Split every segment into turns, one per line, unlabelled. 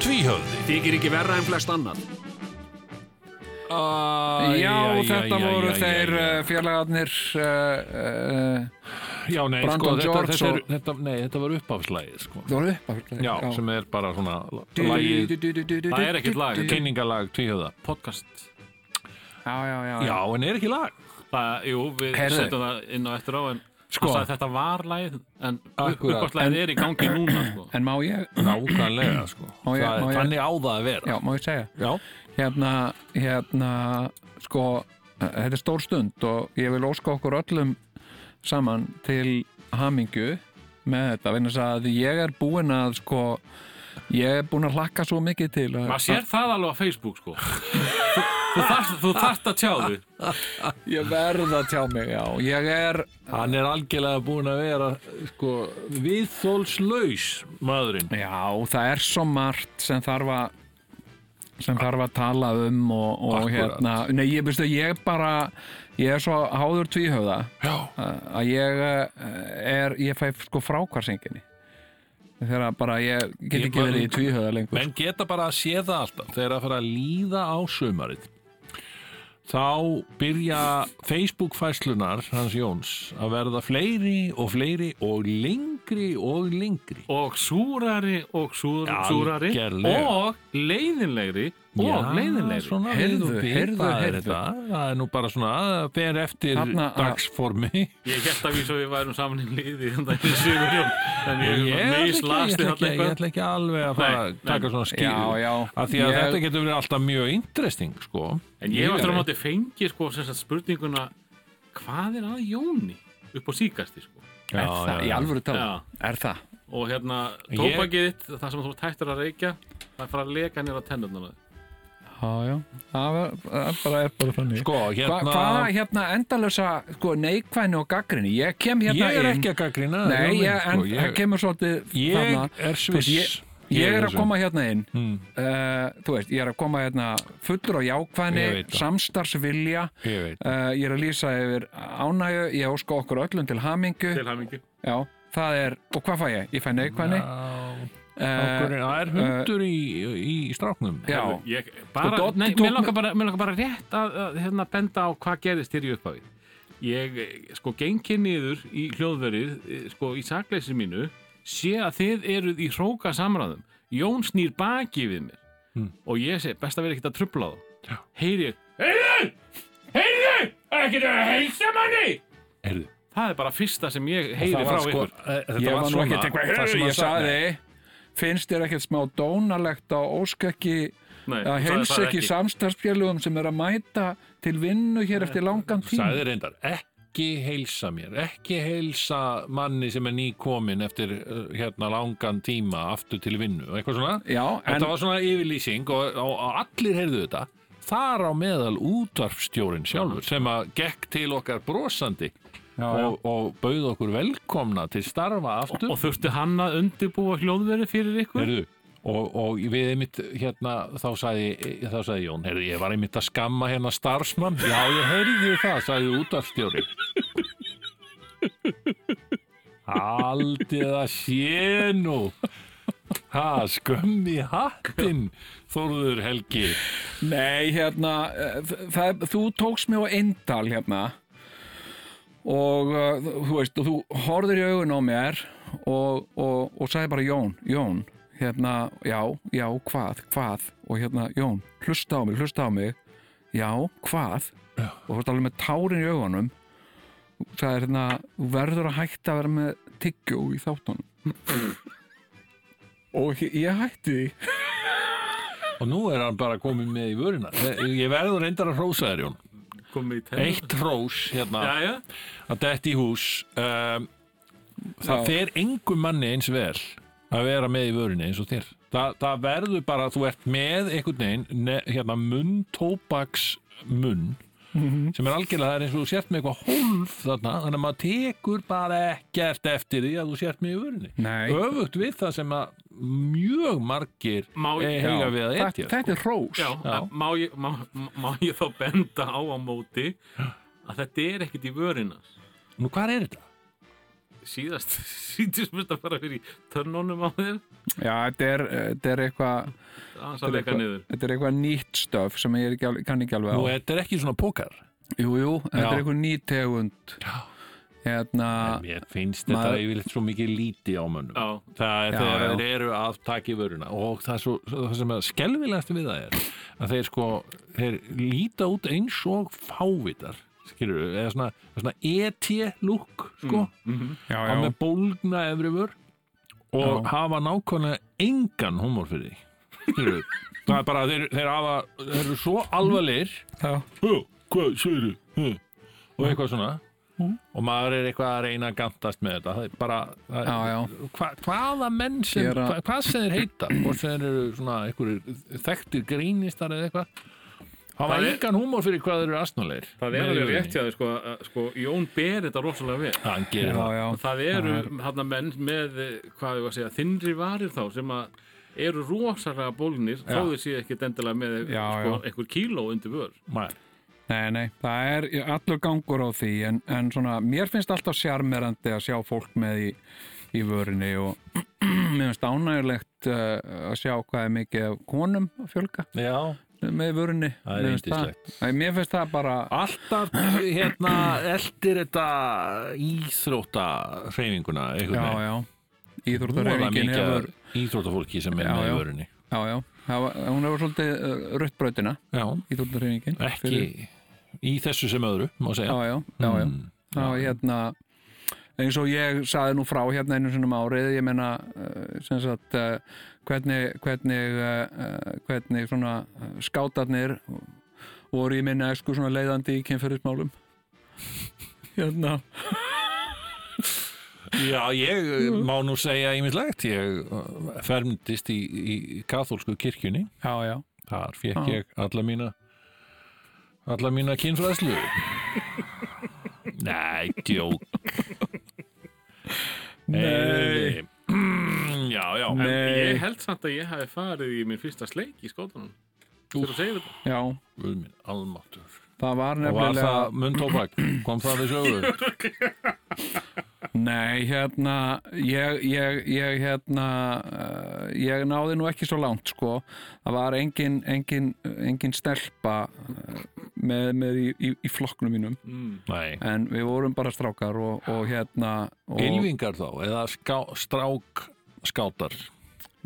Tvíhöfði
Þykir ekki verra en flest annan
Æ,
Já, þetta voru
æ,
þeir
æ, æ.
uh, félagarnir uh, uh,
Já, nei, sko,
Brandon
þetta,
George
þetta, er,
og-
þetta, nei, þetta var uppafslæðið sko.
Það voru upp
já, sem er bara svona lagið, það er ekkert lag, kynningalag tvíhöfða, podcast
Já, já, já,
Já, en er ekki lag
það, Jú, við
Heyrðu.
setjum það inn á eftir á en
Sko.
sko. sagði, þetta var læð en
Akkúrat.
uppáðslæðið er í gangi núna sko.
En má ég,
Nákvæmlega, sko
Má ég-
Það-
má ég-
Þannig á það að vera
já, má ég segja
Já,
hérna, hérna sko, þetta er stór stund og ég vil óska okkur öllum saman til hamingu með þetta, vegna þess að ég er búinn að sko, ég er búinn að hlakka svo mikið til að,
maður sér það alveg á Facebook sko. Þú- þú þarft- þú þarft að tjá þig
ég verð að tjá mig, já, ég er
hann er algjörlega búin að vera sko, viðþólslaus maðurinn
já, það er svo margt sem þarf að sem þarf að tala um og, og
Akkúrat.
hérna, nei, ég veistu, ég bara ég er svo háður tvíhöfða
Já,
að að ég eh, er, ég fæ sko frákvarsenginni þegar bara ég get
Ég
ekki verið í
bara-
tvíhöða lengur
menn geta bara að sé það alltaf þegar að fara að líða á sömarið þá byrja Facebook fæslunar hans Jóns að verða fleiri og fleiri og lengri og lengri
og súrari og súr, súrari
Algerlega.
og leiðinlegri og leiðinlegri
svona
Heyrðu,
heyrðu,
heyrðu,
heyrðu,
heyrðu.
heyrðu. það er nú bara svona að ber eftir
Þarna að-
dagsformi
ég held að við svo við værum saman í liði þannig að ég sigur jón en ég,
ég
ég
ætla ekki, ég
mislasti
ætla
þarna
ekki, ég
eitthvað
ætla ekki alveg að fara
Nei,
að taka svona skýr
Já, já.
að því að
Ég-
þetta getur verið alltaf mjög interesting sko.
en ég var
Mjög.
þar á móti fengi sko sem sagt spurninguna hvað er að Jóni upp á síkasti sko
Já,
er það,
já,
í
já.
alvöru tala,
Já.
er það
og hérna
Ég-
tópakiðitt það sem þú tættir að reykja það er fara að leka nýra tennurnar á þér.
já, já, það er það er bara, er bara þannig
sko,
Hva,
hérna
hvað hérna endalösa sko, neikvæni og gaggrinni ég kem hérna
ég er
inn
ekki að gaggrina
Nei, ég, en það kemur svolítið
Ég
þarna.
er
Þú veist,
sviss.
ég,
Ég
ég
er
er að
þessu.
koma hérna inn
Mm.
uh, Þú veist, ég er að koma hérna fullur á jákvæðni,
Ég veit það.
samstarfsvilja
Ég veit
uh, Ég er að lýsa yfir ánægju Ég óska okkur öllum til hamingu
til hamingi
Já, það er, og hvað fæ ég? Ég fæ neikvæðni Eh,
það er hundur í, í stráknum
Já, Sko,
ég bara,
Doddi
nei,
tók
mér langar bara, mér langar bara rétt að, að hérna, benda á hvað gerðist hér í upphafi ég eh, sko gengi niður í hljóðverið eh, sko í sakleysi mínu sé að þið eruð í hróka samræðum Jón snýr baki við mér
Hmm.
og ég segi best að vera ekkert að trubla þá heyri ég heyrðu, heyrðu, ekkert að heilsa manni
Heyrðu,
það er bara fyrsta sem ég heyri
það var
frá
sko,
ykkur
eh, þetta
ég
var
var nú
svona
ekki
það
eitthvað
sem
Heyrðu,
hann
ég sagði Finnst þér ekkert smá dónalegt á óskekki
Nei,
að
þú sagðir
heilsa
það
ekki
ekki.
samstarfsfélugum sem er að mæta til vinnu hér eftir langan tíma
sagði reyndar ekki heilsa mér, ekki heilsa manni sem er nýkomin eftir uh, hérna langan tíma aftur til vinnu og eitthvað svona
Já, en,
þetta var svona yfirlýsing og, og, og allir heyrðu þetta þar á meðal útvarfstjórin sjálfur sem að gekk til okkar brosandi
já.
og, og bauð okkur velkomna til starfa aftur
og þurfti hann að undirbúa hljóðverið fyrir ykkur
Heyrðu, og, og við einmitt hérna þá sagði, þá sagði Jón heyrðu, ég var einmitt að skamma hérna starfsmann já ég heyrði það, sagði útastjóri Haldið að sé nú Ha, skömmi hattinn Þórður Helgi
Nei, hérna eh, það, þú tókst mig á eindal hérna og eh, þú veist, og þú horfðir í augun á mér og, og, og sagði bara Jón, Jón hérna, já, já, hvað, hvað og hérna, Jón, hlusta á mig, hlusta á mig já, hvað og þú veist alveg með tárin í augunum það er hérna, þú verður að hætta að vera með tyggjó í þáttunum og ég- ég hætti því
og nú er hann bara komið með í vörina ég verður reyndar að hrósa þér Jón
komið í tennur
eitt hrós hérna
já, já.
að detti í hús um, það
Já.
fer engum manni eins vel að vera með í vörunni eins og þér Þa, það verður bara að þú ert með einhvern veginn ne, hérna munn, tóbaks munn
Mhm.
sem er algjörlega það er eins og þú sért með eitthvað hólf þarna, þannig að maður tekur bara ekkert eftir því að þú sért með í vörunni
Nei.
öfugt við það sem að mjög margir
Má-
eh,
Já.
eiga við að
þetta,
etja
þetta er rós
Já,
Já.
Má, ég, má, má ég þá benda á á móti að þetta er ekkert í vörinas
Nú hvað er þetta?
síðast síðast mest að fara fyrir í törnunum á þér
Já, þetta er, þetta er eitthvað þetta
aðeins að
er
leika
eitthvað-
niður
Þetta er eitthvað nýtt stöf sem ég er ekki, alveg- kann ekki alveg á
Nú þetta er ekki svona pókar
Jú, jú, þetta
Já.
er eitthvað nýtt tegund
Já.
Hérna,
Mér finnst
Maður-
þetta yfirleitt svo mikið líti á mönnum
Já,
Það er
Já,
þegar
já.
þeir eru að taka í vöruna og það, er svo, það sem er skelfilegast við það er að þeir sko þeir líta út eins og fávitar skilur við, eða svona, svona ET-lúk sko
Mm, já,
á
já
með bólgna efri vör og
Já.
hafa nákvæmlega engan humor fyrir því skilur við, það er bara að þeir, þeir, hafa, þeir eru svo alvarlegir
Já,
Hú, hvað segir þið? Og eitthvað svona og maður er eitthvað að reyna að gantast með þetta það er bara það,
Já, já.
Hva, hvaða menn sem,
Ég er að-
hva, hvað sem þeir heita og sem þeir eru svona einhverjir þekktir grínistar eða eitthvað hafa
Það er-
engan húmór fyrir hvað þeir eru asnulegir
það er alveg rétt hjá þér sko, að- sko Jón ber þetta rosalega vel
hann gerir
já,
það
já
það eru hann menn með eh, hvað ég var að segja, þinnri varir þá sem að eru rosalega bólgnir þó þið séu ekkert endilega með
Já,
sko, einhver kíló undir vör
Maður-
Nei, nei, það er allur gangur á því en, en svona, mér finnst alltaf sjarmerandi að sjá fólk með í, í vörinni og mér finnst ánægulegt uh, að sjá hvað er mikið af konum að fjölga
já,
með í vörinni
Það er
Mér finnst
yndislegt.
það- Nei, Mér finnst það bara
alltaf hérna eldir þetta íþrótta hreyfinguna
Já,
einhvern
já,
veginn
íþróttareyfingin hefur
hefur... íþróttafólki sem er
Já,
með
já.
í vörunni
Já, já, það var, hún hefur svolítið eh, ruttbrautina,
já,
íþróttareyfingin
ekki í þessu sem öðru, má segja
Já, já, já, já
Mm.
Já, hérna eins og ég saði nú frá hérna einu sinum árið, ég meina eh, sem sagt eh, hvernig hvernig, eh, hvernig svona eh, skátarnir voru í minna esku svona leiðandi í kynferðismálum hérna
Já, ég eh, má nú segja ímislegt, ég uh, fermdist í, í kathólsku kirkjunni,
já, já,
þar fekk ég alla mína, alla mína kynfræðslu. Nei, djók. Nei. Mm, já, já.
en
Nei.
ég held samt að ég hafi farið í minn fyrsta sleik í skótanum þegar þú segir þetta
já
Guð minn, almáttur.
það var
Og var
nefnilega
það muntóbak, kom það við sögu?
nei, hérna ég, ég, ég hérna eh, ég náði nú ekki svo langt sko, það var engin engin, engin stelpa eh, með, með í, í, í flokknum mínum
mm.
Nei.
en við vorum bara strákar og, og hérna og
Ylvingar þá, eða ská, strák skátar.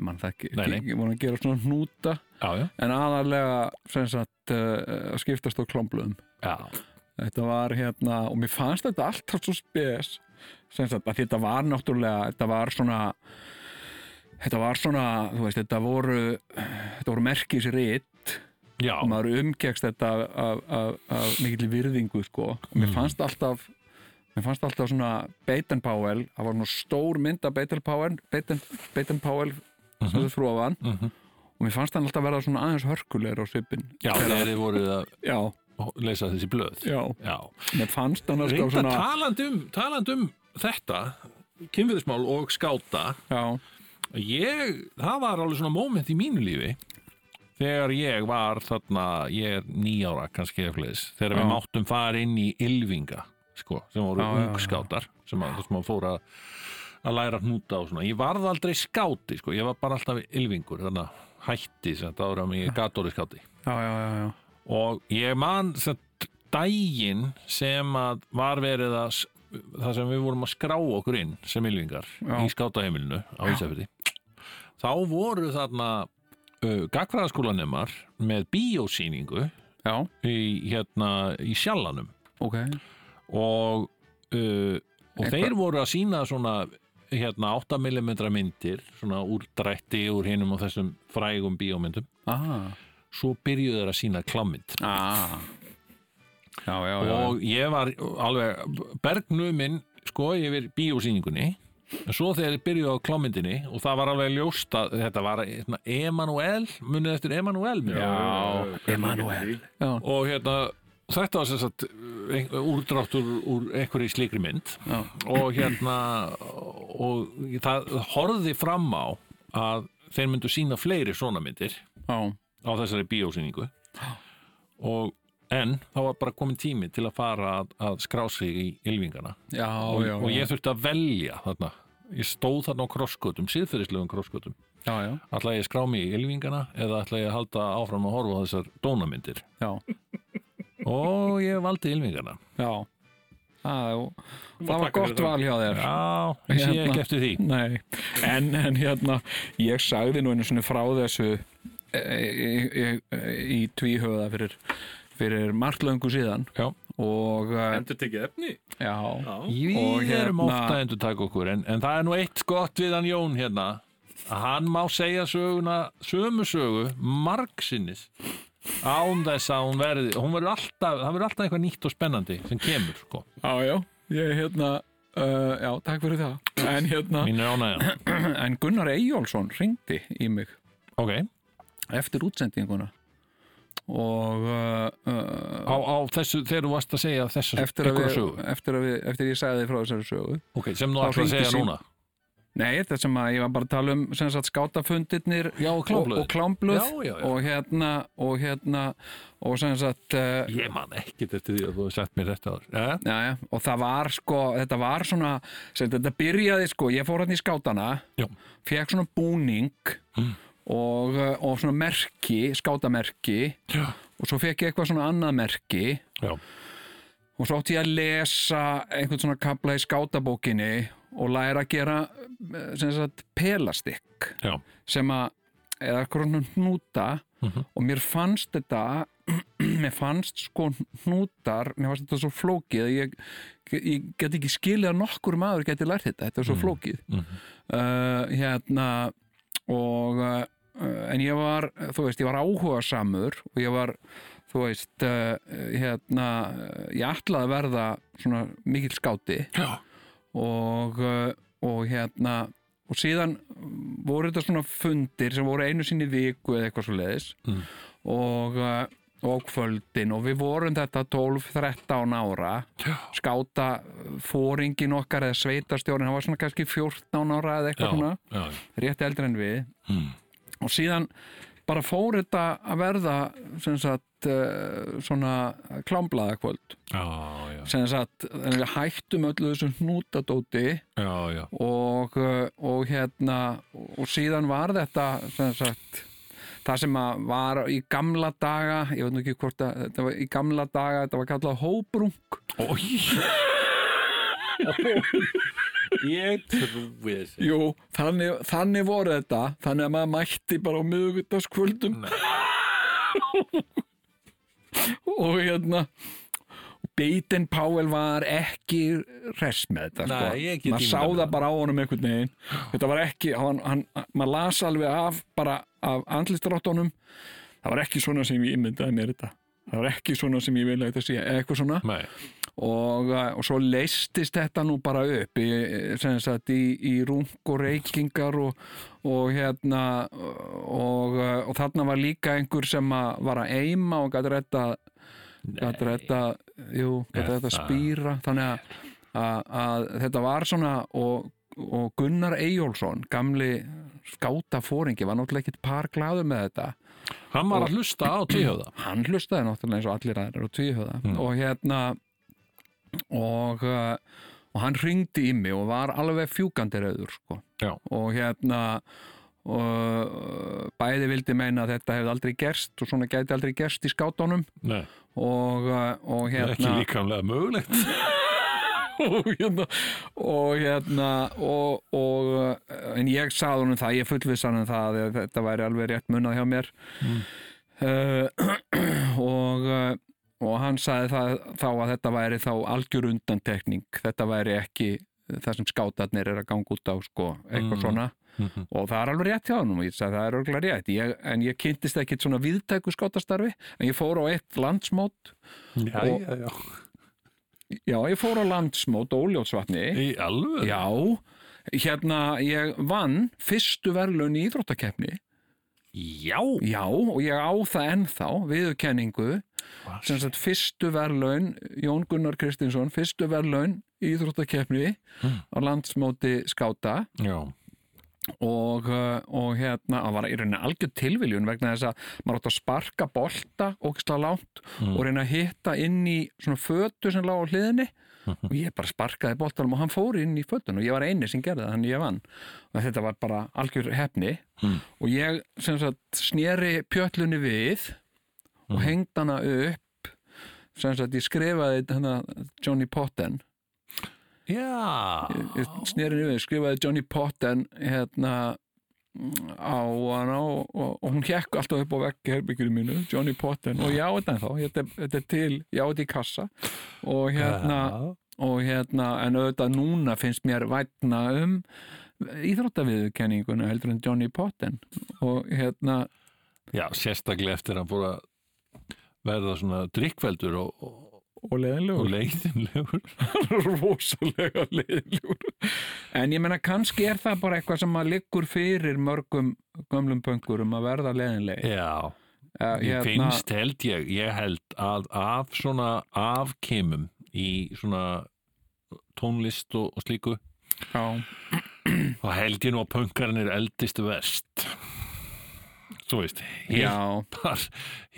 mann það ekki,
Nei, nei.
ekki vorum að gera svona hnúta
Já, já.
en aðalega sem sagt uh, að skiptast á klombluðum
Já.
þetta var hérna og mér fannst þetta alltaf svo spes sem sagt að þetta var náttúrulega þetta var svona þetta var svona, þú veist, þetta voru þetta voru merkisrit
Já.
og maður umgekst þetta af, af, af, af mikill virðingu sko. og mér fannst alltaf mér fannst alltaf svona Baden Powell það var svona stór mynd af Baden Powell Baden, Baden Powell sem þau fróðan
Mhm.
og mér fannst hann alltaf verða svona aðeins hörkulegur á svipin
Já, þegar þið voruð að
já,
leysa þessi blöð.
já,
Já.
mér fannst hann alltaf
Reynda
svona
talandi um, talandi um þetta, kynfiðismál og skáta,
já,
ég, það var alveg svona moment í mínu lífi þegar ég var þarna, ég er nýjára kannski eða fleis, þegar við
Já.
máttum fara inn í Ylvinga, sko, sem voru
Já, já, já.
ungskátar, sem að, sem að fóra að læra að hnúta og svona. Ég varð aldrei skáti, sko, ég var bara alltaf Ylvingur, þannig að hætti, sem þetta ára mig gatóri skáti
já, já, já, já.
og ég man satt, daginn sem að var verið að s- það sem við vorum að skrá okkur inn sem ylvingar
Já.
í skátaheimilinu á Ísafjörði þá voru þarna uh, gagfræðaskólanemar með bíósýningu
já,
í, hérna, í sjallanum
ok
og, uh, og
Eitthvað-
þeir voru að sína svona hérna 8mm myndir svona úr drætti úr hinum og þessum frægum bíómyndum
ah.
svo byrjuðu þeir að sína klammynd
Ah. já, já, já, já.
og ég var alveg bergnuminn sko yfir bíósýningunni en svo þegar ég byrjuði á klámyndinni og það var alveg ljóst að þetta var hérna, Emanuel, munið eftir Emanuel
Já.
og hérna þetta var sem sagt ein- úrdráttur úr einhverju slikri mynd
Já.
og hérna og það horfði fram á að þeir myndu sína fleiri svona myndir
já,
á þessari bíósýningu og en þá var bara komin tími til að fara að, að skrá sig í ylfingana
já,
og,
já,
og ég þurfti að velja þarna ég stóð þarna á krosskötum, síðferðislegum krosskötum
já, já,
ætla ég að skrá mig í ylfingana eða ætla ég að halda áfram að horfa á þessar dónamyndir
já,
og ég valdi ylfingana
já. Það, það var
taka
gott
fyrir það.
val hjá þér
já, ég sé
Hérna.
ekki eftir því
Nei, en, en hérna ég sagði nú einu svona frá þessu e, e, e, e, í tvíhöða fyrir, fyrir margt löngu síðan
já.
og e,
Endur tekið efni?
já,
Já.
við
Og
erum
hérna-
ofta endur taka okkur en, en það er nú eitt gott við hann Jón hérna að hann má segja söguna sömu sögu margsinnis án þess að hún verði hún verður alltaf, það verður alltaf eitthvað nýtt og spennandi sem kemur sko,
já, já ég hérna Uh, já, takk fyrir það en, hérna,
mín er ánægja
en Gunnar Eyjólfsson ringdi í mig
ok,
eftir útsendinguna og uh,
á,
uh,
á þessu, þegar þú varst að segja þessu
eftir, að
einhverja
við,
sögu
eftir að við eftir ég sagði þið frá þessari sögu
ok, sem þú
Þá
ætlar að
hringdi
segja
sím-
núna
Nei, þetta sem að ég var bara að tala um sem sagt skátafundirnir
Já, og klámblöðin.
og, og klámblöð
Já, já, já.
og hérna og hérna og sem sagt uh,
ég man ekkit eftir því að þú hefði sett mér þetta Eh? áður ja?
já, já, og það var sko, þetta var svona sem, þetta byrjaði sko, ég fór hann í skátana
Já.
fekk svona búning
Mm.
og, uh, og svona merki skátamerki
já,
og svo fekk ég eitthvað svona annað merki
já,
og svo átti ég að lesa einhvern svona kapla í skátabókinni og læra að gera eh, sem sagt pelastikk
já.
sem að eða eitthvað svona hnúta
Mhm.
og mér fannst þetta mér fannst sko hnútar mér fannst þetta svo flókið að ég, ég get ekki skilið að nokkur maður geti lært þetta, þetta er svo flókið
mhm.
uh, hérna og uh, en ég var, þú veist, ég var áhuga samur og ég var, þú veist uh, hérna ég ætlaði að verða svona mikill skáti
já.
og, uh, og hérna og síðan voru þetta svona fundir sem voru einu sinni í viku eða eitthvað svo leiðis
Mm.
og, uh, og kvöldin og við vorum þetta 12-13 ára
já.
skáta fóringin okkar eða sveitarstjórin, hann var svona kannski 14 ára eða eitthvað svona,
já,
rétt eldri en við
Mm.
og síðan bara fór þetta að verða sem sagt uh, svona klámblaða kvöld
já, já,
sem sagt, þannig að við hættum öllu þessu hnútadóti
já, já.
og, uh, og hérna og síðan var þetta sem sagt, það sem að var í gamla daga ég veit nú ekki hvort að þetta var í gamla daga þetta var kallað hóbrung
Ég trúi þessi.
Jú, þannig, þannig voru þetta þannig að maður mætti bara á miðugutaskvöldum og hérna Baden Powell var ekki res með þetta sko.
Nei, ég get
maður sá
ímyndað mér
það
það.
bara á honum einhvern veginn þetta var ekki, hann, hann, maður las alveg af bara af andlistróttunum það var ekki svona sem ég ímyndaði mér þetta það var ekki svona sem ég vil að þetta sé eða eitthvað svona
Nei,
og, eh, og svo leistist þetta nú bara upp í, eh, sem sagt, í, í rung og reykingar og, og hérna og, eh, og þarna var líka einhver sem að var að eima og gæti retta gæti retta, jú,
Er
gæti retta
það-
spýra þannig að, að, að þetta var svona og, og Gunnar Eyjólfsson gamli skátafóringi var náttúrulega ekkit par glæður með þetta
hann var að hlusta á tíhjóða
hann hlustaði náttúrulega eins og allir aðrir og tvíhöða
Mm.
og hérna og, uh, og hann ringdi í mig og var alveg fjúkandi rauður sko.
Já.
og hérna og bæði vildi meina að þetta hefði aldrei gerst og svona gæti aldrei gerst í skátunum
Nei,
og, uh, og
ekki
hérna
líkamlega mögulegt
og hérna og hérna og, og, uh, en ég sagði honum það, ég fullviss hann um það að þetta væri alveg rétt munnað hjá mér uh, og uh, og hann sagði það, þá að þetta væri þá algjör undantekning, þetta væri ekki það sem skátarnir er að ganga út á sko, eitthvað
Mm.
svona
Mhm.
og það er alveg rétt hjá honum, ég sagði það er örgulega rétt ég, en ég kynntist ekkit svona viðtæku skátastarfi en ég fór á eitt landsmót
Já,
Og-
já, já
já, ég fór á landsmót óljótsvatni
Í alveg?
Já, hérna ég vann fyrstu verðlun í íþróttakeppni
Já,
Já, og ég á það ennþá viðurkenningu sem sagt fyrstu verðlaun Jón Gunnar Kristinsson, fyrstu verðlaun í Íþróttakeppni á landsmóti skáta
já,
og, uh, og hérna það var í rauninni algjör tilviljun vegna þess að maður átt að sparka bolta ógislega langt og reyna að hitta inn í svona fötu sem lág á hliðinni og ég bara sparkaði boltanum og hann fór inn í fötun og ég var eini sem gerði það þannig ég vann og þetta var bara algjör hefni og ég sem sagt sneri pjöllunni við og hengd hana upp sem sagt ég skrifaði hana, Johnny Potten
já.
snerinu við, skrifaði Johnny Potten hérna á hana og, og, og hún hekk alltaf upp á vekk herbyggjur mínu, Johnny Potten og já þetta þá, þetta, þetta er til já þetta í kassa og hérna og hérna, en auðvitað núna finnst mér vætna um íþróttaviðurkenninguna heldur en Johnny Potten og hérna
já, sérstaklega eftir að búið að verða svona drikkveldur og, og,
og leðinlegur
og leiðinlegur
rosalega leiðilegur en ég menna kannski er það bara eitthvað sem að liggur fyrir mörgum gömlum pöngurum að verða leiðileg
já,
uh,
ég finnst held ég ég held að af svona afkimum í svona tónlist og, og slíku
já,
þá held ég nú að pönkarinn er eldist vest þú veist
já,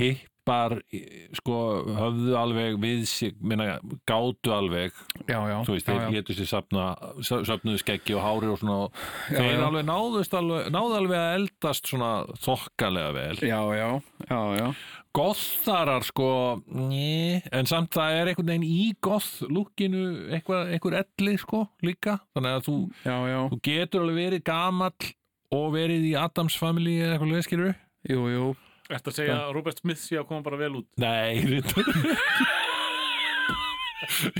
hippar hippar eh, sko höfðu alveg við sig minna, gátu alveg
já, já,
þú veist,
já, já.
þeir getur sér safna safnuðu skeggi og hári og svona
Já,
þeir
já.
alveg náðust alveg, náðu alveg að eldast svona þokkalega vel
já, já, já, já.
gotharar sko njö, en samt það er einhvern veginn í goth lukkinu einhver, einhver elli sko líka þannig að þú,
Já, já,
þú getur alveg verið gamall og verið í Adams family eða eitthvað leðskilur
jú, jú
Þetta að segja að Robert Smith sé að koma bara vel út
Nei, reyndar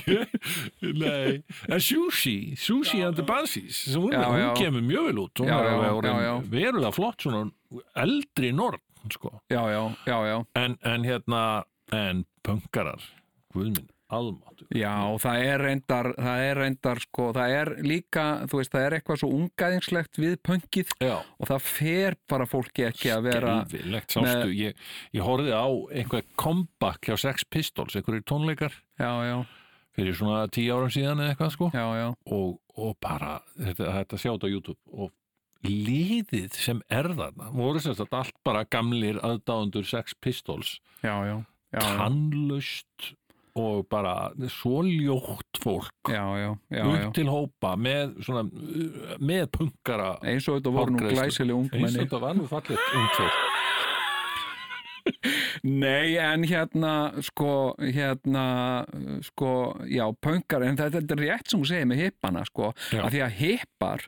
Nei, en Sushi Sushi and the Banshees sem hún,
Já, já.
hún kemur mjög vel út hún
Já,
er
já,
alveg
já, já.
orðin verulega flott svona eldri norn sko.
Já, já, já, já,
en, en hérna en pönkarar, guðminn almáttu
já, það er reyndar, það er reyndar, sko, það er líka, þú veist, það er eitthvað svo ungaðingslegt við pöngið
Já,
og það fer bara fólki ekki að vera,
gerðilegt, sástu ég, ég horfði á einhver comeback hjá Sex Pistols, einhverjir tónleikar
já, já,
fyrir svona tíu árum síðan eða eitthvað sko
já, já,
og, og bara þetta, þetta sjá þetta á YouTube og liðið sem er þarna voru sem sagt allt bara gamlir aðdáðundur Sex Pistols,
já, já, já, já,
tannlaust og bara svo ljótt fólk
já, já, já, já.
upp til hópa með, svona, uh, með punkara
eins og þetta voru nú
Hárgreiðslur.
glæsileg
eins og
ungmenni
þetta var nú fallið ungt fólk
Nei, en hérna sko, hérna sko, já, pönkar en þetta, þetta er rétt sem þú segir með hippana sko,
Já.
að því að hippar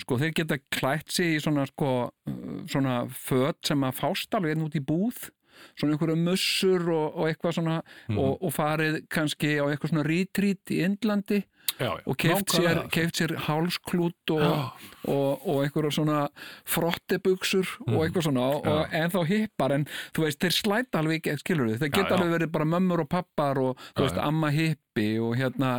sko, þeir geta klætt sig í svona sko, svona föt sem að fást alveg einn út í búð svona einhverju mussur og, og eitthvað svona
Mhm.
og, og farið kannski á eitthvað svona retreat í Indlandi
já, já,
og keft sér,
nákvæmlega.
keft sér hálsklút og,
Já.
og, og einhverja svona frottibuxur
Mm.
og eitthvað svona og, og en þá hippar en þú veist þeir slæta alveg ekki, skilur þau, þeir geta
já.
alveg verið bara mömmur og pappar og þú veist amma hippi og hérna,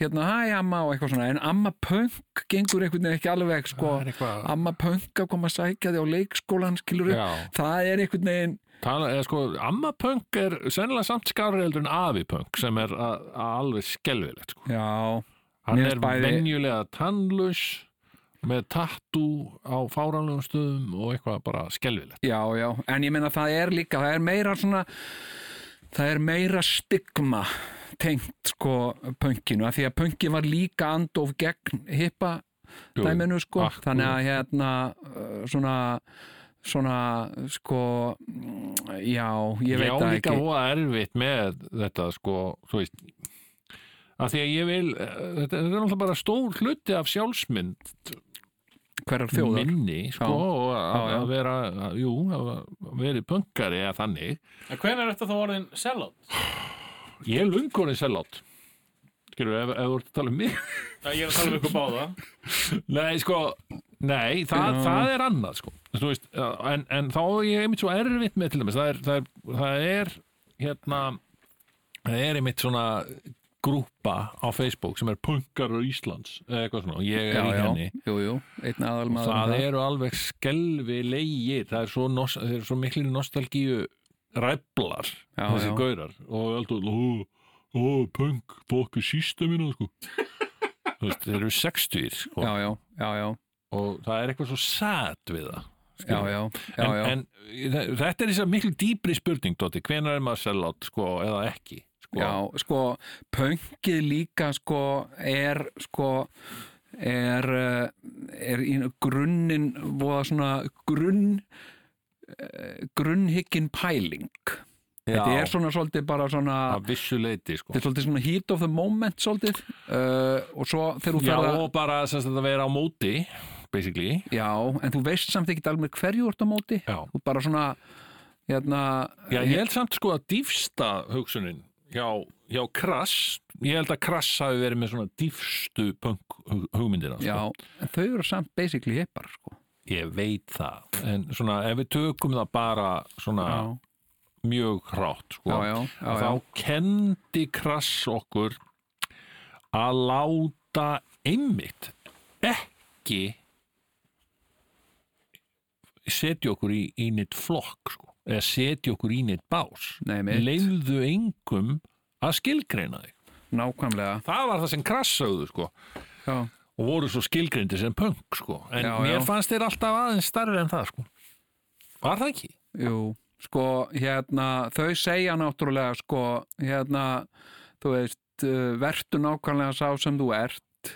hérna hæ amma og eitthvað svona en amma punk gengur einhvern veginn ekki alveg sko,
Það er eitthvað-
amma punk að koma að sækja þig á leikskólan skilur þau,
Já.
það er einhvern veginn
Tala, eða sko, amma punk er sennilega samt skárið heldur en afi punk sem er a, a alveg skelfilegt sko.
já,
Hann
Mér
er
bæði-
venjulega tannlaus með tattu á fáranlegum stöðum og eitthvað bara skelvilegt.
Já, já, en ég meina það er líka, það er meira svona, það er meira stigma tengt sko pönkinu, af því að pönkin var líka andof gegn hippa
Jú,
dæminu sko,
akkúrat.
þannig að hérna uh, svona, svona sko, mm, já,
Ég
ég veit
á
það
líka
ekki.
voða erfitt með þetta sko, þú veist, að því að ég vil, eh, þetta er náttúrulega bara stór hluti af sjálfsmynd,
Hverjar þjóðar?
minni, sko,
Já.
og að,
Já, já.
að vera, að, jú, að vera pönkari eða þannig.
En hvenær er þetta þá orðin sellout?
Ég er lungunni sellátt, skilur, ef, ef þú ert að tala um mig.
Það ég er að tala um ykkur báða
Nei, sko, nei, það,
Já.
það er annað, sko. Þú Veist, en, en þá er ég einmitt svo erfitt með til dæmis, það er, það er, það er hérna, það er einmitt svona grúpa á Facebook sem er punkarar Íslands, eða eitthvað svona, og ég er
Já,
í
já,
henni.
jú, jú, einn aðalmaður. um
Það eru alveg skelvi leigir, það er svo, nos, það er svo miklir nostalgíu ræflar
Já,
þessi
já.
gaurar og alltaf ó, ó, punk, fokku sísta mína sko Þú veist, þeir eru 60 sko.
já, já, já, já,
og það er eitthvað svo sad við það
já,
skilurðu.
já, já, já.
En, en þe- þetta er þess að miklu dýpri spurning Dóti, hvenær er maður sellátt sko, eða ekki sko.
Já, sko, pöngið líka sko er sko er, eh, er í grunnin voða svona grunn eh, grunnhyggin pæling þetta er svona svolítið bara svona
að vissu leiti sko.
þetta er svolítið svona heat of the moment svolítið uh, og svo þegar þú
Já,
ferð að
og bara sem sagt að vera á móti basically
Já, en þú veist samt ekki alveg hverju þú ert á móti
Já.
þú bara svona hérna,
Já, ég held samt sko að dýfsta hugsunin hjá, hjá Krass ég held að Krass hafi verið með svona dýfstu punk hug- hugmyndina sko.
já, en þau eru samt basically hippar sko
ég veit það en svona ef við tökum það bara svona mjög hrátt sko,
Já, já, já,
að
já.
þá kendi Krass okkur að láta einmitt ekki setja okkur í, í neitt flokk sko, eða setja okkur í neitt bás
Nei, mitt.
leiðu engum að skilgreina þig
nákvæmlega
það var það sem krassauðu sko
já.
og voru svo skilgreindi sem punk sko en
Já,
mér
já.
fannst þeir alltaf aðeins starri en það sko var það ekki?
Jú, sko, hérna, þau segja náttúrulega, sko, hérna, þú veist, uh, vertu nákvæmlega sá sem þú ert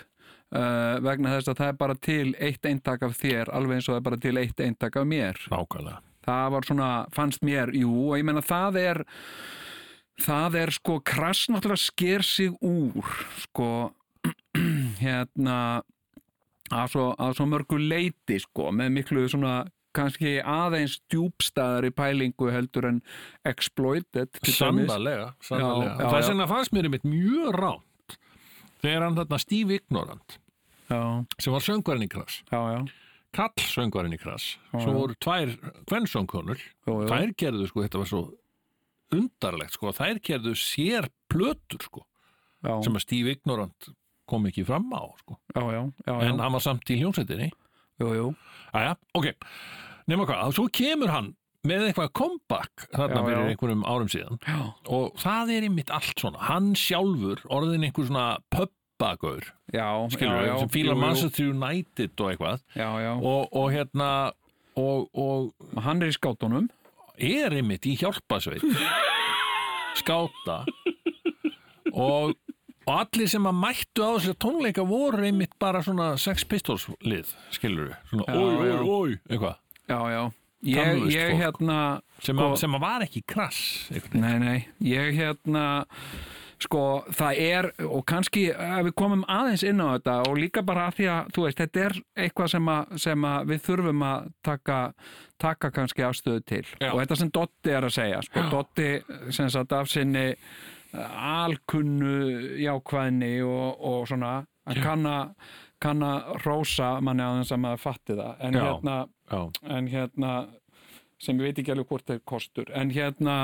uh, vegna þess að það er bara til eitt eintak af þér, alveg eins og það er bara til eitt eintak af mér.
Nákvæmlega
Það var svona, fannst mér, jú, og ég meina það er, það er sko, krass náttúrulega sker sig úr, sko, hérna, að svo, að svo mörgu leiti, sko, með miklu svona, kannski aðeins djúbstæðari pælingu heldur en exploited. til dæmis.
Sannarlega, sannarlega.
Já, já,
Það
já.
sem að fannst mér einmitt mjög ránt þegar hann þarna Steve Ignorant
Já,
sem var söngvarinn í krass
já, já,
kall söngvarinn í krass
Já,
svo
já.
voru tvær kvensöngkonur
jú, jú,
þær gerðu sko, þetta var svo undarlegt sko, þær gerðu sér plötur sko,
já,
sem að Steve Ignorant kom ekki fram á sko.
já, já, já, já,
en hann var samt í hljómsveitinni
jú, jú,
Æja, ok, nema hvað, svo kemur hann með eitthvað comeback þarna
Já,
fyrir
já.
einhverjum árum síðan
já,
og það er einmitt allt svona, hann sjálfur orðin einhver svona pöbbagaur
já,
skilur
já, já,
sem fílar
jú, jú,
Manchester United og eitthvað
já, já,
og, og hérna og, og
hann er í skátunum,
er einmitt í hjálpasveit skáta og, og allir sem að mættu á þessu tónleika voru einmitt bara svona sex pistols lið, skilur svona
Já,
oi,
já.
oi, oi, eitthvað
já, já, ég,
Tannlaust
ég,
fólk.
hérna,
sem,
Sko-
að, sem að var ekki krass einhvern veginn.
Nei, nei, ég hérna sko, það er og kannski ef við komum aðeins inn á þetta og líka bara að því að, þú veist, þetta er eitthvað sem, að, sem að við þurfum að taka, taka kannski afstöðu til
Já.
og þetta sem Dotti er að segja sko, Dotti sem sagt af sinni eh, alkunnu jákvæðni og, og svona að kann að kann að rósa manni aðeins að maður fatti það en
Já.
hérna
já,
en hérna sem ég veit ekki alveg hvort er kostur en hérna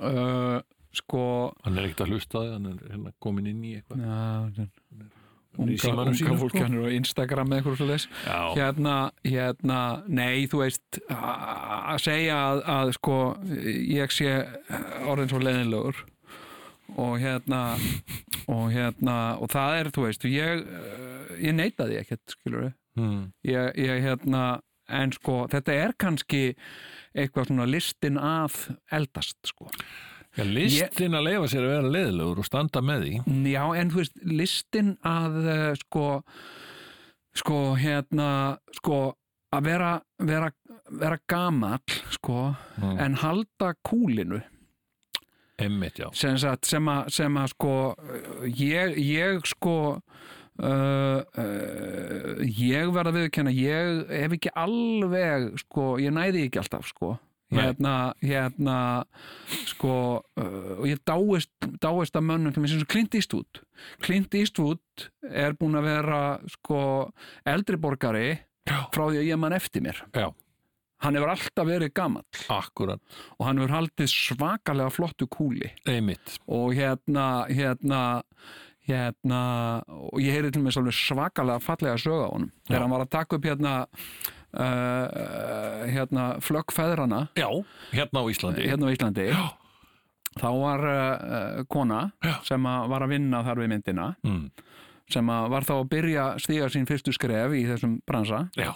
uh, sko
hann er ekkert að hlusta á því, hann er hérna komin inn í eitthvað
na,
Hann er í
unga,
símanum
unga
sínum,
fólk
sko.
hann er á Instagram eða eitthvað svo
já,
hérna, hérna, nei, þú veist a- að segja að, að sko ég sé orðin svo leðinlegur og hérna og hérna, og það er, þú veist ég, eh, ég neita því ekkert skilur við
Hmm.
ég, ég hérna en sko þetta er kannski eitthvað svona listin að eldast sko.
já listin að leifa sér að vera leiðilegur og standa með því
Já en þú veist listin að eh, sko sko hérna sko að vera, vera, vera gamall sko
Mm.
en halda kúlinu
emmitt, já,
sem, sagt, sem, að, sem að sko eh, ég, ég sko Uh, uh, ég verð að viðurkenna ég hef ekki alveg sko, ég næði því ekki alltaf sko
Nei.
hérna, hérna sko, uh, og ég dáist dáist að mönnum, sem er sem Clint Eastwood Clint Eastwood er búin að vera sko eldri borgari
Já.
frá því að ég mann eftir mér
Já.
hann hefur alltaf verið gamall
akkurat
og hann hefur haldið svakalega flottu kúli
emmitt,
og hérna hérna hérna og ég heyrði til mér svolítið svakalega fallega sög á honum þegar hann var að taka upp hérna uh, hérna, flöggfeðrana
Já, hérna á Íslandi
hérna á Íslandi
Já,
þá var uh, kona
Já.
sem að var að vinna þar við myndina
mm,
sem að var þá að byrja að stíga sín fyrstu skref í þessum bransa
já,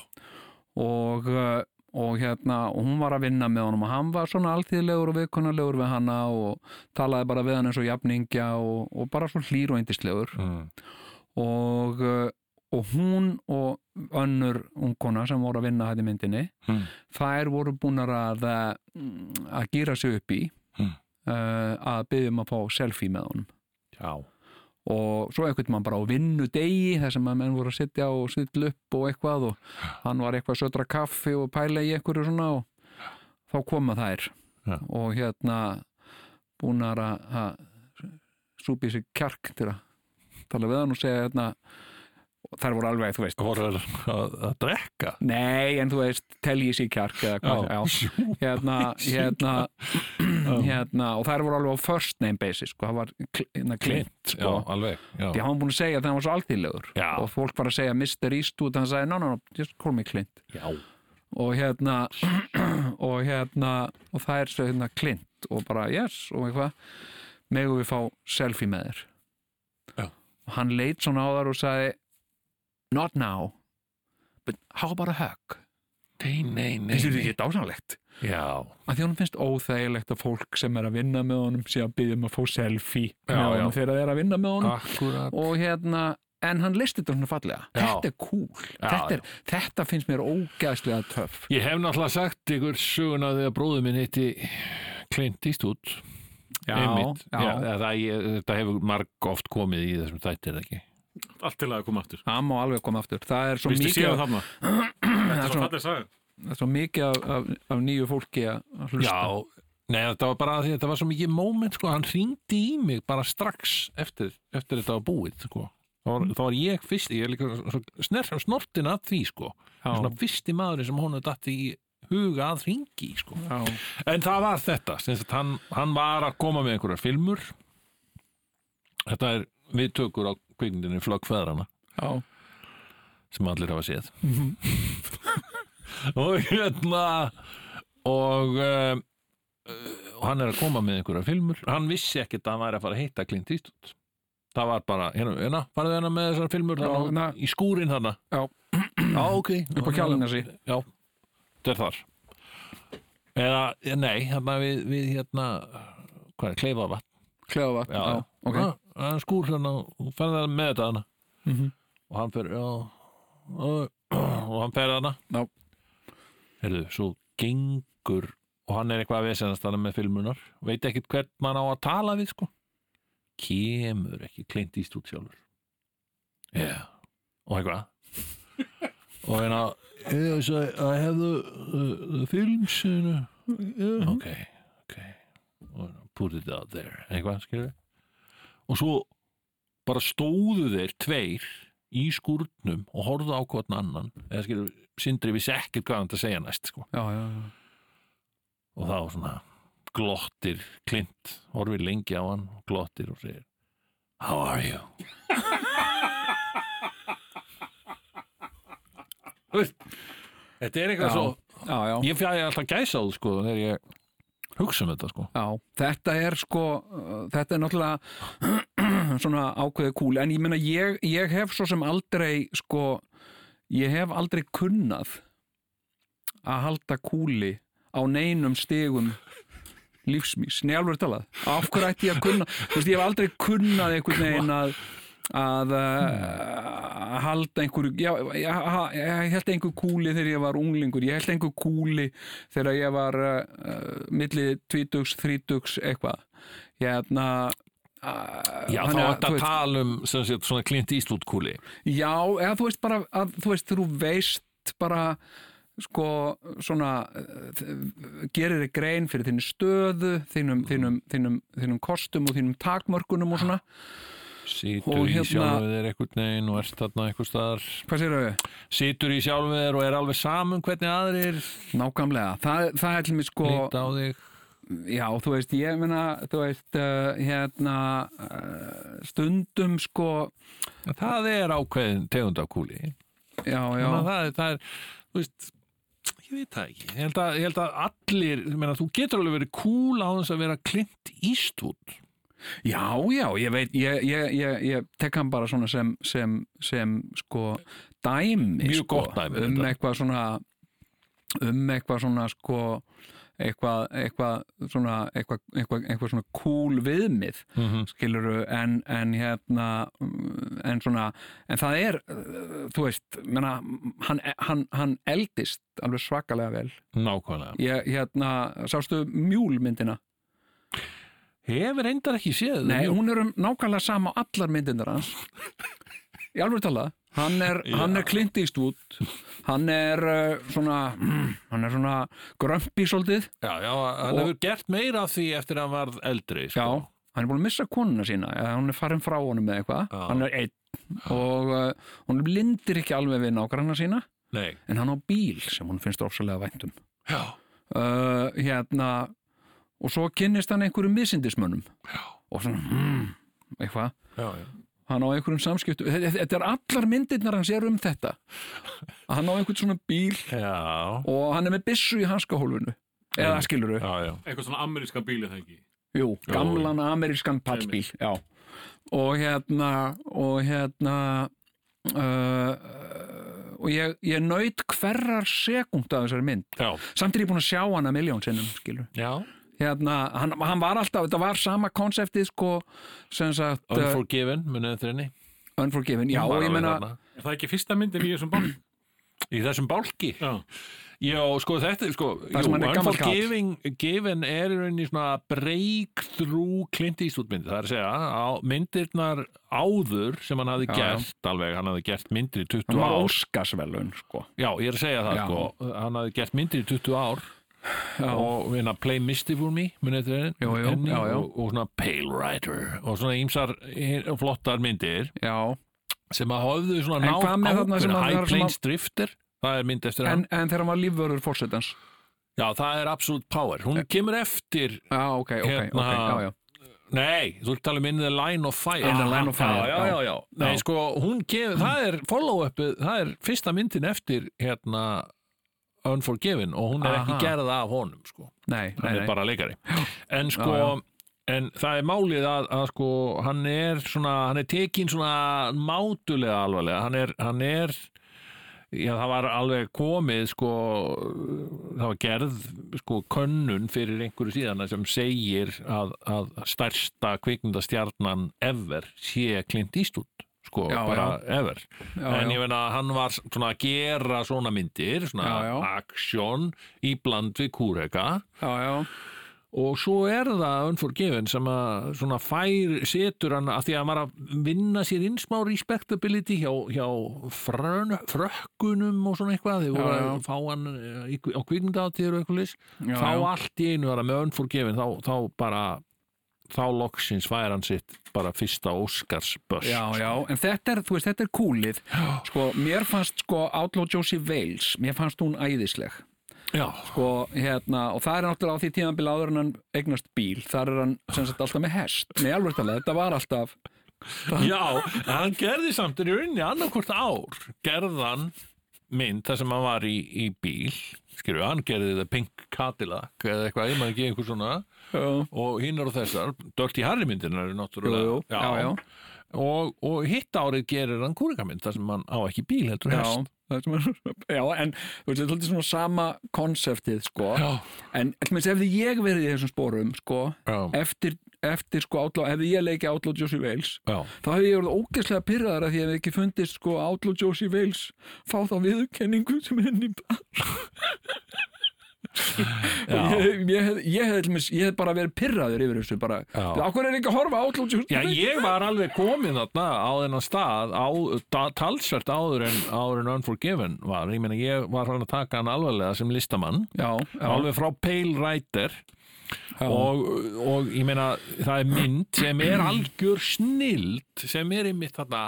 og, uh, og hérna og hún var að vinna með honum og hann var svona alltíðlegur og viðkunnarlegur við hana og talaði bara við hann eins og jafningja og, og bara svo hlýr og yndislegur
mm,
og, uh, og hún og önnur ungkona sem voru að vinna þetta í myndinni
mm,
þær voru búnar að mm, að gýra sig upp í
Mm.
uh, að byggjum að fá selfie með honum
já,
og svo einhvern mann bara á vinnu degi þar sem að menn voru að sitja og sittla upp og eitthvað og hann var eitthvað að södra kaffi og pæla í einhverju svona og þá koma þær
Já.
og hérna búnar að- að súpa í sig kjark til að tala við hann og segja hérna og þær voru alveg, þú veist
voru að, að, að drekka
nei, en þú veist, telji í sig kjark eða hvað, já,
Jú,
hérna, hérna, hérna og þær voru alveg á first name basis sko, það var kl- hérna, klint
klint, já,
sko.
alveg já.
því hann var búin að segja að það var svo alþýðlegur
Já.
og fólk var að segja Mr. Eastwood hann sagði, no, no, no, just call me Clint
já,
og hérna og hérna, og það er svo hérna Clint og bara, yes, og eitthvað megum við fá selfie með þér
Já.
og hann leit svona á þar og sagði not now but how about a hug
nei, nei, nei,
finnst þetta
nei.
ekki dásanlegt
já,
að því hún finnst óþægilegt að fólk sem er að vinna með honum sé að byggja um að fá selfie
Já,
með
já.
honum þegar það er að vinna með honum
akkurat
og hérna en hann listi þetta svona fallega
Já.
þetta er cool,
Já,
þetta, er, þetta finnst mér ógæðslega töff
Ég hef náttúrulega sagt ykkur söguna þegar bróður minn hitti Clint Eastwood
já,
einmitt,
já,
Já, það, ég, þetta hefur marg oft komið í þessum þættir eða ekki
allt til að koma aftur
það má alveg koma aftur það er svo
Vistu
mikið,
séu
af,
þarna
það
Þetta
er
er
svo-
svo falleg saga
það er svo mikið af, af, af nýju fólki að að hlusta
Já, nei, þetta var bara því að þetta var svo mikið moment, sko, hann hringdi í mig bara strax eftir, eftir þetta var búið, sko þá var, þá var ég fyrst, ég er líka svo snerf snortin að því, sko
Já.
svona fyrsti maðurinn sem hún hafði datti í huga að hringi, sko
Já.
En það var þetta, sem sagt, hann, hann var að koma með einhverjar filmur Þetta er viðtökur á kvikmyndinni Flöggfæðrana
Já.
sem allir hafa séð og hérna og uh, og hann er að koma með einhverja filmur hann vissi ekkert að hann væri að fara að heita Clint Eastwood það var bara, hérna, hérna farið hérna með þessar filmur
Já,
þarna,
hérna.
í skúrin þarna
Já.
já ok
upp á kjálunasi
já, þetta er þar eða, nei, hérna við, við hérna hvað er, kleifa vatn
klefa
já, já.
ok
Ah, það er skúr hérna og farið það með þetta hana
Mhm.
og hann fer já, og, og hann fer hana
Já.
Heyrðu, svo gengur og hann er eitthvað að vesenast hann með filmunar veit ekkert hvern mann á að tala við sko kemur ekki Clint Eastwood sjálfur já og eitthvað og hérna yeah, so I have the, the, the films you know. ok, ok og hérna, put it out there eitthvað skilur og svo bara stóðu þeir tveir í skúrnum og horfðu á hvern annan eða skilur, sindri vissi ekkert hvað hann átti að segja næst sko.
já, já, já.
og þá svona glottir klint, horfir lengi á hann og glottir og segir How are you? Þú veist, Þetta er eitthvað
Já.
svo
já, já.
Ég fjæði alltaf gæsa á þú sko þegar ég hugsa um þetta sko
Já, þetta er sko, uh, þetta er náttúrulega svona ákveðið kúl, en ég meina ég, ég hef svo sem aldrei sko, ég hef aldrei kunnað að halda kúli á neinum stigum lífsmís, nei alveg talað, af hverju ætti ég að kunna, þú veist, ég hef aldrei kunnað einhvern veginn að að uh, halda einhverju já, ég, ha- ég held einhver kúli þegar ég var unglingur, ég held einhver kúli þegar ég var uh, uh, milli tvítugs, þrítugs, eitthvað hérna uh,
Já, þá
þannig að,
er þetta
þú
að
veist,
tala um sem sagt, svona klint íslút kúli
já, eða þú veist bara að, þú veist, þú veist bara sko svona uh, þ- gerir þig grein fyrir þínum stöðu, þínum, þínum, þínum, þínum kostum og þínum takmörkunum og svona,
Situr
Og
í
hérna-
sjálfum þér einhvern veginn og ert þarna einhvers staðar
hvað sér þau?
Situr í sjálfum þér og er alveg saman hvernig aðrir
Sko- Nákvæmlega, það, það er til mig sko
líta á þig
Já, þú veist, ég meina, þú veist, uh, hérna, uh, stundum sko,
Það er ákveðin tegund af kúli
já, já,
Þannig að það er, það er, þú veist ég veit það ekki. Ég held að, ég held að allir, ég meina, þú getur alveg verið cool á þess að vera klimt ístút.
Já, já, ég veit, ég, ég, ég, ég tek hann bara svona sem, sem, sem sko dæmi,
Mjög
sko,
gott dæmi,
um
þetta.
eitthvað svona, um eitthvað svona, sko, eitthvað, eitthvað svona, eitthvað, eitthvað, eitthvað svona cool viðmið,
Mm -hmm.
skiluru, en, en hérna, mm, en svona, en það er, uh, þú veist, menna, hann, hann, hann eldist alveg svakalega vel.
Nákvæmlega.
Ég, hérna, sástu mjúlmyndina?
Hefur reyndar ekki séð
Nei,
hún...
hún er um nákvæmlega sama á allar myndindar hans Í alveg talað Hann er, hann er Clint Eastwood Hann er uh, svona mm, Hann er svona grömpi svolítið
já, já, hann
Og-
hefur gert meira af því eftir að hann varð eldri,
Já,
sko.
hann er búin að missa konuna sína eða hann er farin frá honum með eitthvað
Já.
Hann er einn og uh, hún blindir ekki alveg við nágranna sína
Nei.
en hann á bíl sem hún finnst ofsalega væntum
Já.
uh, hérna og svo kynnist hann einhverjum misindismönnum
Já.
og svona mm, eitthvað
Já, já.
hann á einhverjum samskiptum Þe- þe- þetta er allar myndirnar hans er um þetta Að hann á einhvern svona bíl
Já,
og hann er með byssu í hanskahólfinu eða
Einmitt.
skilur
já, já.
eitthvað svona amerískan bíl er það ekki
jú, gamlan amerískan pallbíl já. og hérna og hérna uh, og ég, ég naut hverrar sekund af þessari mynd
Já,
samt er ég búin að sjá hana miljón sinnum skilur
já.
hérna, hann, hann var alltaf, þetta var sama konseptið sko, sem sagt uh,
Unforgiven, munið eftir henni.
Unforgiven, já,
Hún var
og ég
alveg
meina
þarna.
er það ekki fyrsta myndin í þessum bank
hérna. Í þessum bálki.
já,
Já, sko þetta, er, sko,
Það sem hann er gamall kall.
Unforgiven Given er í rauninni svona breakthrough Clint Eastwood mynd, það er að segja á myndirnar áður sem hann hafði
Já, já.
gert, alveg, hann hafði gert myndir í 20
hann var
ár,
óskarsvelun sko
já, ég er að segja það,
Já.
sko hann hafði gert myndir í 20 ár
Já.
og hérna Play Misty for Me munið eftir henni,
Jú, jú,
henni
já, já.
Og, og svona Pale Rider og svona ýmsar eh, flottar myndir
Já,
sem að hafðu svona
En hvað með þarna
ákveðna-
sem hann var
High
svona-
Plains Drifter, það er mynd eftir hann
en, en þegar hann var lífvörður fórsetans
Já, það er Absolute Power.
Eh.
Hún kemur eftir,
Já, ok, ok,
Hérna-
ok, já, já
nei, þú ert talað um In the Line of Fire.
In the Line of Fire,
Ah, Já, já, já. já. Nei, sko, hún kemur, það er follow-upið, það er fyrsta myndin eftir, hérna, Unforgiven og hún er
Aha.
ekki gerð af honum, sko.
Nei, nei,
Hann er
nei,
bara leikari. En sko, en það er málið að, að sko, hann er svona, hann er tekin svona mátulega alvarlega. Hann er, hann er, já, það var alveg komið, sko, það var gerð, sko, könnun fyrir einhverju síðana sem segir að, að stærsta kvikmyndastjarnan ever sé Clint Eastwood, sko,
Já,
bara ever
já,
en
já.
ég meina hann var svona að gera svona myndir, svona
Já, já.
aksjón í bland við kúreka
já, já
og svo er það Unforgiven sem að svona fær setur hann að því að hann var að vinna sér inn smá respectability hjá, hjá frön, frökkunum og svona eitthvað þegar voru
Já, já.
að fá hann eh, í- á kvikmyndatíður og eitthvað list
Já,
þá
já.
allt í einu var hann með Unforgiven þá, þá bara þá loksins fær hann sitt bara fyrsta Óskars börs
Já, já, en þetta er, þú veist, þetta er kúlið Sko, mér fannst, sko, Outlaw Josie Wales Mér fannst hún æðisleg
já,
Sko, hérna, og það er náttúrulega á því tímabil áður en hann eignast bíl Þar er hann, sem sagt, alltaf með hest Nei, alveg talega, þetta var alltaf
Já, en hann gerði samt í rauninni annarkvort ár gerðan mynd þar sem hann var í, í bíl skilju, hann gerði það Pink Cadillac eða eitthvað, ég maður ekki einhver svona
Já,
og hinn eru þessar, Dirty Harry myndin eru
jú,
náttúrulega
jú, já, já
Og, og hitt árið gerir hann kúrikamynd þar sem hann á ekki bíl heldur
Já,
hest
það er svona- já, en þú veist, þetta er svolítið svona sama konseptið, sko
Já,
En til minnst, ef ég verið í þessum spórum, sko,
já,
eftir, eftir sko Outlaw, hefði ég leikið Outlaw Josie Wales
já,
þá hefði ég verið ógeðslega pyrraðar að því að ég hef ekki fundist sko Outlaw Josie Wales fá þá viðurkenningu sem henni bar
já.
ég, ég, hef, ég, hef, ég, hef, ég hef bara verið pyrraður yfir þessu bara,
Já.
okkur er ekki að horfa á Outlaw Josie
Já, ég var alveg komin þarna á þennan stað á, da, talsvert áður en, áður en Unforgiven var. Ég meina, ég var hann að taka hann alvarlega sem listamann.
Wales já, já,
alveg frá Pale Rider
já,
og, og ég meina það er mynd sem er algjör snild sem er einmitt þarna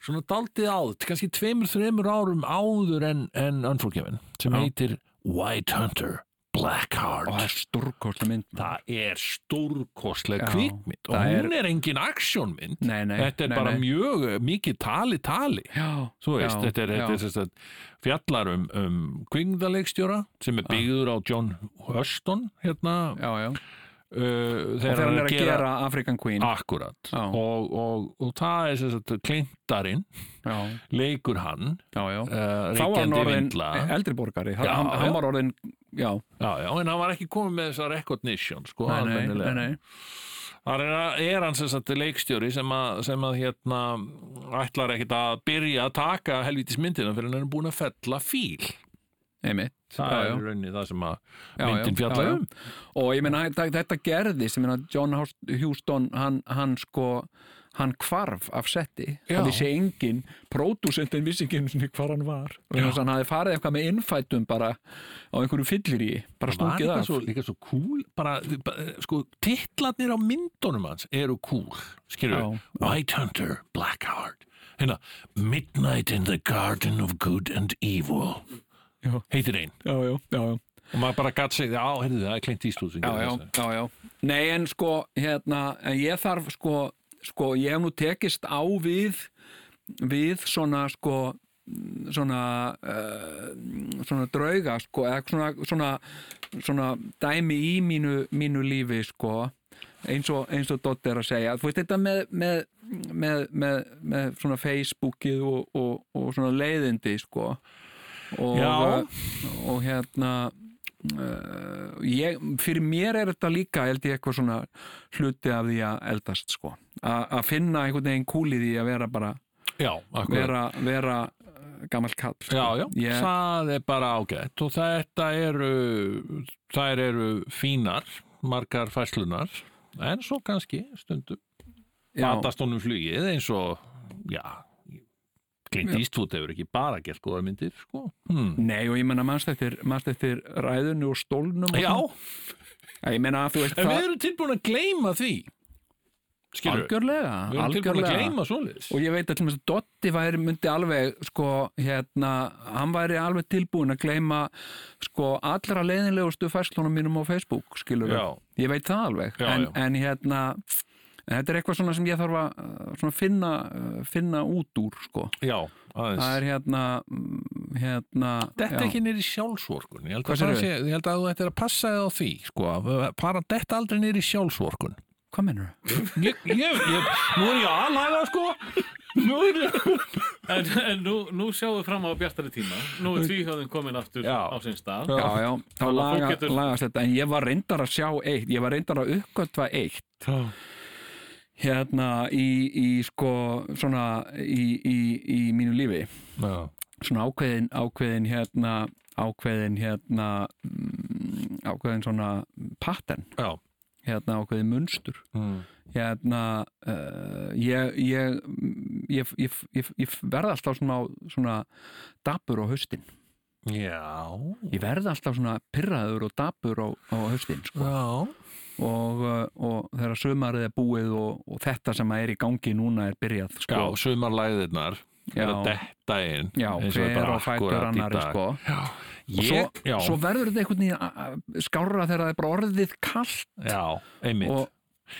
svona daldið áður kannski tveimur, þreimur árum áður en, en Unforgiven sem heitir White Hunter Blackheart
og það er stórkostlega mynd maður.
það er stórkostleg
Já,
kvikmynd og
það
hún er engin aksjónmynd
Nei, nei,
þetta er
nei,
bara
nei.
mjög uh, mikið tali tali
Já,
þú veist,
já,
þetta er, þetta
já.
er sérst að fjallar um, um kvikmyndaleikstjóra sem er byggður á John Huston hérna uh,
já, já.
þegar
þegar hann er að gera, African Queen
Ah. akkurat
Já.
og, og, og það er sérst að klintarinn
já,
leikur hann
já, já.
uh,
þá var hann
reykjandi
orðin
vindla
eldri borgari já,
Já,
hann,
já.
hann var orðin, já
já, já, en hann var ekki komið með þessa recognition sko, almennilega. Það er, er hann sem sagt leikstjóri sem að, sem að hérna ætlar ekkit að byrja að taka helvítis myndina fyrir hann er búin að fella fíl.
einmitt
Það
Já, já.
er rauninni það sem að
Já,
myndin
já,
fjallar
já, já.
um.
og ég meina þetta, þetta gerði sem meina John Houston hann, hann sko hann hvarf af setti
Já.
það vissi engin, pródúsentin vissi ekki einu sinni hvar hann var og
Já.
þannig að hann hafði farið eitthvað með innfætum bara á einhverju fyllir í bara
Það var
stungið
líka
af
svo, líka svo cool, bara, bara, sko, titlarnir á myndunum hans eru cool, skilur
Já.
White Hunter, Blackheart, hérna, Midnight in the Garden of Good and Evil,
Já.
heitir einn.
já, já, já, já
Og maður bara gatt segið, á, heyrðu það, er Clint Eastwood sem
já,
gerir
já,
þessa."
já, já. Nei, en sko, hérna, en ég þarf sko, sko, ég hef nú tekist á við, við svona, sko, svona, uh, svona drauga, sko, eða svona, svona, svona dæmi í mínu, mínu lífi, sko, eins og, eins og Dott er að segja. Þú veist, þetta með, með, með, með, með svona Facebookið og, og, og svona leiðindi, sko. Og,
Já.
Og hérna, uh, ég, fyrir mér er þetta líka held ég eitthvað svona hluti af því að eldast sko A, að finna einhvern veginn kúlið í að vera bara
Já, akkurat.
vera, vera gammal kall sko.
Já, já,
Ég,
það er bara ágætt og þetta eru, þær eru fínar, margar fæslunar, en svo kannski stundum
já,
batast honum flugið eins og, já, Clint Eastwood hefur ekki bara gert góða myndir, sko. Hmm.
nei og ég menna mannst eftir, manst eftir ræðunni og stólnum og
Já,
svona. Já, ég menna að þú veist
en við
það
erum tilbúin að gleyma því, skilur við,
algjörlega,
við erum tilbúin að gleyma svoleiðis.
og ég veit að til og með Dotti væri myndi alveg sko hérna, hann væri alveg tilbúin að gleyma sko allra leiðinlegustu færslunum mínum á Facebook skilur
Já.
ég veit það alveg
Já,
en,
já.
en hérna en þetta er eitthvað svona sem ég þarf að uh, svona finna, uh, finna út úr sko
Já,
það
aðeins.
er hérna mm, hérna
Þetta
já.
ekki nýri sjálfsvorkun, ég held
Hvað
að, það
sérðu?
sé, ég held að þú ættir að passa þig á því, sko, að para þetta aldrei nýri sjálfsvorkun.
hvað mennur
ég, ég, ég, nú er ég aðlæða sko nú er ég
En, en nú, nú sjáum við fram á bjartari tíma. Nú er tvíhjóðin komin aftur
Já.
á sinn stað.
Já.
Já, já, þá
Þannig að fólk
laga,
getur-
lagast þetta en ég var reyndar að sjá eitt ég var reyndar að uppgötva eitt hérna í, í sko svona í, í, í mínu lífi
já,
svona ákveðin, ákveðin hérna ákveðin hérna mm, ákveðin svona pattern,
já.
hérna ákveðin munstur
Mm.
hérna uh, ég, ég, mm, ég, ég, ég, ég verð alltaf svona, á- svona dapur á haustin
já
ég verð alltaf svona pirraður og dapur á, á haustin sko.
já
og, uh, og þegar sömarið er búið og, og þetta sem er í gangi núna er byrjað
já,
sko.
sumarlæðirnar er að
Já.
detta inn
Já,
eins og er
hver
bara
á fætur
akkúrat í
annari
dag.
sko. Og
ég,
svo,
já,
svo verður þetta einhvern veginn að- að skárra þegar það er bara orðið kallt
já, einmitt
og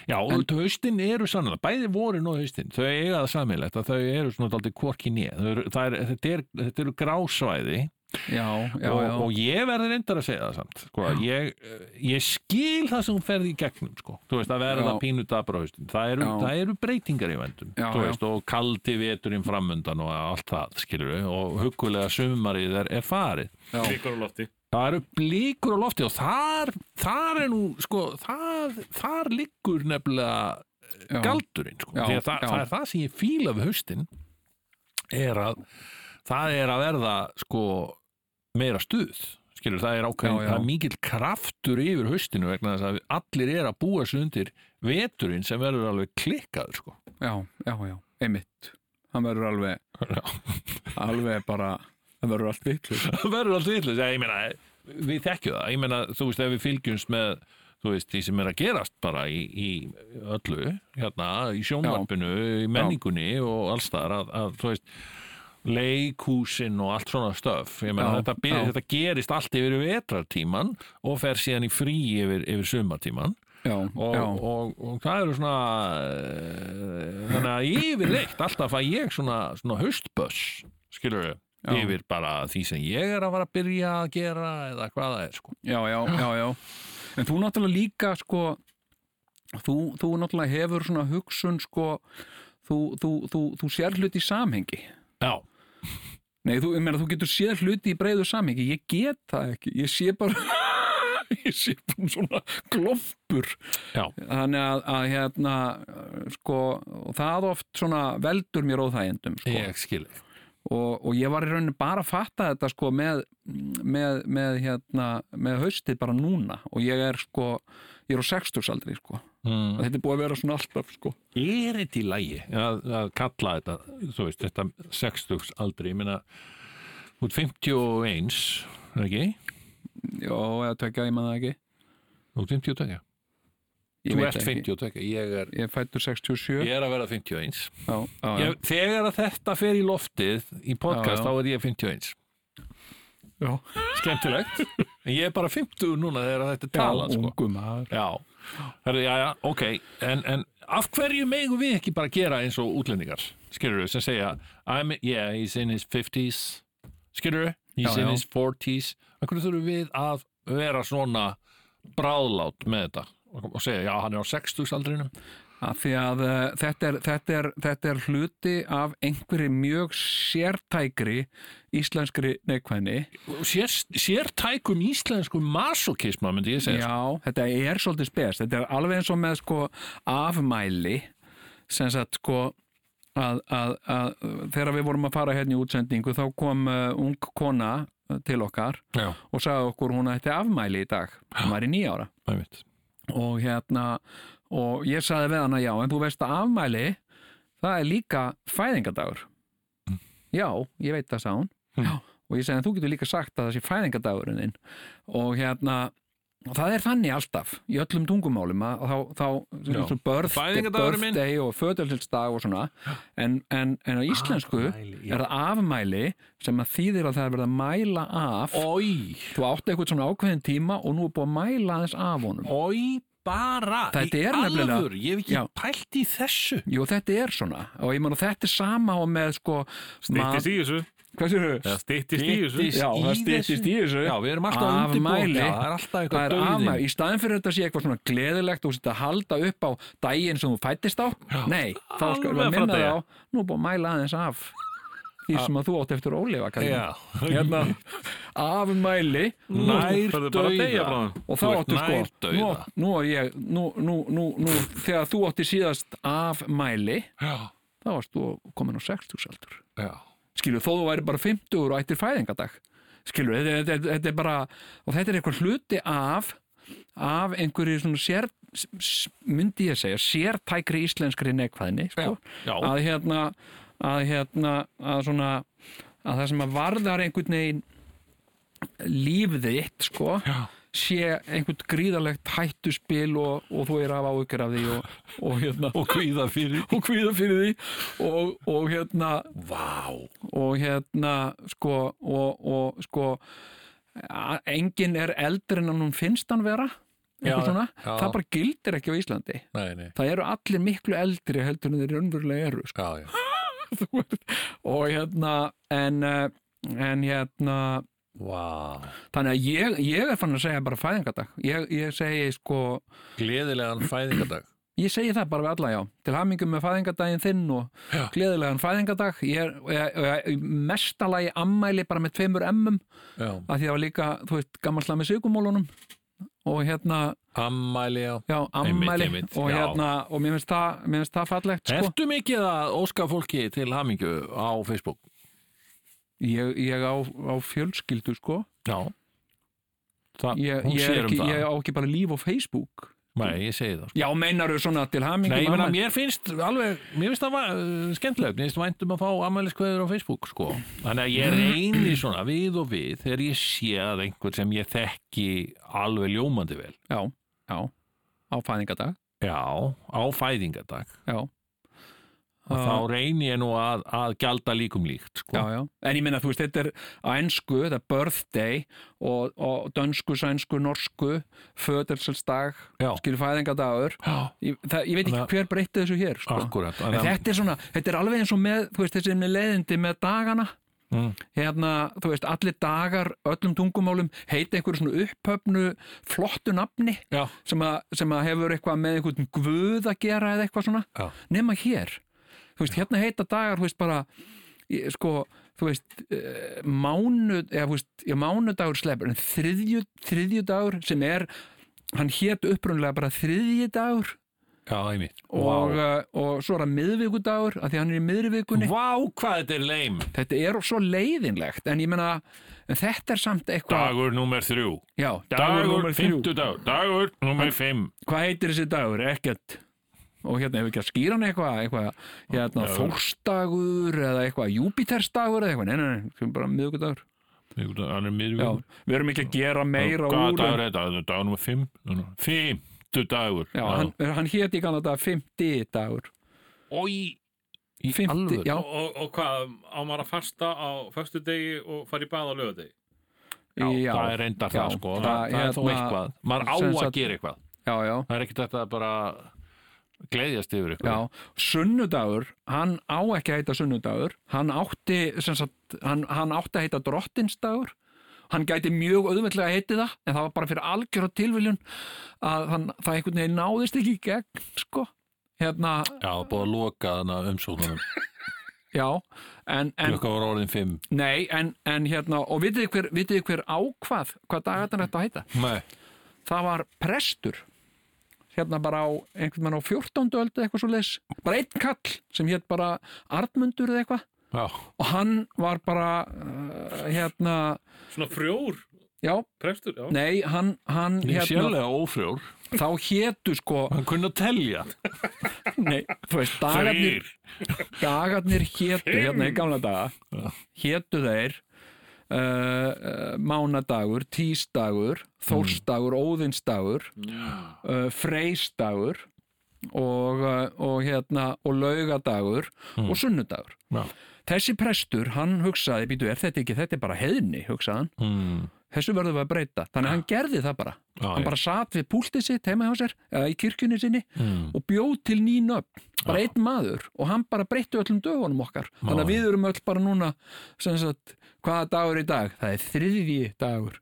já, og haustin eru sannlega, bæði vorin og haustin þau eiga það samilegt að þau eru svona daldið kvorki nýð, þetta, er, þetta eru grásvæði
já, já,
og,
já,
og ég verði reyndar að segja það samt sko. ég, eh, ég skil það sem hún ferði í gegnum sko. þú veist að verða
Já.
pínu dabra haustin það eru,
Já.
það eru breytingar í vendum
Já,
Þú veist, og kaldi veturinn framundan og allt það skilur við og huggulega sumarið er, er farið
já,
Líkur á lofti.
það eru blíkur á lofti og þar, þar er nú sko, þar, þar liggur nefnilega
já,
galdurinn sko.
Já,
því að það,
já.
það er það sem ég fíla við haustin er að það er að verða sko meira stuð skilur það er ákveðin,
Já, já.
það er mikill kraftur yfir haustinu vegna þess að allir er að búa sig undir veturinn sem verður alveg klikkaður sko
já, já, já, einmitt hann verður alveg alveg bara, það verður allt vitlu
það verður allt vitlaust. Já, ég meina, við þekkjum það ég meina, þú veist, ef við fylgjumst með þú veist, því sem er að gerast bara í, í öllu, hérna, í sjónvarpinu í menningunni og alls þar að, að þú veist leikúsin og allt svona stöf ég meina
Já,
þetta, byr-
já.
þetta gerist allt yfir vetrartíman og fer síðan í frí yfir, yfir sumartíman
já,
og,
já,
og, og, það eru svona eh, þannig að yfirleitt alltaf fæ ég svona, svona höstböss skilur
Já.
yfir bara því sem ég er að fara að byrja að gera eða hvað það er sko
já, já, já, já. En þú náttúrulega líka, sko, þú, þú náttúrulega hefur svona hugsun, sko, þú, þú, þú, þú sér hluti í samhengi.
já,
Nei, þú, ég meina, þú getur séð hluti í breiðu samhengi, ég get það ekki, ég sé bara, ég sé bara svona gloppur.
já,
Þannig að, að hérna, uh, sko, og það oft svona veldur mér óþægendum, sko.
ég skil þig.
Og, og ég var í rauninni bara að fatta þetta, sko, með, með, með, hérna, með haustið bara núna. Og ég er, sko, ég er á sextursaldri, sko.
mm.
Þetta er búið að vera svona alltaf, sko.
er þetta í lægi að, að kalla þetta, þú veist, þetta 60 aldri, ég meina út 51, er ekki?
Já, eða tvekja, ég maður það ekki.
Út 52
Ég
Þú
veit
ert
það ekki.
52, ég er
Ég er fættur 67.
Ég er að vera 51
Já, já, já.
ég, Þegar að þetta fer í loftið í podcast,
Já, já.
þá er ég 51
já.
Skemmtilegt En ég er bara 50 núna þegar að þetta er talað sko.
ungu maður.
Já, Herðu, já, já, ok en, en af hverju megum við ekki bara gera eins og útlendingar skilur sem segja I'm, yeah, he's in his 50s skilur he's
Já,
in
já.
his 40s af hverju þurfum við að vera svona bráðlát með þetta og segja, já, hann er á 60s aldrinum
Af því að uh, þetta, er, þetta, er, þetta er hluti af einhverju mjög sértækri íslenskri neikvæðni.
sér, sértækum íslenskum masokisma myndi ég segja
Já, þetta er svolítið spes. Þetta er alveg eins og með sko afmæli sem sagt sko að, að, að þegar við vorum að fara hérna í útsendingu þá kom uh, ung kona uh, til okkar
já,
og sagði okkur hún ætti afmæli í dag. Hún var í nýja ára.
einmitt
og hérna og ég saði við hana já, en þú veist að afmæli það er líka fæðingadagur
Mm.
já, ég veit það sá hún já, og ég segi en þú getur líka sagt að það sé fæðingadagurinn þinn og hérna og það er þannig alltaf í öllum tungumálum að þá, þá
Já.
eins og birth,
Fæðingardagurinn minn.
birthday og födelsinsdag og svona en, en, en á íslensku
Afmæli, já.
er það afmæli sem að þýðir að það er verið að mæla af
oi,
þú átti eitthvað svona ákveðin tíma og nú er búið að mæla aðeins af honum
oi bara
Þetta
í
er nefnilega-
alvöru, ég hef ekki
Já.
pælt í þessu
Jú, þetta er svona og ég man að þetta er sama og með sko
Stýttist í þessu.
Hvað sér þau?
Stýttist í þessu.
Styttist
Já,
í
það styttist í þessu
já, við erum alltaf að
Afmæli.
undirbúa Já, það er alltaf
Það
eitthvað
er afmæli,
döðin
í staðin fyrir þetta sé eitthvað svona gleðilegt og þetta halda upp á daginn sem þú fættist á Nei, þá sko
Alveg
við að
frá
minna
degi.
það á Nú er búið að mæla aðeins af því sem að þú átt eftir að ólifa Kalli.
Já,
Hérna, afmæli
nær
Það er bara að deyja
döða
bráðum.
og þá
Þú ert
áttu sko
nær dauða.
nú, átt- nú, á ég, nú, nú, nú, nú þegar þú átti síðast afmæli
Já,
þá varst þú komin á 60 aldur
já
skilur, þó þú væri bara 50 og ættir fæðingadag skilur, þetta, þetta, þetta, þetta er bara og þetta er eitthvað hluti af af einhverju svona sér s- s- myndi ég segja, sértækri íslenskri nekvæðni, sko
Já, já.
að hérna að hérna, að svona að það sem að varðar einhvern veginn líf þitt, sko
Já.
sé einhvern gríðalegt hættuspil og, og þú er af áhyggjur af því og, og hérna
Og kvíða fyrir
og kvíða fyrir því og, og hérna
Vá
og hérna sko og, og sko a- enginn er eldri en hann finnst hann vera
Já,
eitthvað svona,
já.
það bara gildir ekki á Íslandi
Nei, nei,
það eru allir miklu eldri heldur en þeir raunverulega eru sko.
já, já
og hérna en, eh, en hérna
Vá
þannig að ég, ég er fann að segja bara fæðingardag ég, ég segi sko
Gleðilegan fæðingardag
Ég segi það bara við alla, já. Til hamingum með fæðingadaginn þinn og
Já.
gleðilegan fæðingadag. Ég er, ég, ég, ég mestalagi ammæli bara með tveimur emmum
Já
að því það var líka, þú veist, gammalslega með sigumólunum og hérna,
Ammæli, já
já, ammæli
einmitt,
og
já.
hérna, og mér finnst það, mér finnst það fallegt, sko.
Ertu mikið að óska fólki til hamingju á Facebook?
Ég, ég á, á fjölskyldu, sko.
Já Þa,
Ég,
Hún
ég, er
sér um
ekki,
það
ég á ekki bara líf á Facebook.
Nei, ég segi það sko.
Já, meinaru svona til hamingum
Nei, ég meina,
um afmæli-
mér finnst alveg, mér finnst það va- uh, skemmtilegt, mér finnst væntum að fá ammæliskveður á Facebook, sko. Þannig að ég
Mm.
reyni svona við og við þegar ég sé að einhvern sem ég þekki alveg ljómandi vel.
Já, já, á fæðingadag,
Já, á fæðingadag.
já.
að þá reyni ég nú að, að gjalda líkum líkt sko.
Já, já. En ég minna, þú veist, þetta er á ennsku, þetta er birthday og, og dönsku, sænsku, norsku, födelselsdag,
Já.
skilur fæðingadagur. Ég, það, ég veit ekki
Þannig-
hver breytti þessu hér, sko.
Akkúrat.
En
Þannig að-
þetta er svona, þetta er alveg eins og með, þú veist, þessi með leiðindi með dagana.
Mm.
Hérna, þú veist, allir dagar, öllum tungumálum heita einhverju svona upphöfnu, flottu nafni
já,
sem að, sem að hefur eitthvað með einhvern guð að gera eða eitthvað svona
já.
nema hér þú veist, hérna heita dagar, þú veist, bara ég, sko, þú veist eh, mánud, eða, þú veist, já, mánudagur sleppur, en þriðju, þriðjudagur sem er, hann hét upprunlega bara þriðjudagur
já einmitt
og,
Vá.
eh, og svo er hann miðvikudagur, af því hann er í miðvikunni
Vá, hvað þetta er leim
þetta er svo leiðinlegt, en ég menna en þetta er samt eitthvað
Dagur nummer þrjú
já,
Dagur,
númer þrjú.
fimmtudag Dagur nummer fimm
hvað heitir þessi dagur, ekkert og hérna hefur ekki að skýra hann eitthvað eitthvað, hérna
Já.
þórstagur eða eitthvað júpitersdagur eða eitthvað, nei, nei, nei, sem bara miðugudagur
Miðvikudag- Hann er
já,
miðvíkudagur
við erum ekki að gera meira
Hvaða
úr
dagur
en-
er þetta? Þetta er Dagur nummer fimm Fimmtudagur
já, hann, hann héti í kannan þetta 50 dagur
Og í, í
50,
alvöru?
já,
og, og, og hvað, á maður að fasta á föstudegi og fara í bað á lögadegi
Já,
já,
það er reyndar
já,
það sko, það,
það-
það, er þó
hérna,
eitthvað, maður á
sem
að
sagt-
gera eitthvað,
já, já,
það er ekkert þetta að bara gleyðjast yfir
já
eitthvað.
sunnudagur, hann á ekki að heita sunnudagur, hann átti sem sagt, hann, hann átti að heita drottinsdagur hann gæti mjög auðveldlega að heiti það, en það var bara fyrir algjörða tilviljun að hann, það einhvern veginn náðist ekki í gegn, sko hérna,
Já, búið að loka þarna umsóknunum,
já en, en,
klukka voru orðin fimm.
nei, en, en hérna, og vitið þið hver, vitið þið hver ákvað hvað dagarnar þetta heita?
Nei,
það var prestur hérna bara á einhvern mann á 14. öldu eitthvað svo leis, bara einn kall sem hétt bara Arnmundur eða eitthvað
já,
og hann var bara uh, hérna,
svona frjór
já,
prestur, já
nei hann, hann
ég er
hérna,
sérlega ófrjór,
þá hétu sko
hann kunna telja,
nei, þú veist, dagarnir
þrýr,
dagarnir hétu, hérna í gamla daga hétu þeir uh, uh, mánudagur, tísdagur
Mm.
þórstagur, óðinsdagur uh, freysdagur og, uh, og hérna og laugadagur og sunnudagur
Mm. já,
þessi prestur, hann hugsaði, býtu, er þetta ekki þetta er bara heiðni, hugsaði hann
mm,
þessu verðum við að breyta, þannig að hann gerði það bara
Já,
hann
já.
bara satt við púltið sitt heima hjá sér, eða í kirkjunni sinni
Mm.
og bjóð til nýn upp bara einn maður og hann bara breytti öllum dögunum okkar, þannig að
já.
við erum öll bara núna sem sagt, hvaða dagur er í dag það er þriðji dagur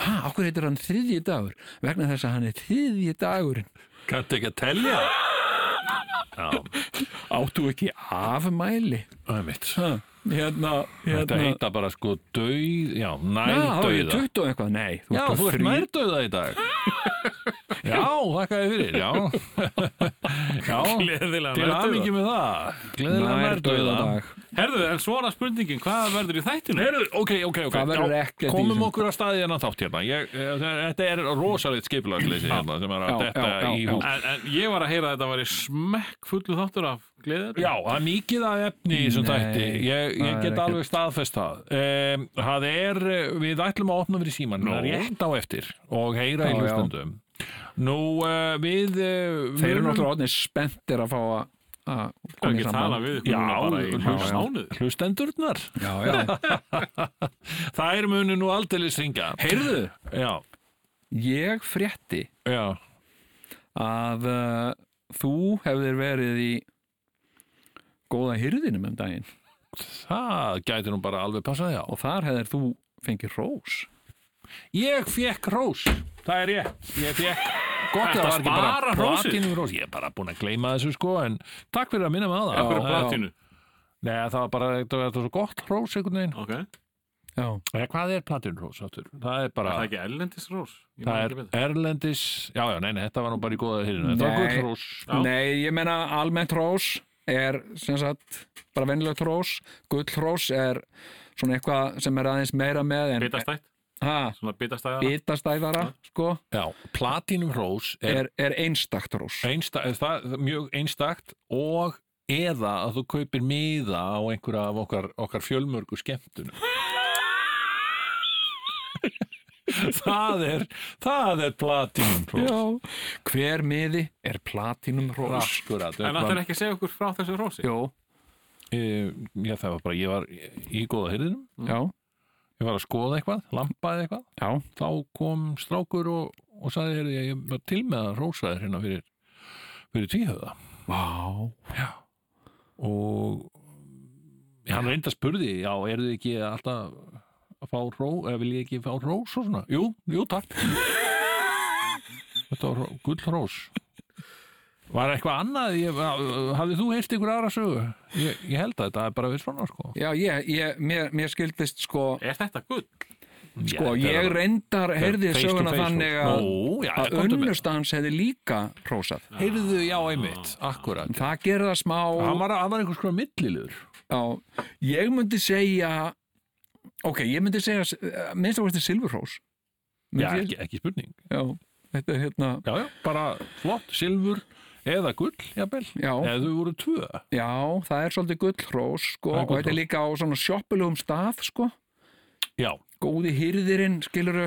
ha, okkur heitir hann þriðji dagur vegna þess að hann er þriðji dagurinn
kanntu ekki að telja? Já,
áttu ekki afmæli
það er mitt.
ha, hérna,
Þetta
hérna
heita bara sko döið, já,
Já, þá er ég
nærdauða.
20 og eitthvað, nei
Já,
bara
þú ert
þrí-
nærdauða í dag. Já, þakka þið fyrir, já. Já,
Gleðilega
Til
nærdauða.
aðmyggjum með það Gleðilega nærdauða
Nærdauðadag.
Herðu, en svona spurningin, hvað verður í þættinu?
Heyrðu, ok, ok, ok
Það verður
Já,
ekkert í
Komum
þessum.
okkur að staði hennan þátt hérna ég, ég, Þetta er rosalegt skipulagsleysi hérna sem er að
já,
detta
já,
í
já.
hús
En, en ég var að heyra að þetta var í smekk fullu þáttur af gleðir
Já, það er mikið af efni í þessum
Nei,
þætti Ég, ég
það er
get
ekkert.
alveg staðfest það um, Það er, eh, við ætlum að opna fyrir síman
Nú.
rétt á eftir og heyra í
Já, já.
hlustundum Nú, uh, við uh,
Þeir eru náttúrulega orðnir spenntir að fá að að koma í
ekki tala
saman
við ykkur núna bara í
Já,
mánuð
hlust- hlustendurnar
Já, já,
Það er munu nú aldeilis ringa
heyrðu
Já,
Ég frétti
já
að uh, þú hefðir verið í góða hyrðinum um daginn
Það gæti nú bara alveg passað já.
og þar hefðir þú fengið rós
Ég fekk rós, það er ég. Ég fekk gott
Ertu
að það
að
var ekki bara
spara hrósið?
platinum rós. Ég er bara búin að gleyma þessu sko, en takk fyrir að minna mig á það.
Já,
Akkur að
já.
platinu
Nei, það var bara, þetta var svo gott rós einhvern veginn.
Ok,
Já,
Nei, hvað er platinum rós áttur? Það er bara,
það er ekki ellendis rós Ég man
það
ekki
er
betur.
erlendis, já, já, nei, nei, þetta var nú bara í góða hýrinu. Þetta var
Nei.
gull rós.
Já.
Nei, ég menna almennt rós er sem sagt bara venjulegt rós, gull rós er svona eitthvað sem er aðeins meira með en
Bitastætt,
ha,
svona bitastæða
bitastæðara sko,
Já, platinum rós er,
er, er einstakt rós
einsta, er það, mjög einstakt og eða að þú kaupir miða á einhverja af okkar, okkar fjölmörgu skemmtunum. það er, það er platinum rós.
Já, hver miði er platinum rós
Akkurat.
En það er ekki að segja okkur frá þessu rósi
Jó,
eh, já, það var bara, ég var í góða hyrðinum,
já,
ég var að skoða eitthvað, lampaði eitthvað,
já,
þá kom strákur og, og sagði, heyrðu, ég- ég var til með að rósa þér hérna fyrir, fyrir tvíhöða
vá,
og hann reynda spurði, já, eru þið ekki alltaf að fá ró, eða vil ég ekki fá rós og svona, jú, jú, takk þetta var ró- gull rós var eitthvað annað ég, hafði þú heyrt ykkur aðra sögu ég, ég held að þetta er bara við svona sko,
já, ég, ég mér, mér skildist sko,
Er þetta gull?
sko ég reyndar heyrði
Face to
söguna
face,
þannig
sko.
að
Nú, já,
að
komdu með.
unnust hans hefði líka hrósað.
heyrðu, já, einmitt, akkurat
Það gerði það smá
hann var, hann var einhvers konar millilur
Já, ég myndi segja ok, ég myndi segja eh, minnst að þetta er Silfurhrós
já,
Myndi ég-
ekki, ekki spurning
já, þetta er hérna
já, já, bara flott, silfur eða gull, jafnvel
Já.
eða þau voru tvö
já, það er svolítið gullhrós sko,
Það er
og þetta er
gullhrós.
líka á svona sjoppulegum stað sko,
já,
góði hýrðirinn skiluru,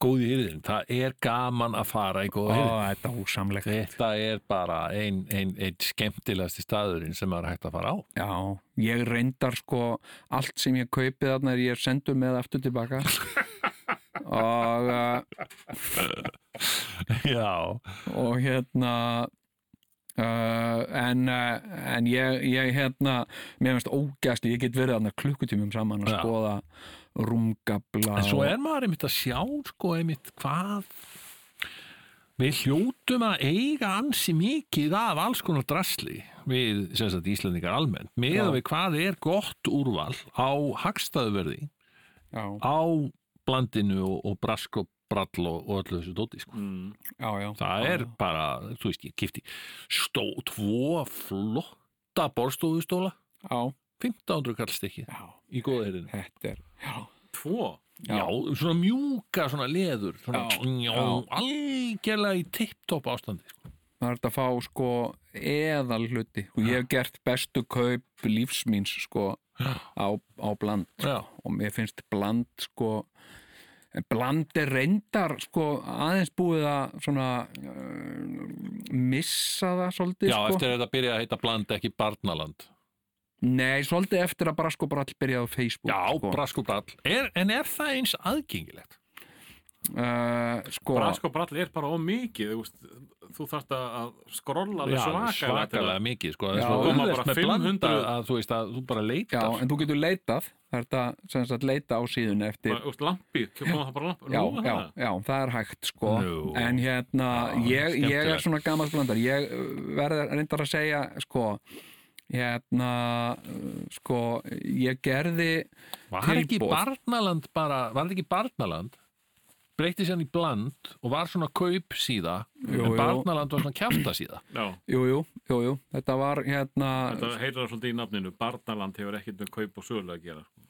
góði hýrðin, það er gaman að fara í góða hýrðin
Ó, þetta er ósamlegt
þetta er bara einn ein, ein skemmtilegasti staðurinn sem maður er hægt að fara á
já, ég reyndar sko allt sem ég kaupi þarna er ég sendu með aftur tilbaka og eh,
já,
og hérna uh, en, uh, en ég, ég hérna mér finnst ógæsli, ég get verið þarna klukkutímum saman að
Já.
skoða rúmgabla
en svo
og-
er maður einmitt að sjá sko einmitt hvað við hljótum að eiga ansi mikið af alls konar drasli við sem sagt Íslandingar almennt með
Já.
að við hvað er gott úrval á hagstæðuverði
já,
á blandinu og, og brask og brall og, og öllu þessu dóti sko.
Mm.
já, já,
það
já,
er
já.
bara, þú veist ég kipti stó, tvo flotta borðstofustóla,
já,
1500 kall stikkið
já,
í góða herrinu
þetta er já,
Tvo?
já. svona mjúka, svona leður svona,
Já,
já,
já.
algjörlega í tipptopp ástandi sko.
það er þetta að fá sko eðal hluti og ég hef gert bestu kaup lífsmýns sko á, á bland
já,
og mér finnst bland sko bland er reyndar sko aðeins búið að svona uh, missa það svolítið
já
sko
eftir þetta byrja að heita bland ekki barnaland
nei, svolítið eftir að bara sko bara all byrjaði á Facebook
já,
sko,
brask og brall er, en er það eins aðgengilegt?
uh, sko
Brask og brall er bara ómikið, þú veist þú þarft að skrolla alveg
já,
svakalega til að-
svakalega mikið sko,
Já,
já, svo,
koma
auðvelt
bara
með blanda
500
að þú veist að þú bara
já,
leitar
en þú getur leitað það er þetta sem sagt leita á síðun eftir
Bara, þú veist, lampi, koma það bara lampi
Já,
Nú, hérna.
já,
það.
já, það er hægt sko
Nú.
En hérna,
Já,
ég, ég er
skemmtilegt.
svona gammal blandar Ég verður reyndar að segja sko Hérna, uh, sko Ég gerði
Var ekki
tilboð.
barnaland bara, var þetta ekki barnaland? Breytti sér hann í bland og var svona kaup síða
Jú, jú.
en barnaland var svona kjafta síða.
já.
Jú, jú, jú, jú, þetta var hérna
Þetta heyrir það svolítið í nafninu Barnaland hefur ekkert með kaup og sölu að gera sko.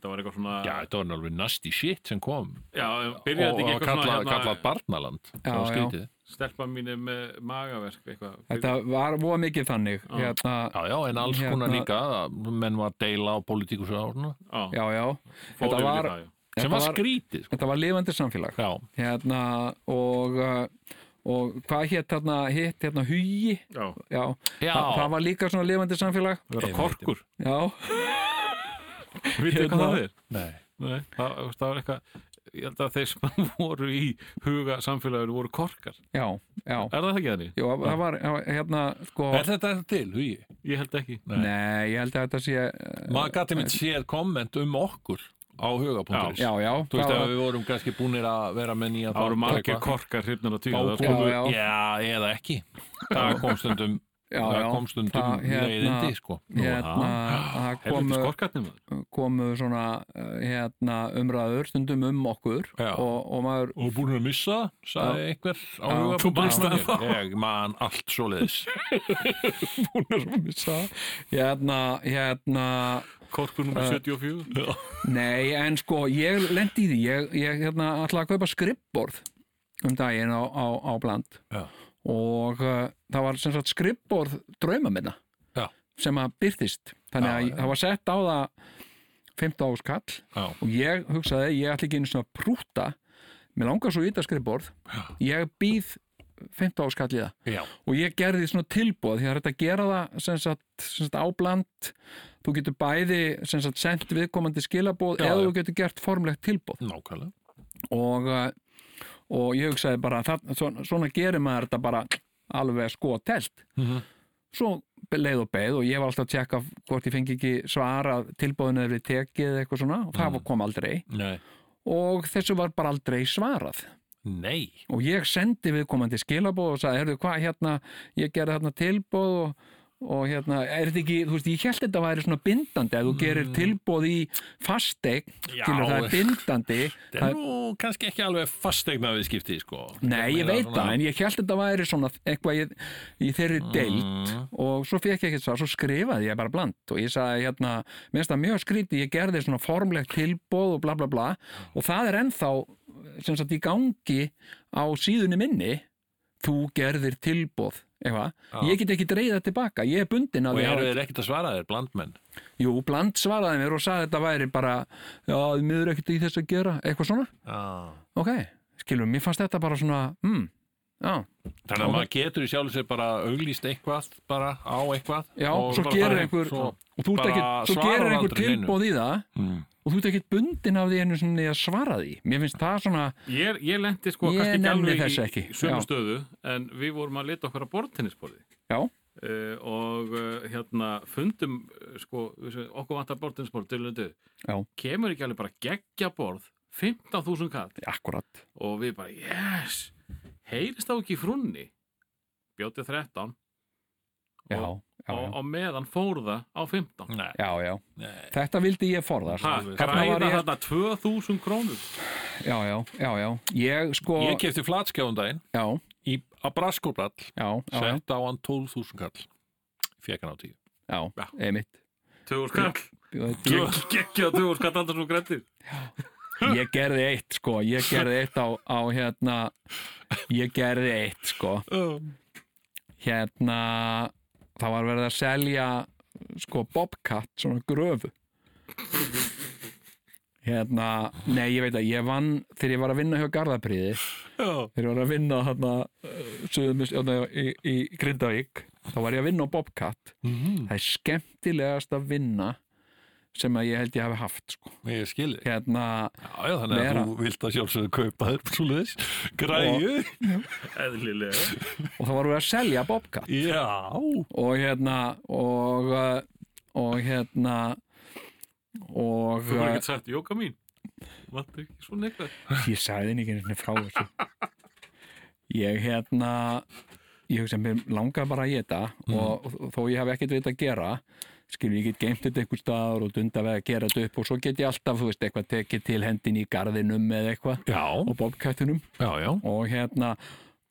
Það var eitthvað svona
Já, þetta var alveg nasty shit sem kom
já
og,
byrjaði þetta
og
ekki
kallað
eitthvað svona
hérna... kalla
hérna,
barnaland. það var
já.
skrítið.
Stelpa mín er með magaverk eitthvað
Þetta var voða mikið þannig
Ah.
Já.
hérna,
Já, já, en alls konar
Hérna-
líka, að menn var að deila á politíkus og svona,
já,
Já, já,
fór
þetta
yfir í
var-
það, já.
sem
þetta
var
var,
skrítið. Sko.
þetta var lifandi samfélag
Já,
Hérna, og uh, Og hvað hétt hérna, hétt hérna hugi
Já,
Já,
Já.
Þa, það var líka svona lifandi samfélag
það var
Einmitt.
korkur
Já,
Vitið þið hvað
Hérna.
það er?
nei.
Nei, það, þú veist, það var eitthvað Ég held að þeir sem voru í huga samfélagur voru korkar
já, já
Er það ekki þannig?
Jú, það var það var, hérna sko
Er þetta til, hugi?
Ég held ekki
Nei, ég held að þetta sé eh,
Maður gæti mitt sér komment um okkur á huga.is.
Já, já,
Þú veist
það
að
var-
við vorum kannski búinir að vera með nýja
Það
þátt
voru
og
margir
eitthvað.
korkar hrifnar á
Þá
tíu
já,
komu,
já.
já, eða ekki það kom stundum
Já,
það
já,
kom stundum
það, hérna,
leiðindi sko Nú,
hérna, það
Helviti
komu,
skorkarnir maður
komu svona eh, hérna, umræður stundum um okkur
Já.
og, og maður
og búin að missa, sagði einhver á
Já.
huga
Þú manst það þá?
ég man allt svoleiðis
hún er svo missa hérna, hérna
Korkur
Eh.
nummer 74
nei, en sko, ég lendi í því ég, ég hérna, ætla að kaupa skrippborð um daginn á, á, á bland
Já.
og uh, það var sem sagt skrippborð drauma minna
Já.
sem að byrtist þannig
Já,
að
já.
það var sett á það 15 áskall
Já.
og ég hugsaði, ég ætla ekki einu svona að prúta mér langar svo í þetta skrifborð ég býð 15 áskall í það
Já,
og ég gerði svona tilbúð því það er hægt að gera það sem sagt, sem sagt ábland þú getur bæði sem sagt sendt viðkomandi skilabóð
Já,
eða
já.
þú getur gert formlegt tilbúð
nákvæmlega
og, eh, og ég hugsaði bara það, svona, svona gerir maður þetta bara alveg sko telt
Mhm.
svo leið og beið og ég var alltaf að tjekka hvort ég fengi ekki svar að tilbúðinu er við tekið eða eitthvað svona og það
Mhm.
kom aldrei
Nei,
og þessu var bara aldrei svarað
nei
og ég sendi viðkomandi skilabóð og sagði, heyrðu hvað, hérna, ég gerði þarna tilbóð og, og hérna, er þetta ekki, þú veist, ég held þetta væri svona bindandi ef þú gerir tilbóð í fasteign,
Mhm. Já.
skilur það er bindandi,
Það
það
er nú kannski ekki alveg fastegna viðskipti, sko
Nei, ég veit það, en ég held þetta væri svona eitthvað í, í þeirri deilt
Mm.
og svo fekk ég ekkert svar, svo skrifaði ég bara bland og ég sagði hérna, minnst það mjög skríti, ég gerði svona formlegt tilbóð og bla bla bla og það er ennþá sem sagt í gangi á síðunni minni, þú gerðir tilbóð, eitthvað,
Já.
ég get ekki dreigða tilbaka, ég er bundin að
Og
því
eru
að-
þeir ekkert að svara þér, blandmenn?
jú, bland svaraði mér og sagði þetta væri bara, já, miður ekkert í þess að gera, eitthvað svona,
Já
ok, skilum, mér fannst þetta bara svona, mm, já,
Þannig að maður getur í sjálf sér bara auglýst eitthvað, bara á eitthvað
Já,
og
svo
bara farið-
gerir einhver
svo,
og þú ert
bara
ekki, svo
svarar
gerir einhver
aldrei neinu.
tilbóð í það
mm,
og þú ert ekki bundin af því einu sinni að svara því mér finnst það svona,
Ég, ég lendi sko
Ég
kannski
nenni
ekki
þessu
alveg
ekki.
í, í sömu
Já.
stöðu en við vorum að leta okkur að bortinnisborði
já,
uh, og uh, hérna fundum uh, sko, við sem- okkur vantar bortinnisborð til þetta
já,
kemur ekki alveg bara geggja borð 15.000 kall
akkurat
og við bara yes heyrist þá ekki í frunni bjótið 13
já,
og,
já,
og,
já,
og meðan fór það á 15
Nei,
já, já
nei
þetta vildi ég sko. forðast
ha,
alveg.
Þarna var
græða
ég-
þarna 2.000 krónur
já, já, já, já, ég sko
Ég kefti flatskjáðundaginn
já,
í að braskóbrall
já, já, já,
sett á hann 12.000 kall Fekk hann á tíu
já,
Já.
einmitt
2.000 kall
ég,
Gegg- geggja 2.000 kall andan svo grættir
ég gerði eitt sko, ég gerði eitt á, á hérna ég gerði eitt sko hérna það var verið að selja sko bobcat, svona gröfu hérna, nei ég veit að ég vann þegar ég var að vinna hjá Garðapriði
Já,
þegar ég var að vinna hérna, söðumist, hérna í, í Grindavík þá var ég að vinna á bobcat
Mhm.
það er skemmtilegast að vinna sem að ég held ég hafi haft sko.
ég skil þig
hérna,
Já, já, þannig að
Meira.
þú vilt að sjálfsögðu kaupa þér svo leiðis, græju
eðlilega
og það var verið að selja bobcat
Já,
og hérna og, uh, og hérna og
þú var
uh,
ekkert sagt jóka mín vantar ekki svona eitthvað
ég sagði henni ekki einhvern frá þessu ég hérna ég hugsa, mér langar bara að geta
Mm.
og, og þó ég hafi ekkert veit að gera skilur ég get geimt þetta einhver staðar og dunda við að gera þetta upp og svo get ég alltaf þú veist, eitthvað tekið til hendin í garðinum eða eitthvað
já,
og bobkættunum
já, já
og hérna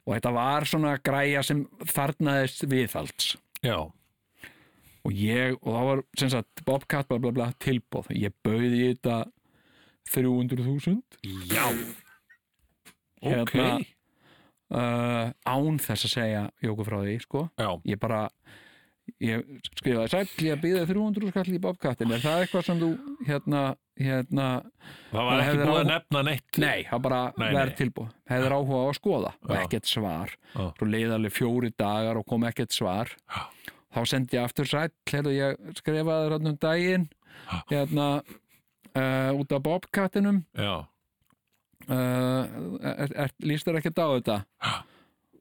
og þetta var svona græja sem þarnaðist viðhalds
Já,
og ég, og það var sem sagt Bobcat bla bla bla tilbóð ég bauði í þetta 300.000
já.
Hérna-
Ok, já,
uh, án þess að segja Jóku frá því, sko ég bara ég skrifaði sæll, ég býði 300 skall í Bobcat en er það eitthvað sem þú hérna, hérna,
það
Það
var ekki
hefði
búið að
ráð-
nefna neitt
nei, það bara
Nei, nei.
verð tilbúð hefur áhuga á að skoða og
Já.
ekkert svar
Já.
svo leið alveg fjóri dagar og kom ekkert svar
Já.
þá sendi ég aftur sæll heyrðu, ég skrifaði þér hann um daginn
Já.
hérna uh, út af Bobcatinum
Já,
uh, er, er, líst þér ekkert á þetta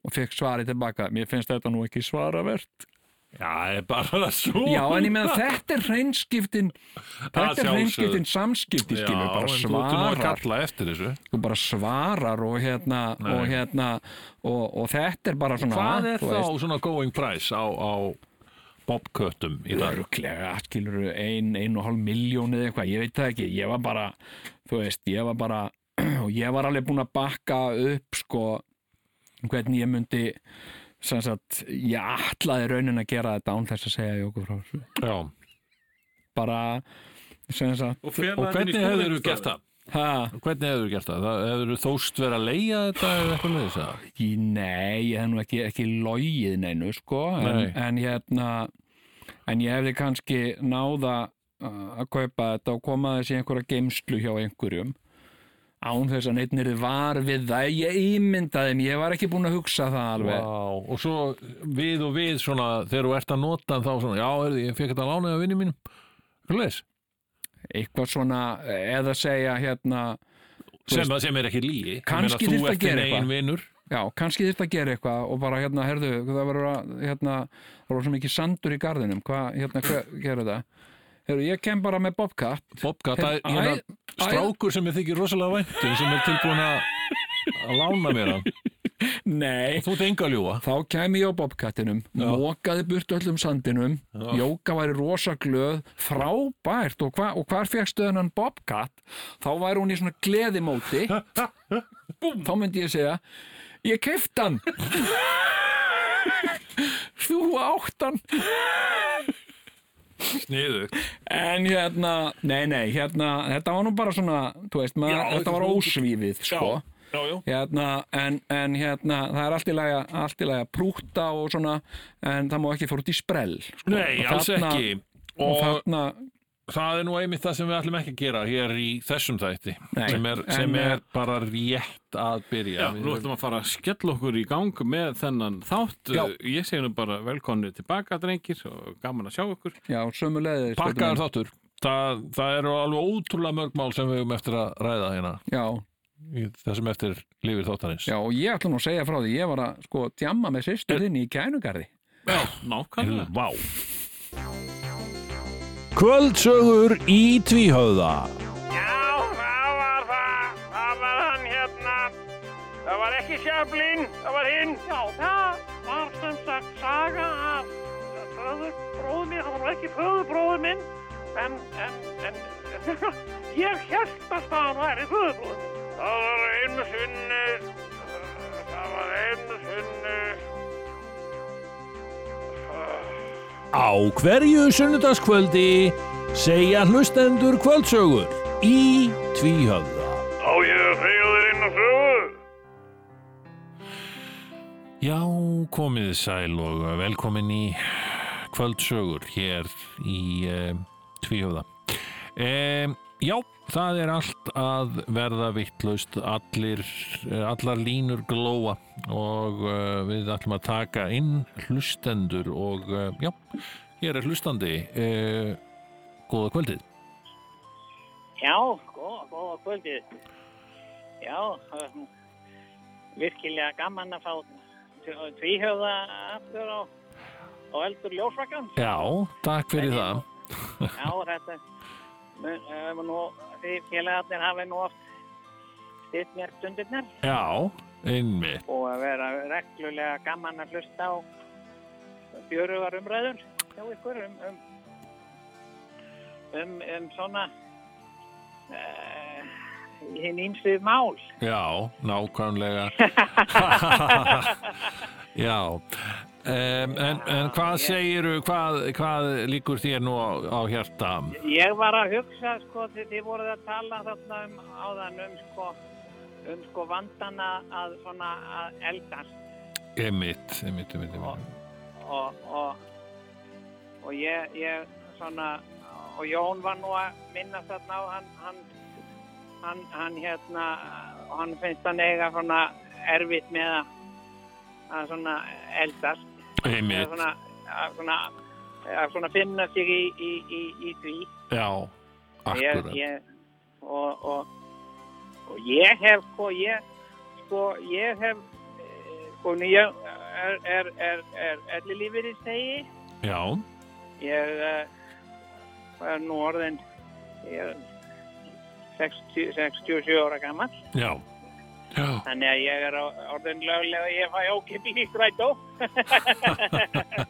og fekk svarið tilbaka mér finnst þetta nú ekki svaravert
já, það er bara svo
já en ég meðan þetta er hreinskiptin
Að
þetta er
sjálfsögðu.
hreinskiptin samskipti skilur bara
en þú ert nú að
svarar
kalla eftir þessu
þú bara svarar og hérna
Nei.
og hérna og, og þetta er bara svona
Hvað er
þú
þá
veist,
svona going price á, á bobköttum í dag?
örugglega, skilur ein, ein og hálf miljón eða eitthvað, ég veit það ekki ég var bara, þú veist, ég var bara og ég var alveg búin að bakka upp sko, hvernig ég myndi sem sagt, ég ætlaði raunin að gera þetta án þess að segja Jóku frá þessu
Já.
bara, sem sagt
og,
Og hvernig hefur þú gert það?
ha,
Hvernig hefur þú gert það? það hefur þú þóst verið að leia þetta eða eitthvað með þess að?
í, nei, ég hef nú ekki, ekki logið neinu, sko en,
Nei.
en hérna en ég hefði kannski náða uh, að kaupa þetta og koma þessi einhverja geimslu hjá einhverjum án þess að neitt nýrði var við það ég ímyndaði mér, ég var ekki búin að hugsa það alveg
Vá, og svo við og við svona, þegar þú ert að nota hann þá svona, já, heyrðu, ég fekk þetta lánaði af vinni mínum Hvernig
eitthvað svona, eða segja hérna,
Sem, sem er ekki lígi
Kannski þyrfti að
Þú
gera
ert þinn eigin
eitthvað.
vinur
já, kannski þyrfti að gera eitthvað og bara hérna, herðu, það verður að hérna, það var svo mikið sandur í garðinum hvað, hérna, hvað gerir það herðu, ég kem bara með bobcat
Bobka, það er
Hérna, æ-
hérna,
æ-
strákur sem ég þykir rosalega væntum sem er tilbúin að að lána mér hann
nei,
Þú ert enga að ljúga
þá kem ég á bobcattinum mókaði burt öllum sandinum
Já.
Jóka væri rosa glöð frábært og, hva, og hvar fegstu hennan bobcat þá væri hún í svona gleðimóti Búm, þá myndi ég segja ég keift hann þú átt hann
Sniðu
en hérna, nei nei hérna, þetta var nú bara svona þú veist, maður,
Já,
þetta var
þú-
ósvífið sko
Já, já
hérna, en, en hérna það er allt í lagi að- allt í lagi að prúta og svona, en það má ekki fór út í sprell sko.
Nei,
Og
alls
þarna-
ekki
og
Og
þarna,
það er nú einmitt það sem við ætlum ekki að gera hér í þessum þætti
Nei,
sem er,
en,
sem
eh,
er bara rétt að byrja
Já, nú ætlum að fara að skella okkur í gang með þennan þátt. Eh,
Já.
Ég segi nú bara velkonni tilbaka, drengir, og gaman að sjá okkur.
já, sömu sko, leðið
Pakkaður þáttur Það, það eru alveg ótrúlega mörg mál sem við höfum eftir að ræða hérna
já,
í þessum eftir lifir þáttarins
já, og ég ætla nú að segja frá því ég var að sko djamma með sýstur þinn í kænugarði
Já, nákvæmlega.
Vá Kvöldsögur í tvíhöða
Já, það var það. Það var hann hérna. Það var ekki sjöflinn, það var hinn. Já, það var sem sagt saga af föðurbróðu minn. Það var nú ekki föðurbróðu minn, en, en, en, ég held að það væri föðurbróðu minn. Það var einu sinni, það var einu sinni.
Á hverju sunnudagskvöldi segja hlustendur kvöldsögur í tvíhöða
Á ég að segja þér einu sögu?
Já, komið sæl og velkomin í kvöldsögur hér í e, tvíhöða e, Já, það er allt að verða vittlaust allir, eh, allar línur glóa og e, við ætlum að taka inn hlustendur og e, já, hér er hlustandi e, Góða kvöldið
Já, góða, góða kvöldið. Já, eh, virkilega gaman að fá tv- tvíhöfða aftur á, á eldur ljósvakkan.
Já, takk fyrir
Nei,
það
Já, þetta, mun- eh, nú, þið félagarnir hafi nú oft stitt mér stundirnar
Já, einmitt
og að vera reglulega gaman að hlusta á fjörugar umræður hjá ykkur um, um, um, um svona uh, hinn ímsið mál.
Já, nákvæmlega Já um, en, en hvað segiru hvað, hvað líkur þér nú á, á hjarta
Ég var að hugsa, sko, þegar þið voruð að tala þarna um áðan um, sko, um, sko, vandana að svona að eldast
Emmitt, emmitt, emmitt, emmitt.
og, og, og ég, ég, svona, og Jón var nú að minna þarna á hann, hann, hann, hann, hérna, hann finnst hann eiga svona erfitt með að, að svona eldast. Eða
Emmitt,
Svona, að svona, að svona finna sig í, í, í, í því.
já
ég,
Akkurat,
ég, og, og, og ég hef sko, ég, sko, ég hef eh, sko, nú ég er, er, er, er ellilífið í segi
já
ég eh, er nú orðin ég er 60, 67 ára gammal
Já, já
þannig að ég er á- orðin löglega ég fæ ókipið í strætó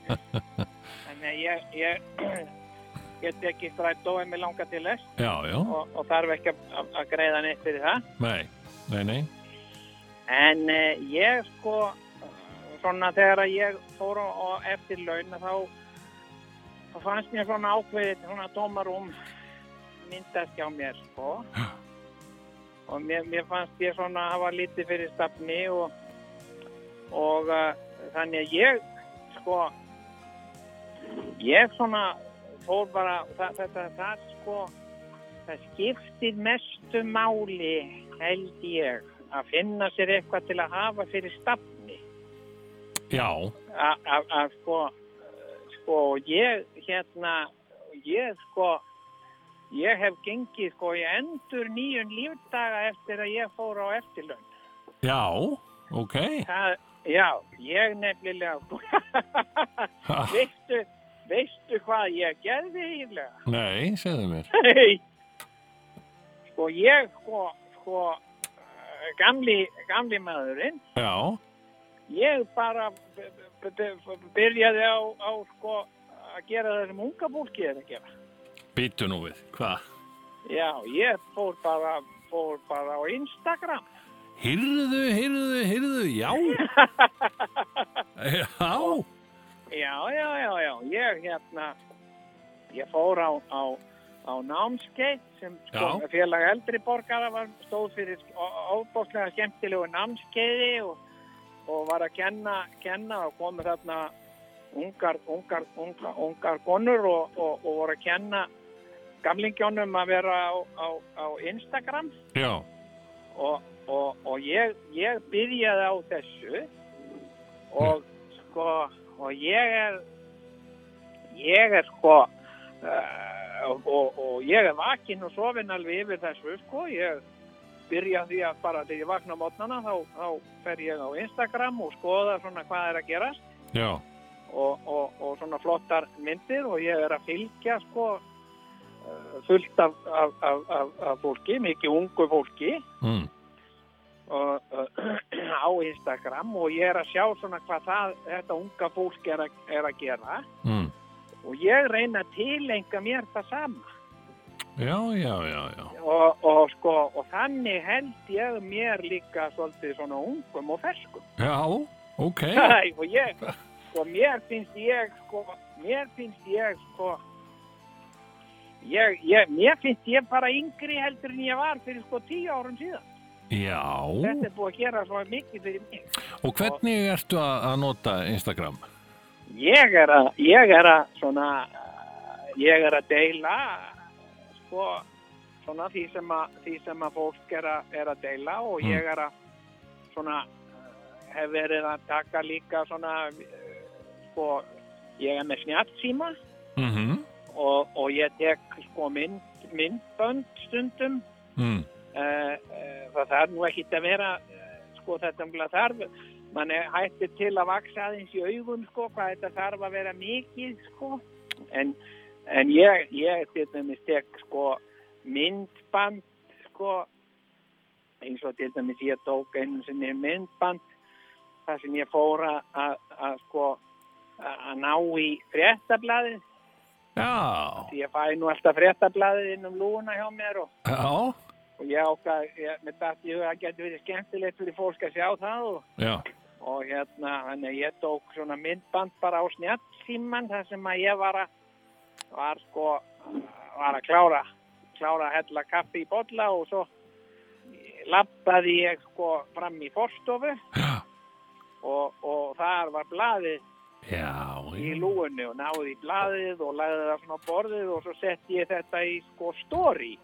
þannig að ég, ég get ekki strætó en mér langar til þess
Já, já,
og, og þarf ekki að- að að greiða neitt fyrir það.
nei, nei, nei
En eh, ég sko, svona þegar að ég fór á, á eftir laun þá, þá fannst mér svona ákveðið, svona tómarum myndast hjá mér sko. Og mér, mér fannst ég svona hafa lítið fyrir stafni og, og uh, þannig að ég sko, ég svona fór bara, það, þetta, það sko, það skiptir mestu máli held ég að finna sér eitthvað til að hafa fyrir stafni
Já,
A- a- að sko sko ég hérna ég sko ég hef gengið sko ég endur nýjun lífdaga eftir að ég fór á eftirlaun
já, ok.
það, já, ég nefnilega sko
Ha,
veistu, veistu hvað ég gerði eiginlega
nei, segðu mér.
Nei. sko ég sko, sko eh, gamli, gamli maðurinn
Já,
ég bara b- b- b- byrjaði á, á sko að gera það sem unga fólki er að gera.
býttu nú við. Hvað?
Já, ég fór bara, fór bara á Instagram.
Hyrðu, hyrðu, hyrðu, já. Já,
Já, já, já, já, ég hérna, ég fór á, á, á námskeið sem sko,
Já.
félag eldri borgara var stóð fyrir ó- óbóðslega skemmtilegu námskeiði og, og var að kenna, kenna og komu þarna ungar, ungar, ungar, ungar konur og, og, og voru að kenna gamlingjónum að vera á, á, á Instagram
já,
og, og, og ég, ég byrjaði á þessu og sko og ég er ég er sko uh, og, og, og ég er vakin og sofin alveg yfir þessu sko ég byrja á því að bara þegar ég vakna á mótnana þá, þá fer ég á Instagram og skoða svona hvað er að gerast
já,
og, og, og svona flottar myndir og ég er að fylgja sko eh, fullt af, af, af, af, af fólki, mikið ungu fólki
mm.
og, uh, á Instagram og ég er að sjá svona hvað það, þetta unga fólk er, að, er að gera
Mm.
og ég reyna að tilenga mér það sama
já, já, já, já.
og, og, sko, og þannig held ég mér líka svolítið svona ungum og ferskum
Já, ok.
Æ, og ég, sko, mér finnst ég sko, mér finnst ég sko Ég, ég, mér finnst ég bara yngri heldur en ég var fyrir sko tíu árum síðan.
Já,
Þetta er búið að gera svo mikið fyrir mig.
og hvernig ertu að að nota Instagram?
Ég er að, ég er að svona, eh, ég er að deila, sko, svona því sem að, því sem að fólk er að, er að deila og
Mm.
ég er að svona, eh, hef verið að taka líka svona, eh, sko, ég er með snjallsíma
Mm -hmm.
og, og ég tek sko mynd, myndbönd stundum
mm.
Eh, eh, það þarf nú ekkit að vera eh, sko þetta umlega þarf mann er hættir til að vaksa aðeins í augum sko hvað þetta þarf að vera mikið sko en, en ég, ég til dæmis tek sko myndband sko eins og til dæmis ég tók einu sinni myndband þar sem ég fór að- að að, sko að að ná í fréttablaðið
Já,
því ég fæ nú alltaf fréttablaðið inn um lúuna hjá mér og
já,
og ég ákvað, ég, með dætt í huga að geta verið skemmtilegt fyrir fólk að sjá það og,
já,
og hérna, þannig að ég tók svona myndband bara á snjallsíman þar sem að ég var að, var sko, var að klára, klára að hella kaffi í bolla og svo lappaði ég sko fram í forstofu
já,
og, og þar var blaðið
já,
í lúinu og náði í blaðið og lagði það svona á borðið og svo setti ég þetta í sko story.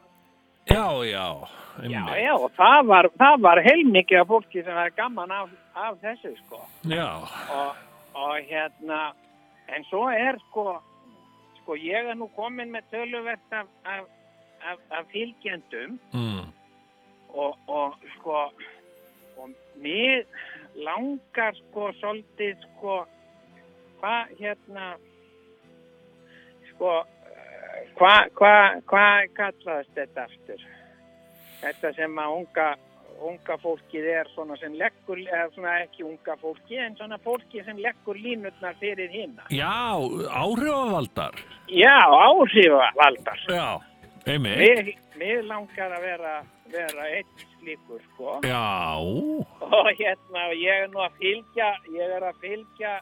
já, já,
Já,
einmitt.
já, og það var, það var heilmikið af fólki sem var gaman af, af þessu, sko.
já,
Og, og hérna, en svo er, sko, sko, ég er nú komin með töluvert af, af, af, af fylgjendum
mm.
og, og, sko, og mér langar, sko, svolítið, sko, hvað, hérna, sko, eh, hvað, hvað, hvað kallaðist þetta aftur? Þetta sem að unga, unga fólkið er svona sem leggur, eða svona ekki unga fólki, en svona fólki sem leggur línutnar fyrir hinna.
já, áhrifavaldar,
Já, áhrifavaldar.
já, einmitt,
Mér, mér langar að vera, vera eitt slíkur, sko.
já,
og hérna og ég er nú að fylgja ég er að fylgja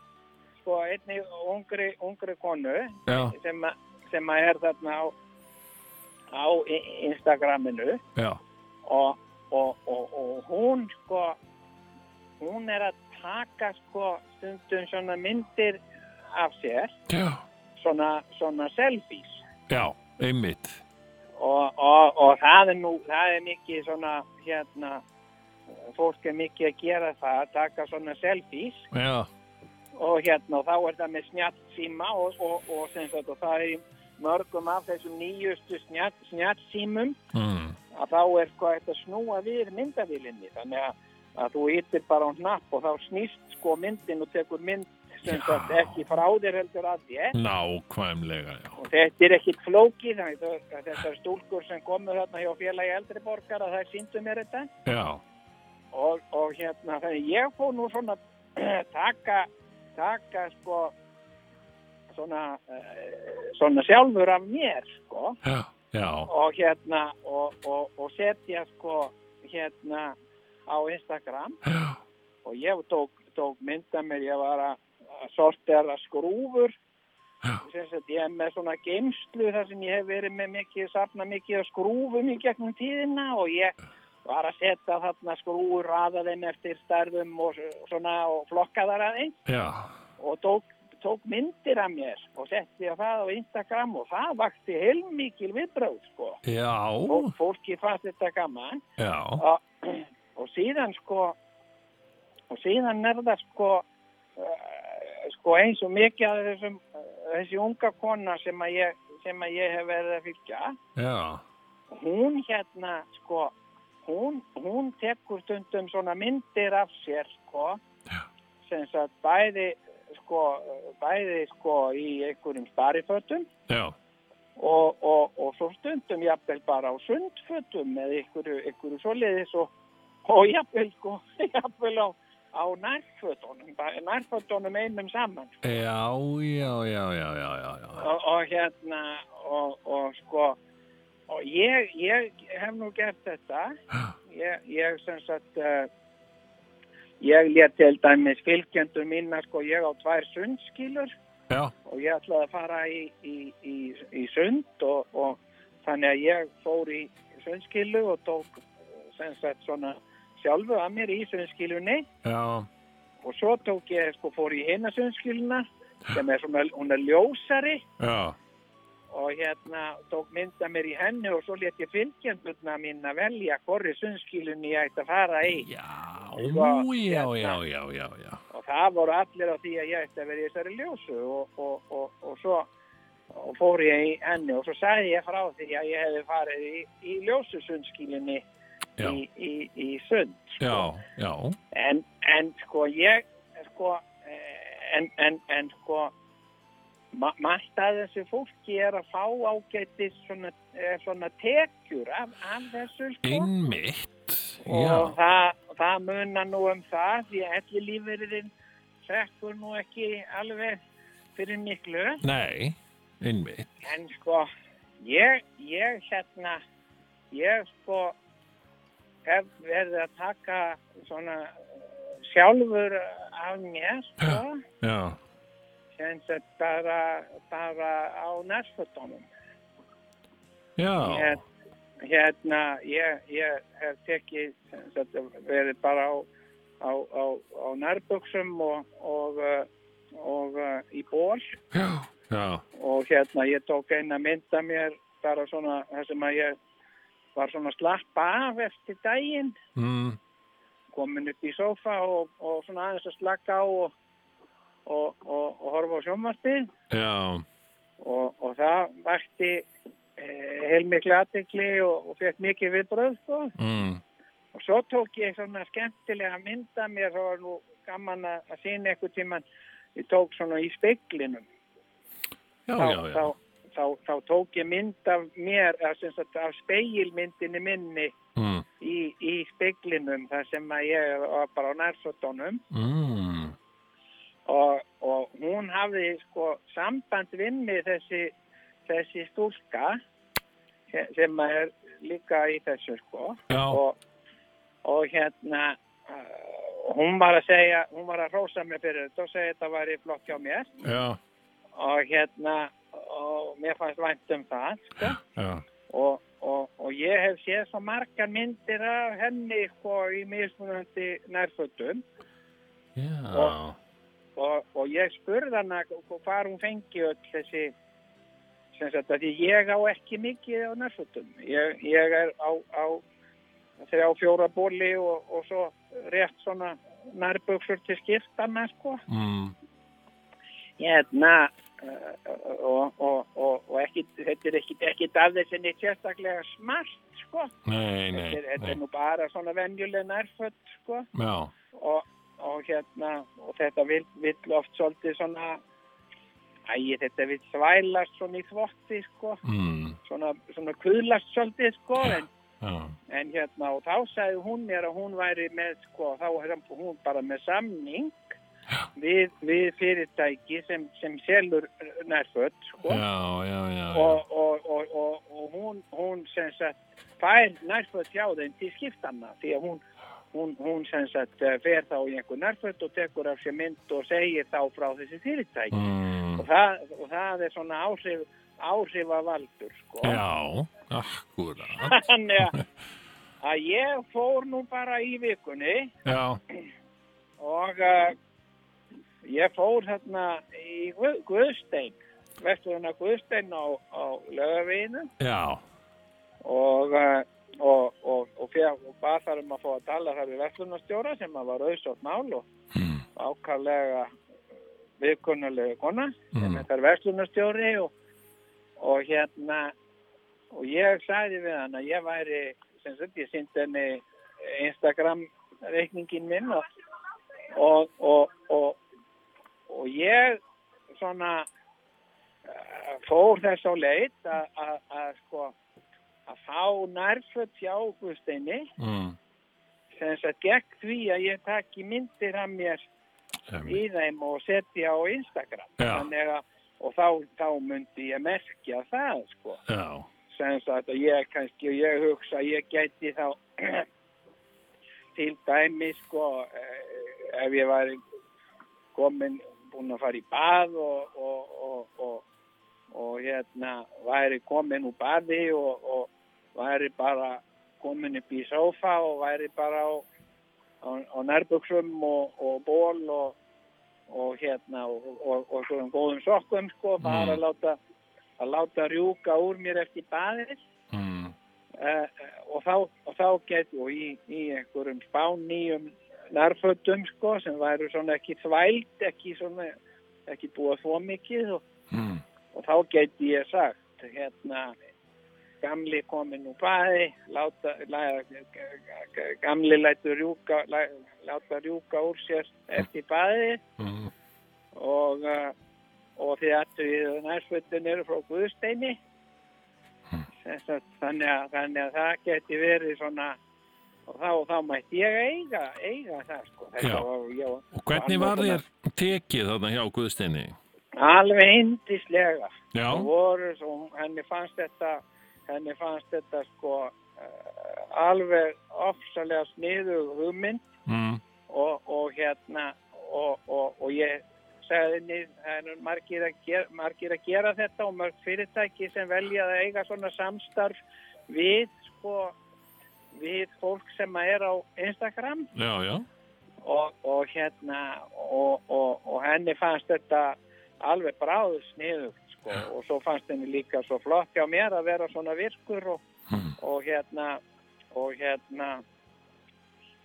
sko einni ungri, ungri konu
já,
sem, að- sem að er þarna á, á I- Instagraminu
já,
og, og, og, og hún sko hún er að taka sko stundum svona myndir af sér
já,
svona, svona selfies
já, einmitt,
og, og, og það er nú, það er mikið svona, hérna, fólk er mikið að gera það, að taka svona selfies
já,
og hérna, og þá er það með snjátt síma og, og, og, sem sagt, og það er í mörgum af þessum nýjustu snjátt símum
mm.
að þá er sko hægt að snúa við myndavílinni, þannig að, að þú yttir bara á hnapp og þá snýst sko myndin og tekur mynd sem
Já.
sagt ekki frá þér heldur að þér
nákvæmlega, já.
og þetta er ekkit flókið þannig að þó- að þessar stúlkur sem komu þarna hjá félagi eldri borgar að það síndu mér þetta
Já,
og, og hérna þannig ég fór nú svona taka, taka sko svona, eh, svona sjálfur af mér sko
já, já,
og hérna og, og, og setja sko hérna á Instagram
já,
og ég tók, tók mynda mér, ég var að að sortera skrúfur
Já.
sem sagt ég er með svona geimslu þar sem ég hef verið með mikið safna mikið af skrúfum í gegnum tíðina og ég var að setja þarna skrúfur raða þeim eftir stærðum og s- svona og flokka þar aðeins
já,
og tók, tók myndir af mér og setti ég það á Instagram og það vakti heilmikil viðbröð sko
já,
og fólki fannst þetta gaman
já,
og, og síðan sko og síðan er það sko uh, sko eins og mikið af þessum eh, þessi unga kona sem að ég sem að ég hef verið að fylgja
já,
hún hérna sko hún, hún tekur stundum svona myndir af sér sko sem sagt bæði sko eh, bæði sko í einhverjum starifötum
já,
og, og, og svo stundum jafnvel bara á sundfötum eða einhverju, einhverju svoleiðis og, og jafnvel, sko, jafnvel á, á nærfötunum, bara nærfötunum einum saman.
já, já, já, já, já, já, já,
Og, og hérna, og, og sko, og ég, ég hef nú gert þetta, ég, ég sem sagt, uh, ég let til dæmis fylgjendur mína, sko, ég á tvær sundskýlur
já,
og ég ætlaði að fara í, í, í, í sund og, og þannig að ég fór í sundskilu og tók eh, sem sagt svona sjálfu að mér í sundskilunni
já,
og svo tók ég sko fór í hina sundskiluna sem er svona, hún er ljósari
já,
og hérna tók mynda mér í henni og svo let ég fylgjendurna mín að velja hvorri sundskilunni ég ætti að fara í
já, já, já, já, já, já,
og það voru allir á því að ég ætti að vera í þessari ljósu og, og, og, og svo og fór ég í enni og svo sagði ég frá því að ég hefði farið í, í ljósusundskilinni
Já.
í, í, í sund sko.
já, já,
En, en sko ég sko eh, en, en, en sko ma margt að þessu fólki er að fá ágætis svona, eh, svona tekjur af, af þessu sko
einmitt,
og
já,
það, það munar nú um það því að elli lífeyririnn sekkur nú ekki alveg fyrir miklu
nei, einmitt,
en sko ég, ég hérna ég sko hef verið að taka svona eh, sjálfur af mér sko
já,
sem sett bara, bara á næstfötunum
já,
Hér- hérna, ég, ég hef tekið, sem sagt, verið bara á, á, á, á nærböksum og, og, uh, og uh, í ból
já, já,
og hérna, ég tók eina mynda mér bara svona, þar sem að ég var svona að slappa af eftir daginn,
mm,
komin upp í sófa og, og svona aðeins að slaka á og, og, og, og horfa á sjónvarpið
já,
og, og það vakti eh, heilmikli aðtekli og, og fekk mikið viðbröð, sko.
mm,
Og svo tók ég svona skemmtilega mynd af mér, það var nú gaman að, að sína einhver tíman, ég tók svona í speiklinum.
já,
þá,
já,
Þá,
já,
þá, þá tók ég mynd af mér, eða sem sagt af speilmyndinni minni
mm,
í, í speiklinum, þar sem að ég var bara á nærsotunum
mm,
og, og hún hafði sko samband við mig þessi, þessi stúlka sem- sem að er líka í þessu sko.
já,
og, og hérna uh, hún var að segja hún var að hrósa mér fyrir þetta og segja þetta væri flott hjá mér
já,
og hérna og mér fannst vænt um það sko.
já,
og, og, og ég hef séð svo margar myndir af henni sko, í mismunandi nærfötum
já,
og, og ég spurði hana hvar hún fengi öll þessi sem sagt að ég á ekki mikið á nærfötum. Ég, ég er á, á þrjá fjóra bóli og, og svo rétt svona nærbuksur til skiptana sko.
Mm.
Hérna eh, og, og, og, og ekki, þetta er ekkit ekki aðeins en eitt sérstaklega smart sko.
Nei, nei,
Þetta er, þetta er
nei.
nú bara svona venjuleg nærfött sko.
Já,
og, og hérna og þetta vill, vill oft svolítið svona æg, þetta vill svælast svona í þvotti sko
mm,
svona, svona kuðlast svolítið sko en,
já,
en hérna og þá sagði hún mér að hún væri með sko þá er hún bara með samning við, við fyrirtæki sem, sem selur nærföld sko
já, já, já, já.
og, og, og, og, og hún, hún sem sagt fær nærföld hjá þeim til skiptanna því að hún, hún, hún sem sagt eh, fer þá í einhver nærföld og tekur af sér mynd og segir þá frá þessi fyrirtæki
Mm,
og, það, og það er svona áhrif, áhrifavaldur sko
já, akkurat.
þannig að- að ég fór nú bara í vikunni
Já,
og uh, ég fór hérna í Guð, Guðstein vesturinn að Guðstein á, á lögavinu
já,
og, eh, og, og, og, fér, og bara þar um að fá að tala þar við verslunarstjóra sem að var auðsótt mál og
Mm.
ákvarlega viðkunnulegu kona sem
Mm.
þetta er verslunarstjóri og, og hérna og ég sagði við hann að ég væri sem sagt ég sýndi henni Instagram reikningin minn og og, og, og, og ég svona eh, fór þess á leit að- að að, sko að fá nærföld hjá Guðsteini
mm,
sem þess að gegn því að ég taki myndir af mér
em,
í þeim og setja á Instagram
Já.
þannig að og þá, þá myndi ég merkja það sko
já,
sem sagt að ég kannski ég hugsa að ég gæti þá til dæmi sko eh, ef ég var komin búin að fara í bað og, og, og, og, og hérna væri komin úr baði og, og væri bara komin upp í sófa og væri bara á, á, á nærbuksum og, og ból og, og hérna og, og, og svona góðum sokkum sko
Mm.
bara að láta að láta rjúka úr mér eftir baðið
mm,
uh, og þá, og þá get og í, í einhverjum spán nýjum nærfötum sko sem væru svona ekki þvæld ekki svona ekki búa þó mikið og,
mm,
og þá geti ég sagt hérna gamli komin úr baði láta, la, gamli lætur rjúka la, láta rjúka úr sér eftir baðið
mm,
og, uh, og því að við nærsvöldin eru frá Guðsteini
Hmm.
Sem sagt, þannig að, þannig að það geti verið svona og þá, þá mætti ég eiga, eiga það sko
Já.
var, ég,
Og hvernig var þér tekið þarna hjá Guðsteini?
alveg indislega
Já,
Það voru svo, henni fannst þetta henni fannst þetta sko uh, alveg ofsalega sniðu hugmynd
mm,
og, og hérna og, og, og ég sagði henni það er margir að, gera, margir að gera þetta og mörg fyrirtæki sem velja að eiga svona samstarf við sko við fólk sem að er á Instagram
já, já,
og, og hérna og, og, og henni fannst þetta alveg bráðu sniðugt sko. og svo fannst henni líka svo flott hjá mér að vera svona virkur og,
Hmm.
og hérna og hérna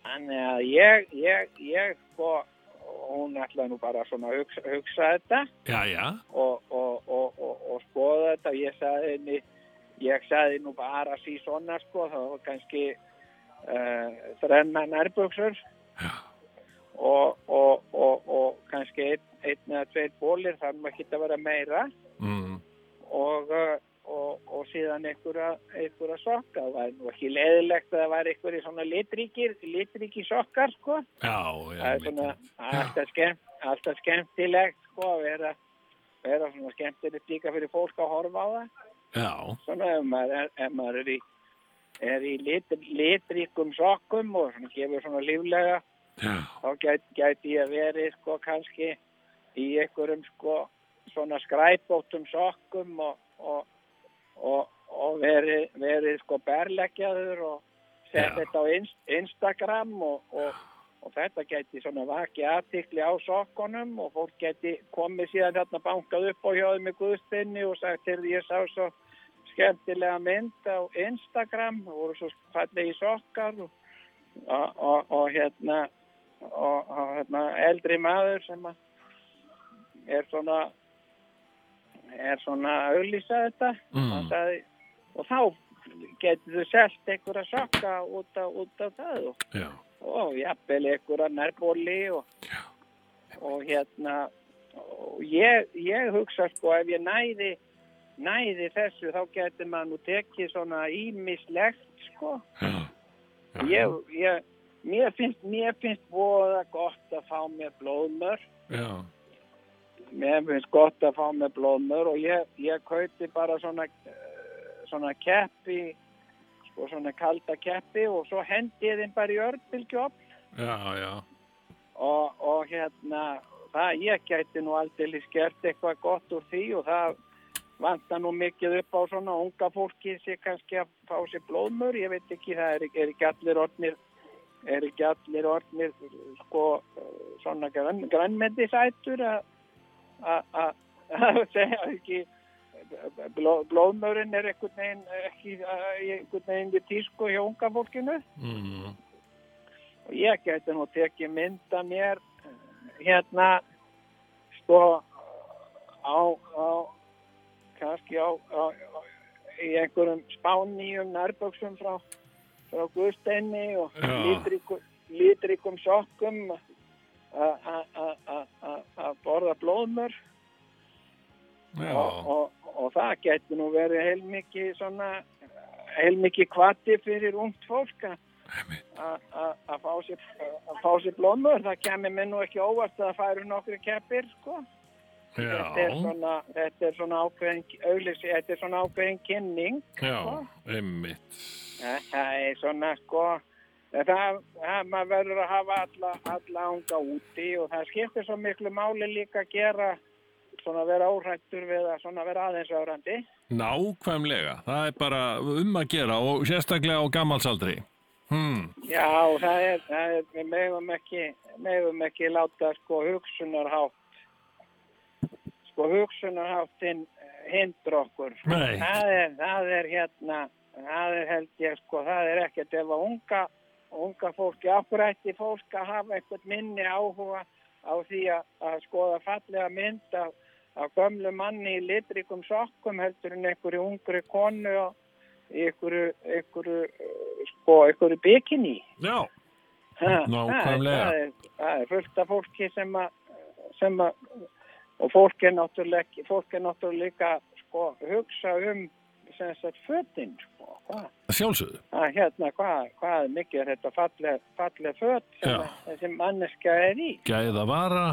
þannig að ég, ég, ég sko, hún ætlaði nú bara svona að hugsa, hugsa þetta
já, já,
og, og, og, og, og skoða þetta og ég sagði henni ég sagði nú bara sí svona sko þá var kannski uh, þrenna nærbuksur og, og, og, og kannski einn, einn eða tveir bólir þar maður ekki að vera meira
mm,
og, eh, og, og síðan einhverja, einhverja sokka það var nú ekki leðilegt að það var einhverjir svona litríkir, litríkir sokkar sko
já, já,
það er svona alltaf, skemmt, alltaf skemmtilegt sko að vera, vera svona skemmtilegt líka fyrir fólk að horfa á það
já,
svona ef maður er, ef maður er í, er í lit, litríkum sokkum og svona gefur svona líflega
já,
þá gæti, gæti ég verið sko kannski í einhverjum sko svona skræpóttum sokkum og, og, og, og verið, verið sko berleggjaður og sett
Já.
þetta á inst, Instagram og, og, og þetta geti svona vakið aðtikli á sokkunum og fólk geti komið síðan hérna bankað upp á hjáðum í guðstinni og sagt til ég sá svo skemmtilega mynd á Instagram og voru svo fallið í sokkar og, og, og, og hérna og, og hérna eldri maður sem að er svona er svona að auðlýsa þetta
Mm.
mm. sagði, og þá getur þú selt einhverja sokka út af, út af það og
Já.
og jafnvel einhverja nærbóli og, og hérna og ég, ég hugsa sko ef ég næði næði þessu þá getur maður nú tekið svona ímislegt sko
Já. Já.
ég, ég, mér finnst mér finnst voða gott að fá mér blóðmör
Já.
mér finnst gott að fá mér blóðmör og ég, ég kauti bara svona eh, svona keppi sko svona kalda keppi og svo hendi ég þeim bara í örbylgjófn
Já, já.
og, og hérna það ég gæti nú aldrei skert eitthvað gott úr því og það vantar nú mikið upp á svona unga fólki sér kannski að fá sér blóðmör ég veit ekki, það er, er ekki allir orðnir er ekki allir orðnir sko eh, svona grann, grannmendisætur að að- að að segja ekki bló, blóðmörinn er einhvern veginn ekki eh, einhvern veginn við tísku hjá unga fólkinu
Mm.
og ég gæti nú tekið mynda mér eh, hérna sko á, á kannski á, á, á í einhverjum spáníum nærböksum frá, frá Guðsteinni og
Já.
lítriku- lítrikum sokkum a- a- a- a- a- að borða blóðmör
Já.
og, og, og það gæti nú verið heilmikið svona heilmikið kvati fyrir ungt fólk að- að að- að fá sér að fá sér blómur, það kemur mér nú ekki óvart að það færu nokkri keppir sko.
Já.
þetta er svona þetta er svona ákveðin auðlýsi, þetta er svona ákveðin kynning
Já. Einmitt.
það er svona sko það, það maður verður að hafa alla, alla ánga úti og það skiptir svo miklu máli líka að gera svona vera órættur við að svona vera aðeins árandi
Nákvæmlega. Það er bara um að gera og sérstaklega á gammalsaldri. Hmm.
Já, það er, það er við megum ekki, megum ekki láta sko hugsunarhátt sko hugsunarháttin eh, hindra okkur.
Nei.
Það er, það er hérna, það er held ég sko, það er ekkert ef að unga, unga fólki, okkur ætti fólk að hafa eitthvað minni áhuga á því að, að skoða fallega mynd af, af gömlu manni í litrikum sokkum heldur en einhverju ungri konu og í einhverju, einhverju, eh, sko, einhverju bikini.
Já.
Ha,
Nákvæmlega.
Það er, það er fullt af fólki sem að, sem að og fólk er náttúrulega, ekki- fólk er náttúrulega líka sko hugsa um sem sagt fötin sko, hvað,
Sjálfsögðu.
að hérna hvað, hvað mikið er þetta falleg, falleg föt sem,
Já.
að, þessi manneska er í.
Gæða vara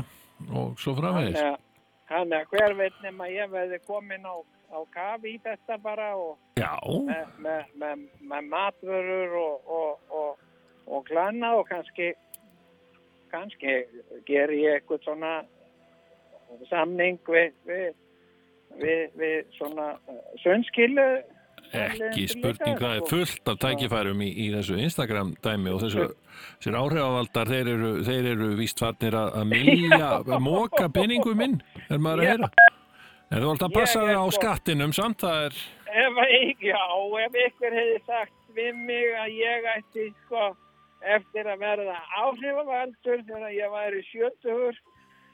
og svo framvegis.
Þannig að- Þannig að hver veit nema ég veði komin á, á kafi í þetta bara og
Já.
með, með, með, með matvörur og, og, og, og glanna og kannski, kannski ger ég eitthvað svona samning við, við, við, við svona eh, sönnskilu.
Ekki spurning, það er
sko.
fullt af tækifærum í, í þessu Instagram dæmi og þessu þessir áhrifavaldar, þeir eru, þeir eru víst farnir að að mylja, að móka peningum minn, er maður að heyra. En þú ætti að passa
Ég er
þig á
sko-
skattinum samt, það er,
Ef, að- já, ef ykkur hefði sagt við mig að ég ætti sko, eftir að verða áhrifavaldur þegar ég væri sjötugur,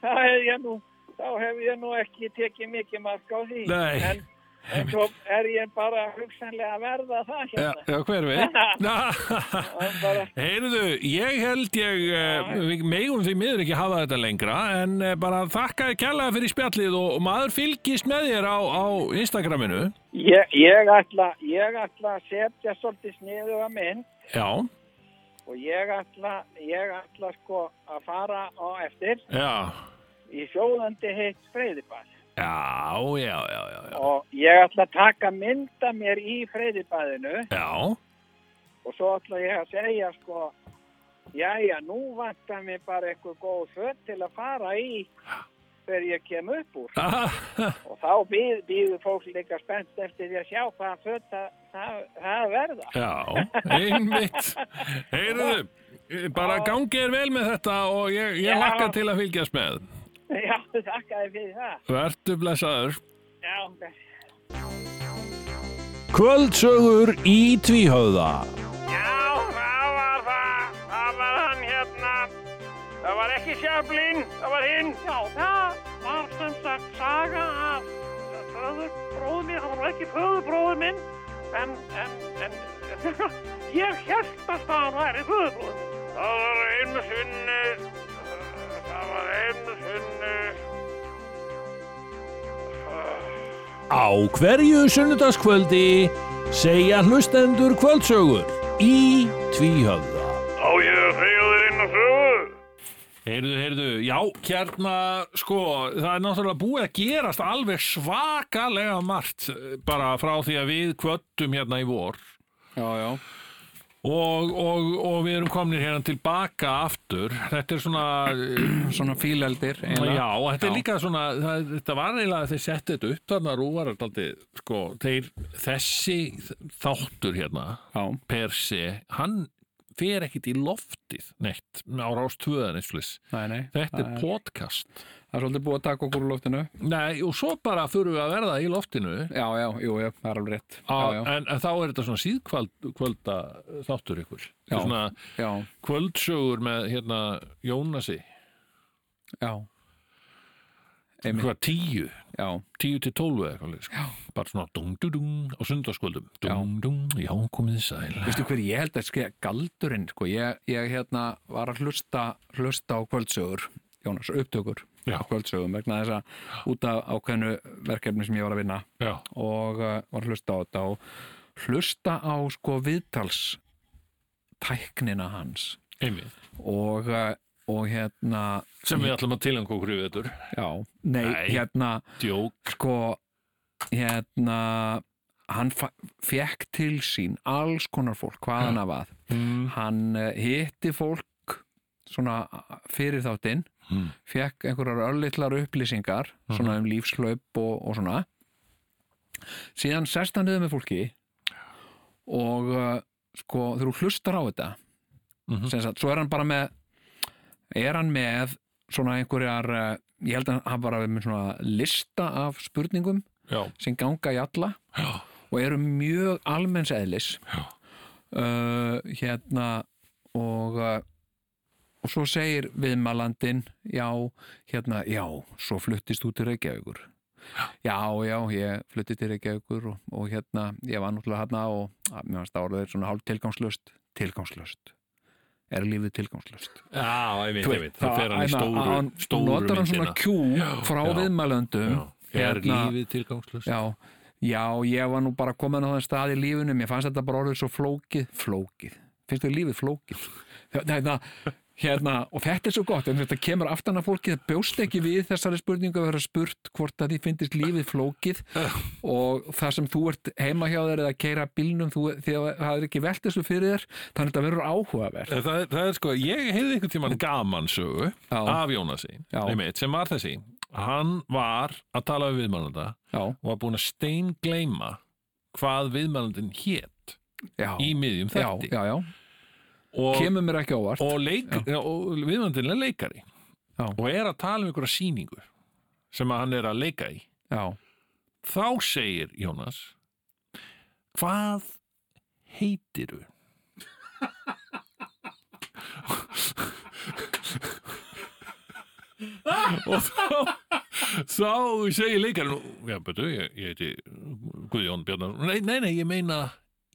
þá hef ég nú, þá hef ég nú ekki tekið mikið mark á því.
Nei.
En, en svo er ég bara hugsanlega að verða það
já,
hérna.
já hver við. Heyrðu, ég held ég, eh, við megum því miður ekki hafa þetta lengra, en eh, bara þakkaði kjallaði fyrir spjallið og, og maður fylgist með þér á, á Instagraminu.
Ég, ég, ætla, ég ætla að setja svolítið sniðuga mynd
Já,
og ég ætla, ég ætla sko að fara á eftir
já,
í sjóðandi heitt freyðiball.
já, já, já, já, já.
og ég ætla að taka mynda mér í freyðibæðinu
Já,
og svo ætla ég að segja sko jæja, nú vantar mér bara eitthvað góð föt til að fara í þegar ég kem upp úr
Ah,
og þá býð, býður fólk líka spennt eftir því að sjá hvaða föt það, það, það verða.
Já, einmitt Heyrðu, bara gangi er vel með þetta og ég, ég
Já.
lakka til að fylgjast með
Já, þakka þér fyrir það.
Vertu blessaður
Já, bless.
Kvöldsögur í Tvíhöða
Já, það var það. Það var hann hérna. Það var ekki sjöflinn, það var hinn. Já, það var sem sagt saga af föðurbróðu minn. Það var nú ekki föðurbróðu minn, en, en, en, ég held að það væri föðurbróðu minn. Það var einu sinni, eh, það var einu sinni.
Á hverju sunnudagskvöldi segja hlustendur kvöldsögur í Tvíhöfða.
Á ég að segja þér inn á sögu?
Heyrðu, heyrðu, já, hérna, sko, það er náttúrulega búið að gerast alveg svakalega margt eh, bara frá því að við kvöldum hérna í vor
já, já,
og, og, og við erum komnir hérna tilbaka aftur. Þetta er svona, eh,
svona fíleldir
Já, og þetta er
Hérna? Já.
líka svona, það, þetta var eiginlega að þeir settu þetta upp þarna rúvarar daldi, sko, þeir, þessi þáttur hérna,
já,
per se, hann fer ekkit í loftið neitt á rástöðan einslis.
nei, nei,
Þetta
það
er podcast.
það er svolítið búið að taka okkur úr loftinu
Nei, og svo bara þurfum við að verða í loftinu.
já, já, jú, já, það er alveg rétt
Á,
já, já,
En, en þá er þetta svona síðkvölda þáttur ykkur. Þetta
Já.
er Svona
já,
kvöldsögur með hérna Jónasi,
já einmitt,
hvað tíu,
já,
10 til 12 eða eitthvað leið, sko. bara svona dung-dung-dung á sundarskvöldum
Já.
dung-dung, já, komið þið sæl
veistu hver ég held að skilja galdurinn, sko, ég, ég hérna var að hlusta, hlusta á kvöldsögur Jónas, upptökur
Já.
á kvöldsögum vegna þess að út af ákveðnu verkefni sem ég var að vinna
já,
og uh, var að hlusta á þetta og hlusta á sko viðtals tæknina hans
einmitt
og, uh, og hérna
sem við ætlum að tilanga okkur í vetur
já, nei,
Nei.
hérna
djók,
sko hérna hann fa- fékk til sín alls konar fólk, hvaðan af að
mm.
hann eh, hitti fólk svona fyrir þáttinn
Mm.
fekk einhverjar örlittlar upplýsingar svona um lífslaup og, og svona síðan sest hann niður með fólki og uh, sko þegar þú hlustar á þetta
Mhm.
sem sagt, svo er hann bara með er hann með svona einhverjar uh, ég held að hann bara með svona lista af spurningum
já,
sem ganga í alla
já,
og eru mjög almenns eðlis
Já.
uh, hérna og uh, og svo segir viðmalandin já, hérna, já, svo fluttist út til Reykjavíkur já, já, ég fluttist til Reykjavíkur og, og hérna, ég var náttúrulega hérna og að, mér varst árið svona hálf tilgangslöst tilgangslöst er lífið tilgangslöst
já, einmitt, einmitt það fer hann í
hérna,
stóru,
hann-
stóru
notar hann svona
myndina
kjú frá
já,
viðmælendum
já, er
hérna-
lífið tilgangslust
Já, já, ég var nú bara komin á þann stað í lífinu, mér fannst þetta bara orðið svo flókið, flókið, finnst þau lífið flókið hérna, hérna, og þetta er svo gott en þetta kemur aftan að fólki, það bjóst ekki við þessari spurningu að vera spurt hvort að því finnist lífið flókið og það sem þú ert heima hjá þér eða keira bílnum, þú, því að það er ekki velt þessu fyrir þér, þannig að þetta verður áhugavert
Það, er- það er sko, ég heyrði einhvern tímann gaman sögu
Já.
af Jónasi
Já.
einmitt, sem var þessi, hann var að tala við viðmælanda
Já,
og var búin að steingleima hvað viðmælandin hét
já,
í miðjum
já,
þætti
já, já,
og,
kemur mér ekki ávart
og, leik, já, og viðmælandin er leikari
Já.
og er að tala um einhverja sýningu sem að hann er að leika í
Já,
þá segir Jónas hvað heitiru? og þá þá segir leikarinn já, betur, ég, ég heiti Guðjón Bjarnar nei, nei, nei, ég meina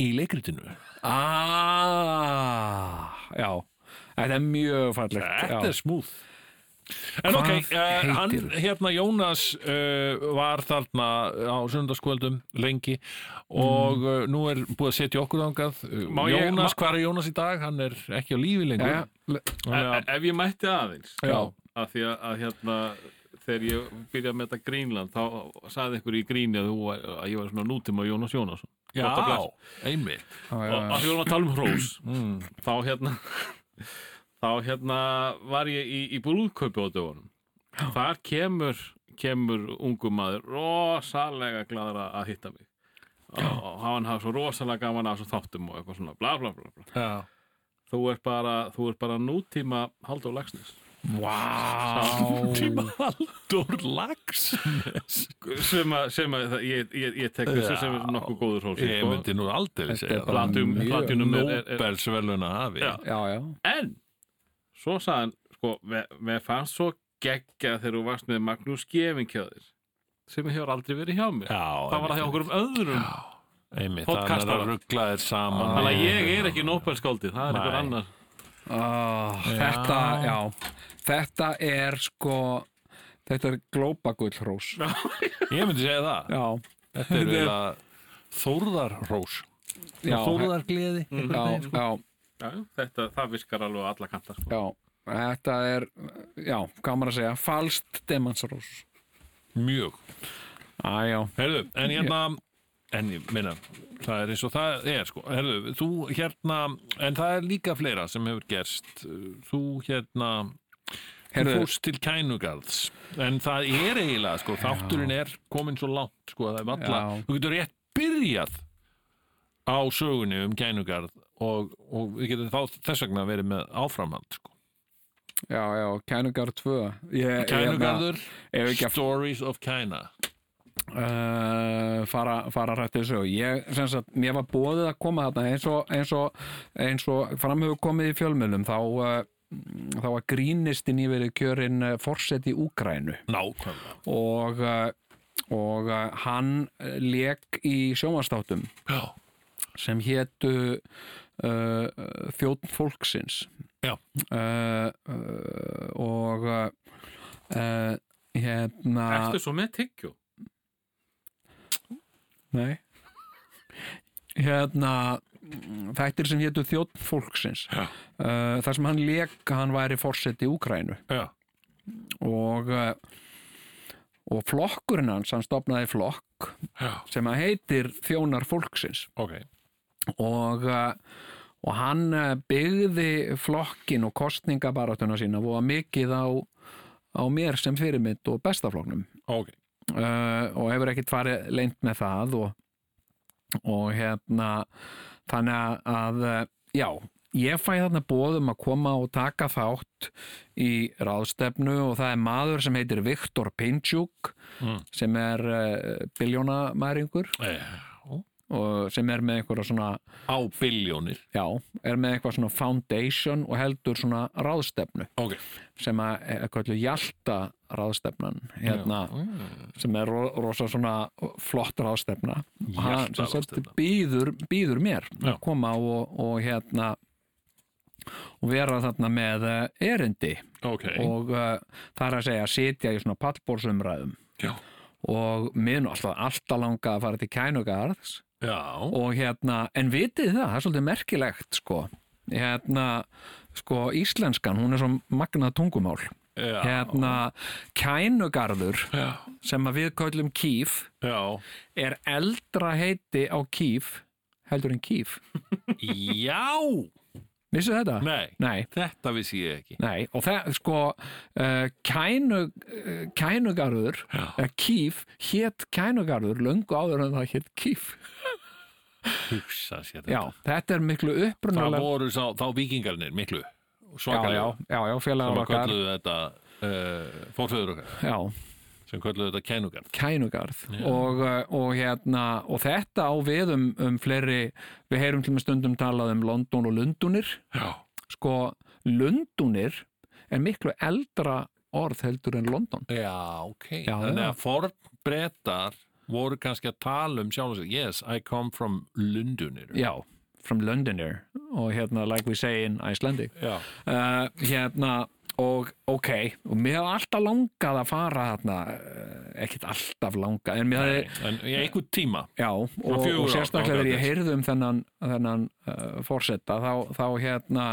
í leikritinu
Ah, já, þetta er mjög fallegt
Þetta
já.
er smúð En
Hvað
ok, uh, hann,
heitirðu?
hérna Jónas uh, var þarna eh, á sundarskvöldum lengi og uh, nú er búið að setja okkur þangað uh,
Mm. Má ég-
Jónas, hvað er Jónas í dag? Hann er ekki á lífi lengur
Jæja, le-
Þannig að-
E, Ef ég mætti aðeins
Já.
að því að, að hérna þegar ég byrjaði með þetta Grínland þá saði einhver í Gríni að, þú, var- að ég var svona nútíma Jónas Jónasson Gott og bless.
Já, einmitt
já, já,
og
já.
að því vorum að tala um hrós
mm.
þá hérna þá hérna var ég í, í brúðkaupi á dögunum þar kemur, kemur ungu maður rosalega gladur að- að hitta mig og og hann hafði svo rosalega gaman að þessum þáttum og eitthvað svona bla bla bla, bla.
Já.
Þú, ert bara, þú ert bara nútíma Halldór Lagsnes
Vá Tíma Haldur Lagsnes
sem að, sem að það- ég, ég, ég tek þessu sem er nokkuð góður hrós sko.
Ég myndi nú aldrei
Þetta er
segja
bara
það
Platum-
mjög-
platinum er, er, er,
Nóbelsveluna hafi
Já.
já, já,
En svo sagði hann sko, við fannst svo geggja þegar þú varst með Magnús Gefingjöðir sem hefur aldrei verið hjá mér það var það hjá okkur um öðrum
einmitt,
Podcastara.
Þannig að ruggla þér saman
þannig að ég er ekki Nobelskáldið, það er
Nei.
einhver annar
Ah, þetta, já, þetta er sko, þetta er glópagull hrós. Já,
Ég myndi segja það
já,
Þetta er eiginlega Þórðarhrós
já, Mm.
Þórðargleði
já,
Já, þetta, það virkar alveg á alla kantar sko.
já, þetta er, já, gaman að segja, falskt demanshrós.
Mjög
Á, já,
Herðu, en hérna En ég meina, það er eins og það er sko Herðu, þú hérna En það er líka fleira sem hefur gerst Þú hérna Þú
Heyrðu.
fórst til kænugarðs En það er eiginlega sko Þátturinn er komin svo langt sko að það er valla,
Já.
Þú getur rétt byrjað Á sögunni um kænugarð Og, og við getum þá þess vegna verið með áframhald sko.
já, já, kænugarð 2. Ég- hérna- ég-
Kænugarður,
Ef ekki að
Stories of Kæna
uh, fara, fara rætt þessu ég, sem sagt, mér var bóðið að koma þarna eins og, eins og, eins og framhefur komið í fjölmjölum þá, uh, þá var grínistinn í verið kjörin eh, forseti Úgrænu
Nákvæmlega
og, uh, og uh, hann leik í sjónvastáttum
Já,
sem hétu uh, þjóðn fólksins
Já.
uh, uh, og uh, uh, hérna
Ertu svo með tyggjó?
Nei Hérna mm, þættir sem hétu þjótt fólksins
Já.
uh, þar sem hann leik hann væri forseti í Úkrænu
já,
og uh, og flokkurinn hans, hann stopnaði flokk
já,
sem að heitir þjónar fólksins
ok
og uh, og hann uh, byggði flokkin og kostningabaratuna sína og mikið á, á mér sem fyrirmynd og bestafloknum
Ok,
uh, og hefur ekkert farið leint með það og, og hérna þannig að uh, já, ég fæ þarna bóðum að koma og taka þátt í ráðstefnu og það er maður sem heitir Viktor Pintjuk
Mm.
sem er uh, biljónamæringur
Já.
og sem er með einhverja svona
á biljónir
já, er með eitthvað svona foundation og heldur svona ráðstefnu
Ok,
sem að er kallu Hjalta ráðstefnan hérna, sem er ro- rosa svona flott ráðstefna og hann sem sagt
Hjaltaráðstefna.
býður, býður mér
Já.
að koma og, og hérna og vera þarna með eh, erindi
ok
og uh, það er að segja að sitja í svona pallbórsumræðum
Já,
og minn alltaf, alltaf langa að fara til kænugarðs
já,
og hérna, en vitið þið það, það er svolítið merkilegt sko hérna, sko íslenskan, hún er svo magnað tungumál
já,
hérna, kænugarður
já,
sem að við köllum kýf
já.
er eldra heiti á kýf heldur en kýf
Já,
vissu þetta?
nei,
nei,
þetta vissi ég ekki
nei. og það sko uh, kænu, uh, kænugarður
Já.
uh, kýf hétt kænugarður löngu áður en það hétt kýf
Hugsa sér
já,
þetta
þetta er miklu
Það
upprunalega
voru sá, þá vikingarnir miklu
já, já,
svakalega
já, já,
sem
félagar
að
okkar
kölluðu þetta uh, fórföður okkar
já,
sem kölluðu þetta kænugarð
kænugarð og, uh, og hérna og þetta á við um, um fleiri við heyrum til með stundum talað um London og Lundunir
Já,
sko Lundunir er miklu eldra orð heldur en London
Já, ok.
Já,
Þannig
já.
að fornbretar voru kannski að tala um sjálf og sig. Yes, I come from Lundunir.
já, from Londoner og hérna like we say in Icelandic
Já.
uh, hérna og ok, og mér hafði alltaf langað að fara þarna eh, ekkert alltaf langað, en mér hafði
En í einhvern tíma.
Já, og,
fjögur
og
ár,
sérstaklega
ágætis.
þegar ég heyrði um þennan, þennan uh, forseta þá, þá hérna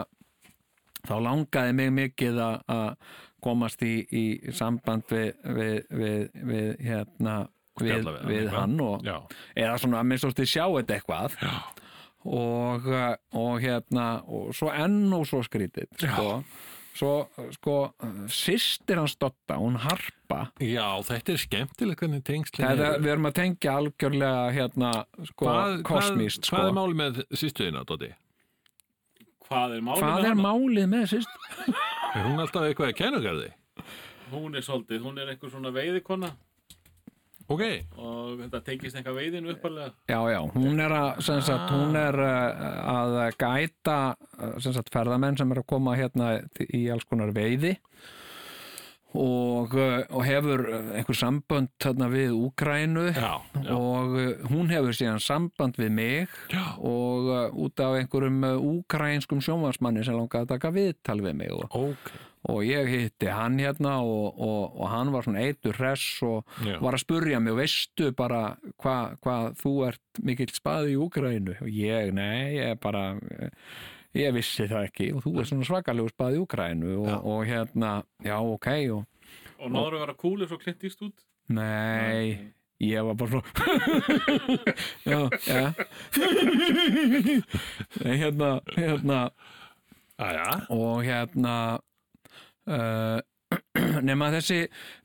þá langaði mig mikið að- að komast í, í samband við, við, við, við hérna við,
Spjalla við hann
við
eitthvað.
hann og,
Já.
eða svona að minnst ótti sjá þetta eitthvað Já. og, uh, og hérna og svo enn og svo skrítið sko. svo sko sýstir hans Dotta, hún Harpa
Já, þetta er skemmtileg hvernig tengslin
Þetta,
eru.
við erum að tengja algjörlega hérna sko
Hvað-
kosmíst
hvað, hvað er
sko.
máli með sýstuðina, Dóti?
Hvað er málið
Hvað
með
er
hana?
málið með sýst?
Er hún alltaf eitthvað í kænugarði?
Hún er svolítið, hún er einhver svona veiðikona
Ok,
og þetta tengist eitthvað veiðinu uppalega.
Já, já, hún er að, sem sagt, hún er uh, að gæta uh, sem sagt, ferðamenn sem er að koma hérna í alls konar veiði og, uh, og hefur einhver sambönd þarna við Úkrænu
já,
og uh, hún hefur síðan samband við mig
Já.
og uh, út af einhverjum uh, úkrænskum sjónvarsmanni sem langaði að taka viðtal við mig og,
ok
og ég hitti hann hérna og, og, og hann var svona eitur hress og
Já.
var að spurja mig veistu bara hvað hva, þú ert mikill spaði í Úkrænu og ég, nei, ég er bara eh, ég vissi það ekki og þú ert svona svakalegu spaði í Úkrænu og, og hérna, já, ok og
Og náður að vera kúlið frá Clint Eastwood.
Nei, ég var bara svona Já, já Nei, hérna, hérna
Æja,
og hérna uh, nema þessi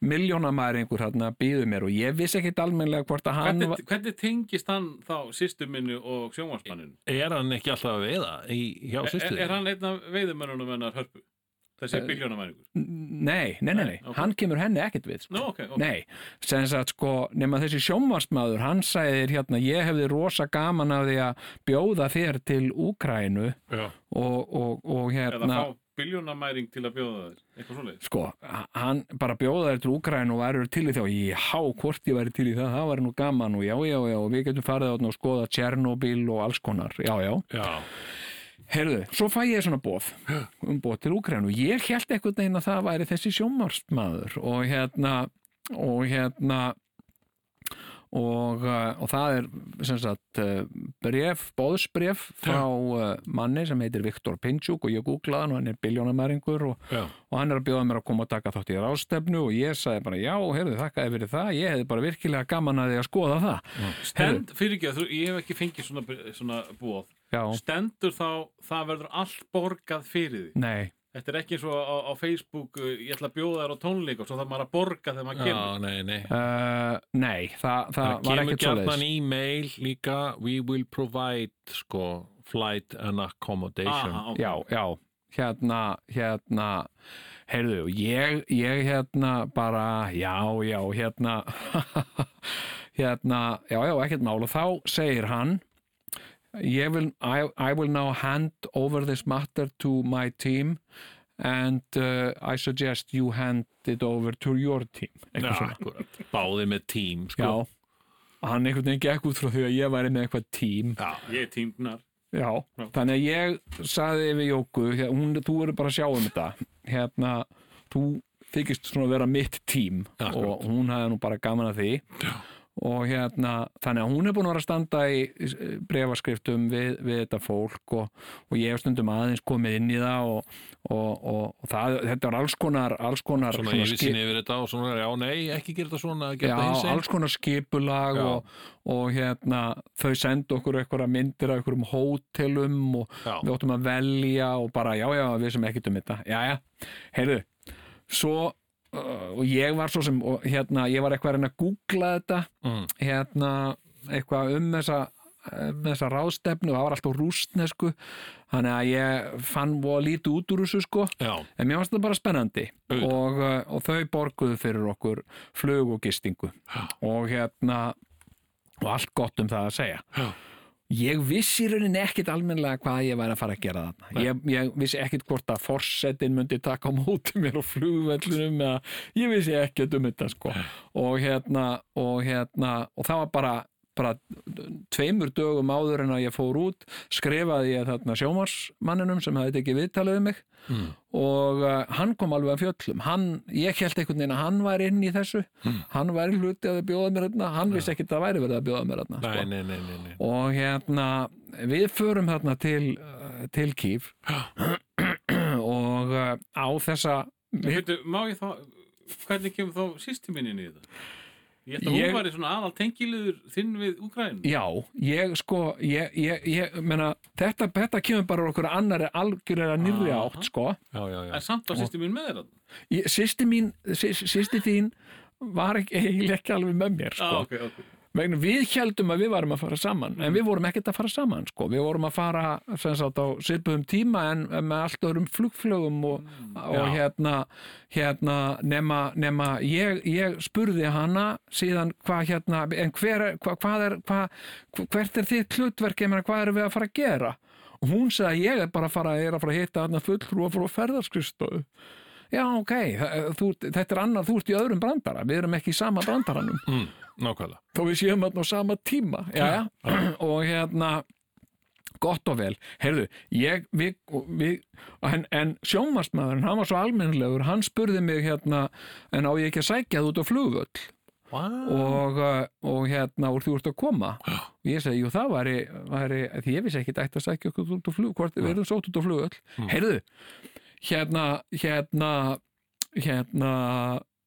miljónamæringur hérna býður mér og ég vissi ekkit almennlega hvort að hann
Hvernig, hvernig tengist hann þá sýstu minni og sjónvarsmanninu?
er hann ekki alltaf að veiða í, hjá
Er,
sýstuðinu?
er hann einn af veiðimennunum hennar hörpu? Þessi
Eh,
biljónamæringur?
Nei, nei, nei, nei,
Nei, ok.
hann kemur henni ekkit við sko.
Nú, ok, ok.
Nei, sem sagt sko, nema þessi sjónvarsmaður, hann sagði þér hérna, ég hefði rosa gaman af því að bjóða þér til Úkrænu
Já.
og, og, og
Eða
hérna
fá biljónamæring til að bjóða þér? Eitthvað svoleiðis?
sko, h- hann bara bjóða þér til Úkræn og værið til í þá, já, hvort ég væri til í það það væri nú gaman og já, já, já og við getum farið átna og skoða Tjernobyl og alls konar, já, já,
Já,
heyrðu svo fæ ég svona bóð, um bóð til Úkræn og ég held eitthvað neginn að það væri þessi sjómarsmaður og hérna og hérna og, uh, og það er sem sagt uh, bref, bóðsbref frá uh, manni sem heitir Viktor Pinsjúk og ég googlaði hann og hann er biljónamæringur og
já,
og hann er að bjóða mér að koma og taka þátt í ráðstefnu og ég sagði bara já, heyrðu, þakkaði fyrir það ég hefði bara virkilega gaman að því að skoða það
Stend, fyrir ekki að þú, ég hef ekki fengið svona, svona búað.
já,
Stendur þá, það verður allt borgað fyrir því.
nei,
Þetta er ekki eins og á, á Facebook, uh, ég ætla að bjóða þér á tónleik og svo þarf maður að borga þegar maður kemur.
já, nei, nei
uh, nei það, það,
Það
var
kemur
ekkert svo
gjarnan í mail líka We will provide, sko, flight and accommodation
Aha, ok.
já, já, hérna hérna, heyrðu ég, ég hérna bara já, já, hérna hérna, já, já, ekkert mál og þá segir hann ég vil, I, I will now hand over this matter to my team and uh, I suggest you hand it over to your team
Já,
eitthvað svona
akkurat, báði með tím, sko
já, hann einhvern veginn gekk út frá því að ég væri með eitthvað tím
Já,
Ég er tímnar.
já,
Já.
þannig að ég saði við Jóku, hér- hún, þú eru bara að sjá um þetta hérna, þú þykist svona að vera mitt tím
Akkurat.
og hún hafði nú bara gaman að því já. og hérna, þannig að hún er búin að vera að standa í eh, bréfaskriftum við, við þetta fólk og, og ég hef stundum aðeins komið inn í það og, og, og, og það, þetta var alls konar, alls konar
svona
svona skil-
yfirsinni yfir þetta og svona, já, nei, ekki gera þetta svona gera
Já,
þetta hins einn.
alls konar skipulag
Já.
og, og hérna, þau sendu okkur einhverja myndir af einhverjum hótelum og
Já.
við óttum að velja og bara, já, já, við sem ekkert um þetta já, já, heyrðu svo, uh, og ég var svo sem og, hérna, ég var eitthvað að reyna að googla þetta
Mm.
hérna, eitthvað um þessa um þessa ráðstefnu og það var alltaf rústnesku þannig að ég fann voða lítið út úr þessu sko
Já,
en mér fannst það bara spennandi
Auðvitað.
og, uh, og þau borguðu fyrir okkur flug og gistingu og hérna og allt gott um það að segja
Já.
ég vissi í rauninni ekkit almennlega hvað ég væri að fara að gera þarna ég, ég vissi ekkit hvort að forsetin myndi taka á móti mér á flugvellunum eða ég vissi ekkit um þetta sko og hérna og hérna og það var bara bara tveimur dögum áður en að ég fór út skrifaði ég þarna sjómarsmanninum sem hafði ekki viðtalið um mig og uh, hann kom alveg að fjöllum hann, ég held einhvern veginn að hann væri inn í þessu hann væri hluti að þau bjóða mér þarna hann vissi ekkert að það væri verið að bjóða mér þarna
nei,
sko.
nei, nei, nei, nei.
og hérna við förum þarna til, uh, til Kýf og uh, á þessa
Veitu, má ég þá, hvernig kemur þá sýstu minni inn í þetta? Ég ætla að
Ég-
hún væri svona aðal tengiliður þinn við Úkrænum.
Já, ég sko, ég, ég, ég meina, þetta, þetta kemur bara úr okkur annari algjörlega nýrri
Aha.
átt sko.
já, já, já.
En samt var sýsti mín með þér þarna.
Ég- Systir mín, sy- systir þín var ekki, eiginlega ekki alveg með mér sko.
Ah, ok, ok.
vegna við heldum að við varum að fara saman en við vorum ekkert að fara saman sko. við vorum að fara sem sagt á svipuðum tíma en með allt öðrum flugflögum og, og hérna, hérna nema, nema ég, ég spurði hana síðan hvað hérna en hver, er- hva, hvað er hva, hvert er þitt hlutverk, ég meina hvað erum við að fara að gera og hún sagði að ég er bara að fara, er að fara að hitta hérna fulltrúa frá ferðarskristofu já ok, þa- þú, þetta er annar þú ert í öðrum brandara, við erum ekki í sama brandaranum
Mm, nákvæmlega.
þó við séum þarna á sama tíma já, og hérna gott og vel, heyrðu ég, við, við, en, en sjónvarsmaðurinn, hann var svo almennlegur hann spurði mig hérna en á ég ekki að sækja þú út á flugvöll
Wow.
og, uh, og hérna úr þú ert að koma og ég segi, jú það væri, væri því ég vissi ekki ætti að sækja okkur út á flug hvort við erum sótt út á flugöll
Mm.
heyrðu, hérna hérna, hérna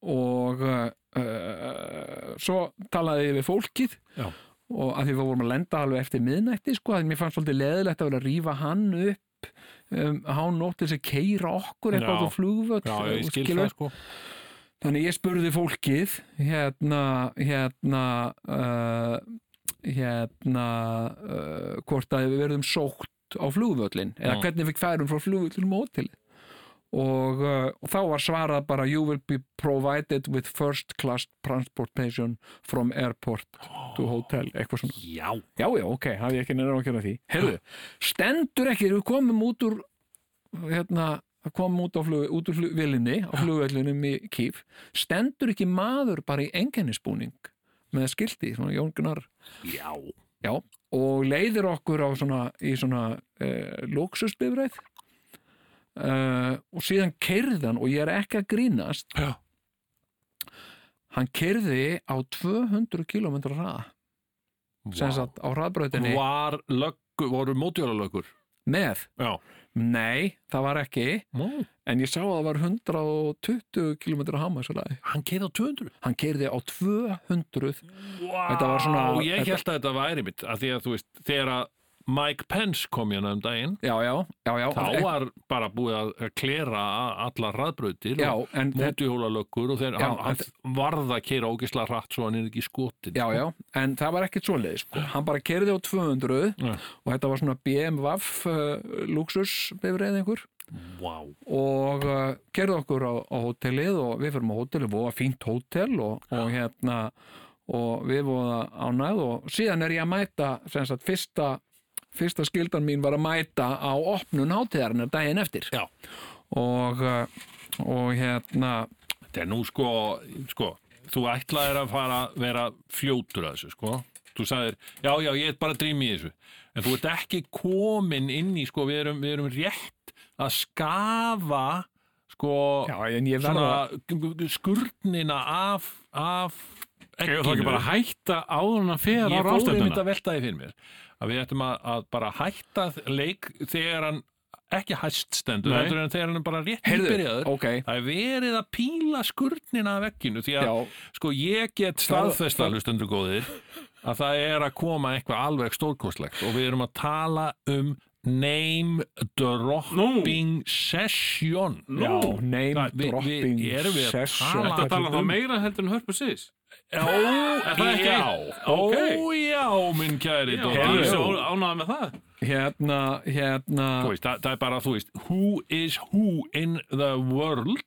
og uh, uh, svo talaði ég við fólkið
Já.
og að því við vorum að lenda alveg eftir miðnætti sko, að mér fannst svolítið leðilegt að vera að rífa hann upp um, hán nótt til þess að keira
Já.
okkur eitthvað út á flugvöll
Já, ég skil
skilur.
það sko.
Þannig ég spurði fólkið hérna hérna uh, hérna uh, hvort að við verðum sótt á flugvöllin eða
Já.
hvernig við færum frá flugvöllinum á hótelið og, uh, og þá var svarað bara you will be provided with first class transportation from airport to hotel eitthvað svona
Já.
Já, já, ok, hafði ég ekki nefnir að gera því Heyrðu, stendur ekki, við komum út úr hérna, komum út, á flug, út úr flug, vilinni á flugvellinum í Kýf stendur ekki maður bara í engennisbúning með skilti, svona Jón Gunnar
Já.
já, og leiðir okkur á svona, í svona eh, lóksusbifræð eh, og síðan keirðan og ég er ekki að grínast
Já.
hann keirði á 200 km ræða sem
Vá.
sagt á hraðbrautinni
Var löggur, voru mótjólalöggur?
með
Já.
Nei, það var ekki
Mó.
en ég sá að það var 120 km hámæsulaði.
Hann keirði á 200.
Hann keirði á 200
Vá.
Þetta var svona-
Ég
þetta-
held að þetta væri mitt, að því að þú veist, þegar að Mike Pence kom hérna um daginn,
Já, já, já, já
þá
en-
var bara búið að að klera allar raðbrautir
Já,
og
en þetta
mótjólalöggur og þeir,
Já,
hann, hann varða að keira ógislega hratt svo hann er ekki skotin.
Já, já, en það var ekkert svoleiðis sko. Hann bara kerði á 200
Já.
og þetta var svona BMW uh, luxusbifreið einhver
Vá.
og uh, kerði okkur á, á hótelið og við fyrir á hótelið, voða fínt hótel og, og hérna og við voða ánæð og síðan er ég að mæta sem sagt fyrsta fyrsta skildan mín var að mæta á opnun hátíðarinnar daginn eftir
Já.
og, uh, og hérna
Þetta er nú sko, sko, þú ætlaðir að fara að vera fljótur að þessu, sko. Þú sagðir, já, já, ég er bara að drýma í þessu. En þú ert ekki komin inn í, sko, við erum, við erum rétt að skafa, sko,
já, en ég verða
svona skurnina af, af
Ég þá ekki bara að hætta áður en að fer á
Ég fóði mynd
ráðstefnuna.
að velta því fyrir mér að við ættum að, að bara hætta leik þegar hann ekki hæst stendur,
Nei.
heldur en þegar hann er bara rétt
Heyrðu,
nýbyrjaður.
ok,
Það er verið að píla skurnina af vegginu því að
já,
sko ég get staðfesta hlustundur góðir að það er að koma eitthvað alveg stórkostlegt og við erum að tala um name dropping session
já, name
Það- við- við-
dropping
erum við að
session.
tala- um-
Þetta tala þá meira heldur en hörpu sís.
Ó,
Er það ekki-
já, ó,
Ok.
já, minn kæri
Já,
Doddi.
hann er svo
Jú.
ánægð með það.
hérna, hérna
Þú veist, það, það er bara, þú veist, who is who in the world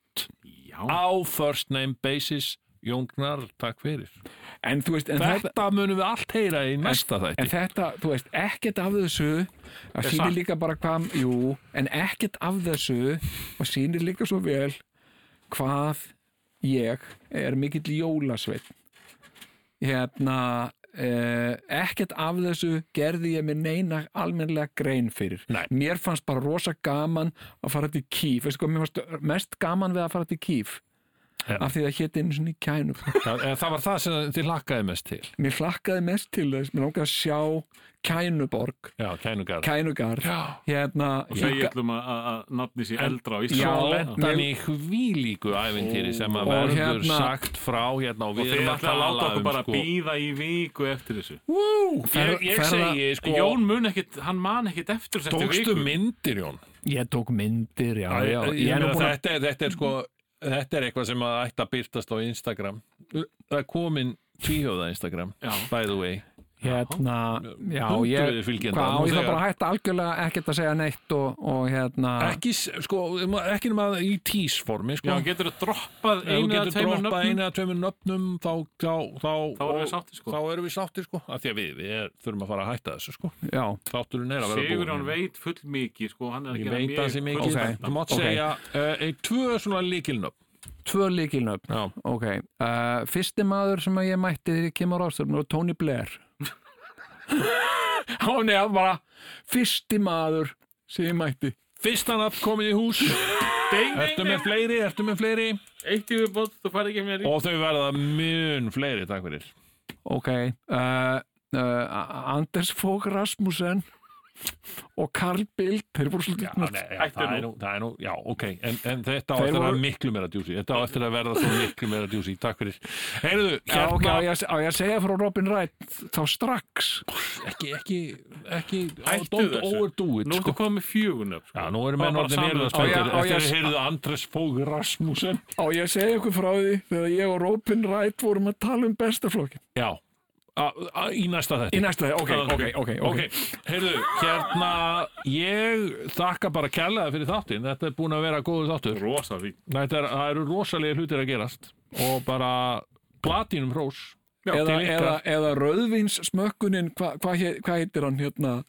Já.
á first name basis Jóngnar, takk fyrir.
en þú veist, en þetta
Þetta munum við allt heyra í næsta þætti.
En þetta, þú veist, ekkert af þessu að
Er
sýnir
satt.
líka bara hvað jú, en ekkert af þessu og sýnir líka svo vel hvað ég er mikill jólasveit hérna Uh, ekkert af þessu gerði ég mér neina almennlega grein fyrir
Nei.
mér fannst bara rosa gaman að fara til kýf veistu hvað, mér fannst mest gaman við að fara til kýf
Já.
af því það hétt einu svona kænup
það, eh, það var það sem þið lakkaði mest til
mér hlakkaði mest til þess, mér langaði að sjá kænuborg,
já, kænugar
kænugar
Já.
hérna
og segja
ég-
allum að að nafni sér eldra á
Já.
Íslandi
Þannig í hvílíku æfintýri sem að
Og
verður
hérna-
sagt frá hérna og
og
við
þeir
erum að
ætla að
tala
láta okkur
um
bara
sko,
býða í viku eftir þessu
Wú,
ég, ég segi sko
Jón mun ekkit, hann man ekkit eftir þessu
tókstu myndir Jón
ég tók myndir, já,
Já,
já
ég
ég er nú
meina,
búin að
þetta, er- þetta er sko þetta er eitthvað sem að ætti að byrtast á Instagram það er komin tvíhjóða Instagram
Já.
by the way
hérna, já,
Hundruðir
ég
fylgjenda,
hvað, á
nú
ég það
þegar.
bara að hætta algjörlega ekkert að segja neitt og, og hérna
ekki, s- sko, um- ekki nema í tísformi
Já,
sko.
hann getur að droppað
ef þú
einu að
getur
tveimur
droppað
nöfnum
einu eða tveimur nöfnum þá, þá, þá,
Þá erum við sáttir, sko.
þá erum við sáttir sko. af því að við, við er, þurfum að fara að hætta þessu sko.
já,
þátturinn er að vera
Sigur hann
búinn.
veit full mikið sko, hann er að
ég
gera
veit
mjög
það sem mikið
Ok,
þú mátt
ok.
segja uh, ein, tvö svona líkilnöfn
tvö líkilnöfn
já,
ok, uh, fyrsti maður sem að ég mætti þegar ég kemur ástöfnum var Tony Blair hann er bara fyrsti maður sem ég mætti
fyrsta nafn komið í hús
ding,
ertu
ding,
með
ding,
fleiri, ertu með fleiri
eitt í viðbót þú farið ekki með
og þau verða mun fleiri, takk fyrir
Ok, uh, uh, Anders Fogh Rasmussen og Karl Bild, þeir voru svolítið
Já, Ah, nei, já,
Ættu
það, er
nú.
nú, það er nú, já, ok en, en þetta á
Þeir
eftir að
voru-
vera miklu meira djúsi þetta á eftir að verða svo miklu meira djúsi takk fyrir, heyrðu,
Já, ok,
hérna
á ég, að- á ég að segja frá Robin Wright þá strax
ekki, ekki, ekki
Hættu
don't
þessu.
overdo it,
nú ertu
sko
komið með fjögunöf sko.
Já, nú erum menn
Bara
orðin
samruna.
erðaspöntir
Á, já, á,
eftir
já,
að
s-
heyrðu Andres Fóg Rasmussen
á ég að segja ykkur frá því þegar ég og Robin Wright vorum að tala um bestaflokkin
Já, a, a, í næsta þetta
í næsta þegar, ok, ok, ok,
um ok, heyrðu, hérna ég þakka bara kærlega fyrir þáttinn, þetta er búin að vera góður þáttur
rosa fín
Þetta er, það eru rosalega hlutir að gerast og bara platinum hrós
eða,
til ykkar.
eða, eða Röðvins smökkunin, hvað hva, hét- hvað heitir hann hérna,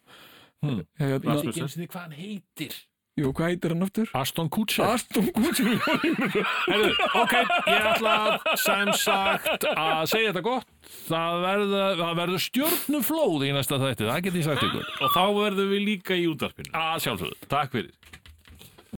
Hmm.
hérna
Rasmussen.
ekki einu sinni hvað hann heitir
jú, hvað heitir hann aftur?
Aston Kutcher
Aston Kutcher
Heyrðu, ok, ég ætla að, sem sagt að segja þetta gott það verður, það verður stjórnuflóð í næsta þætti, það get ég sagt ykkur
og þá verðum við líka í útarpinu
að sjálfsögðu
takk fyrir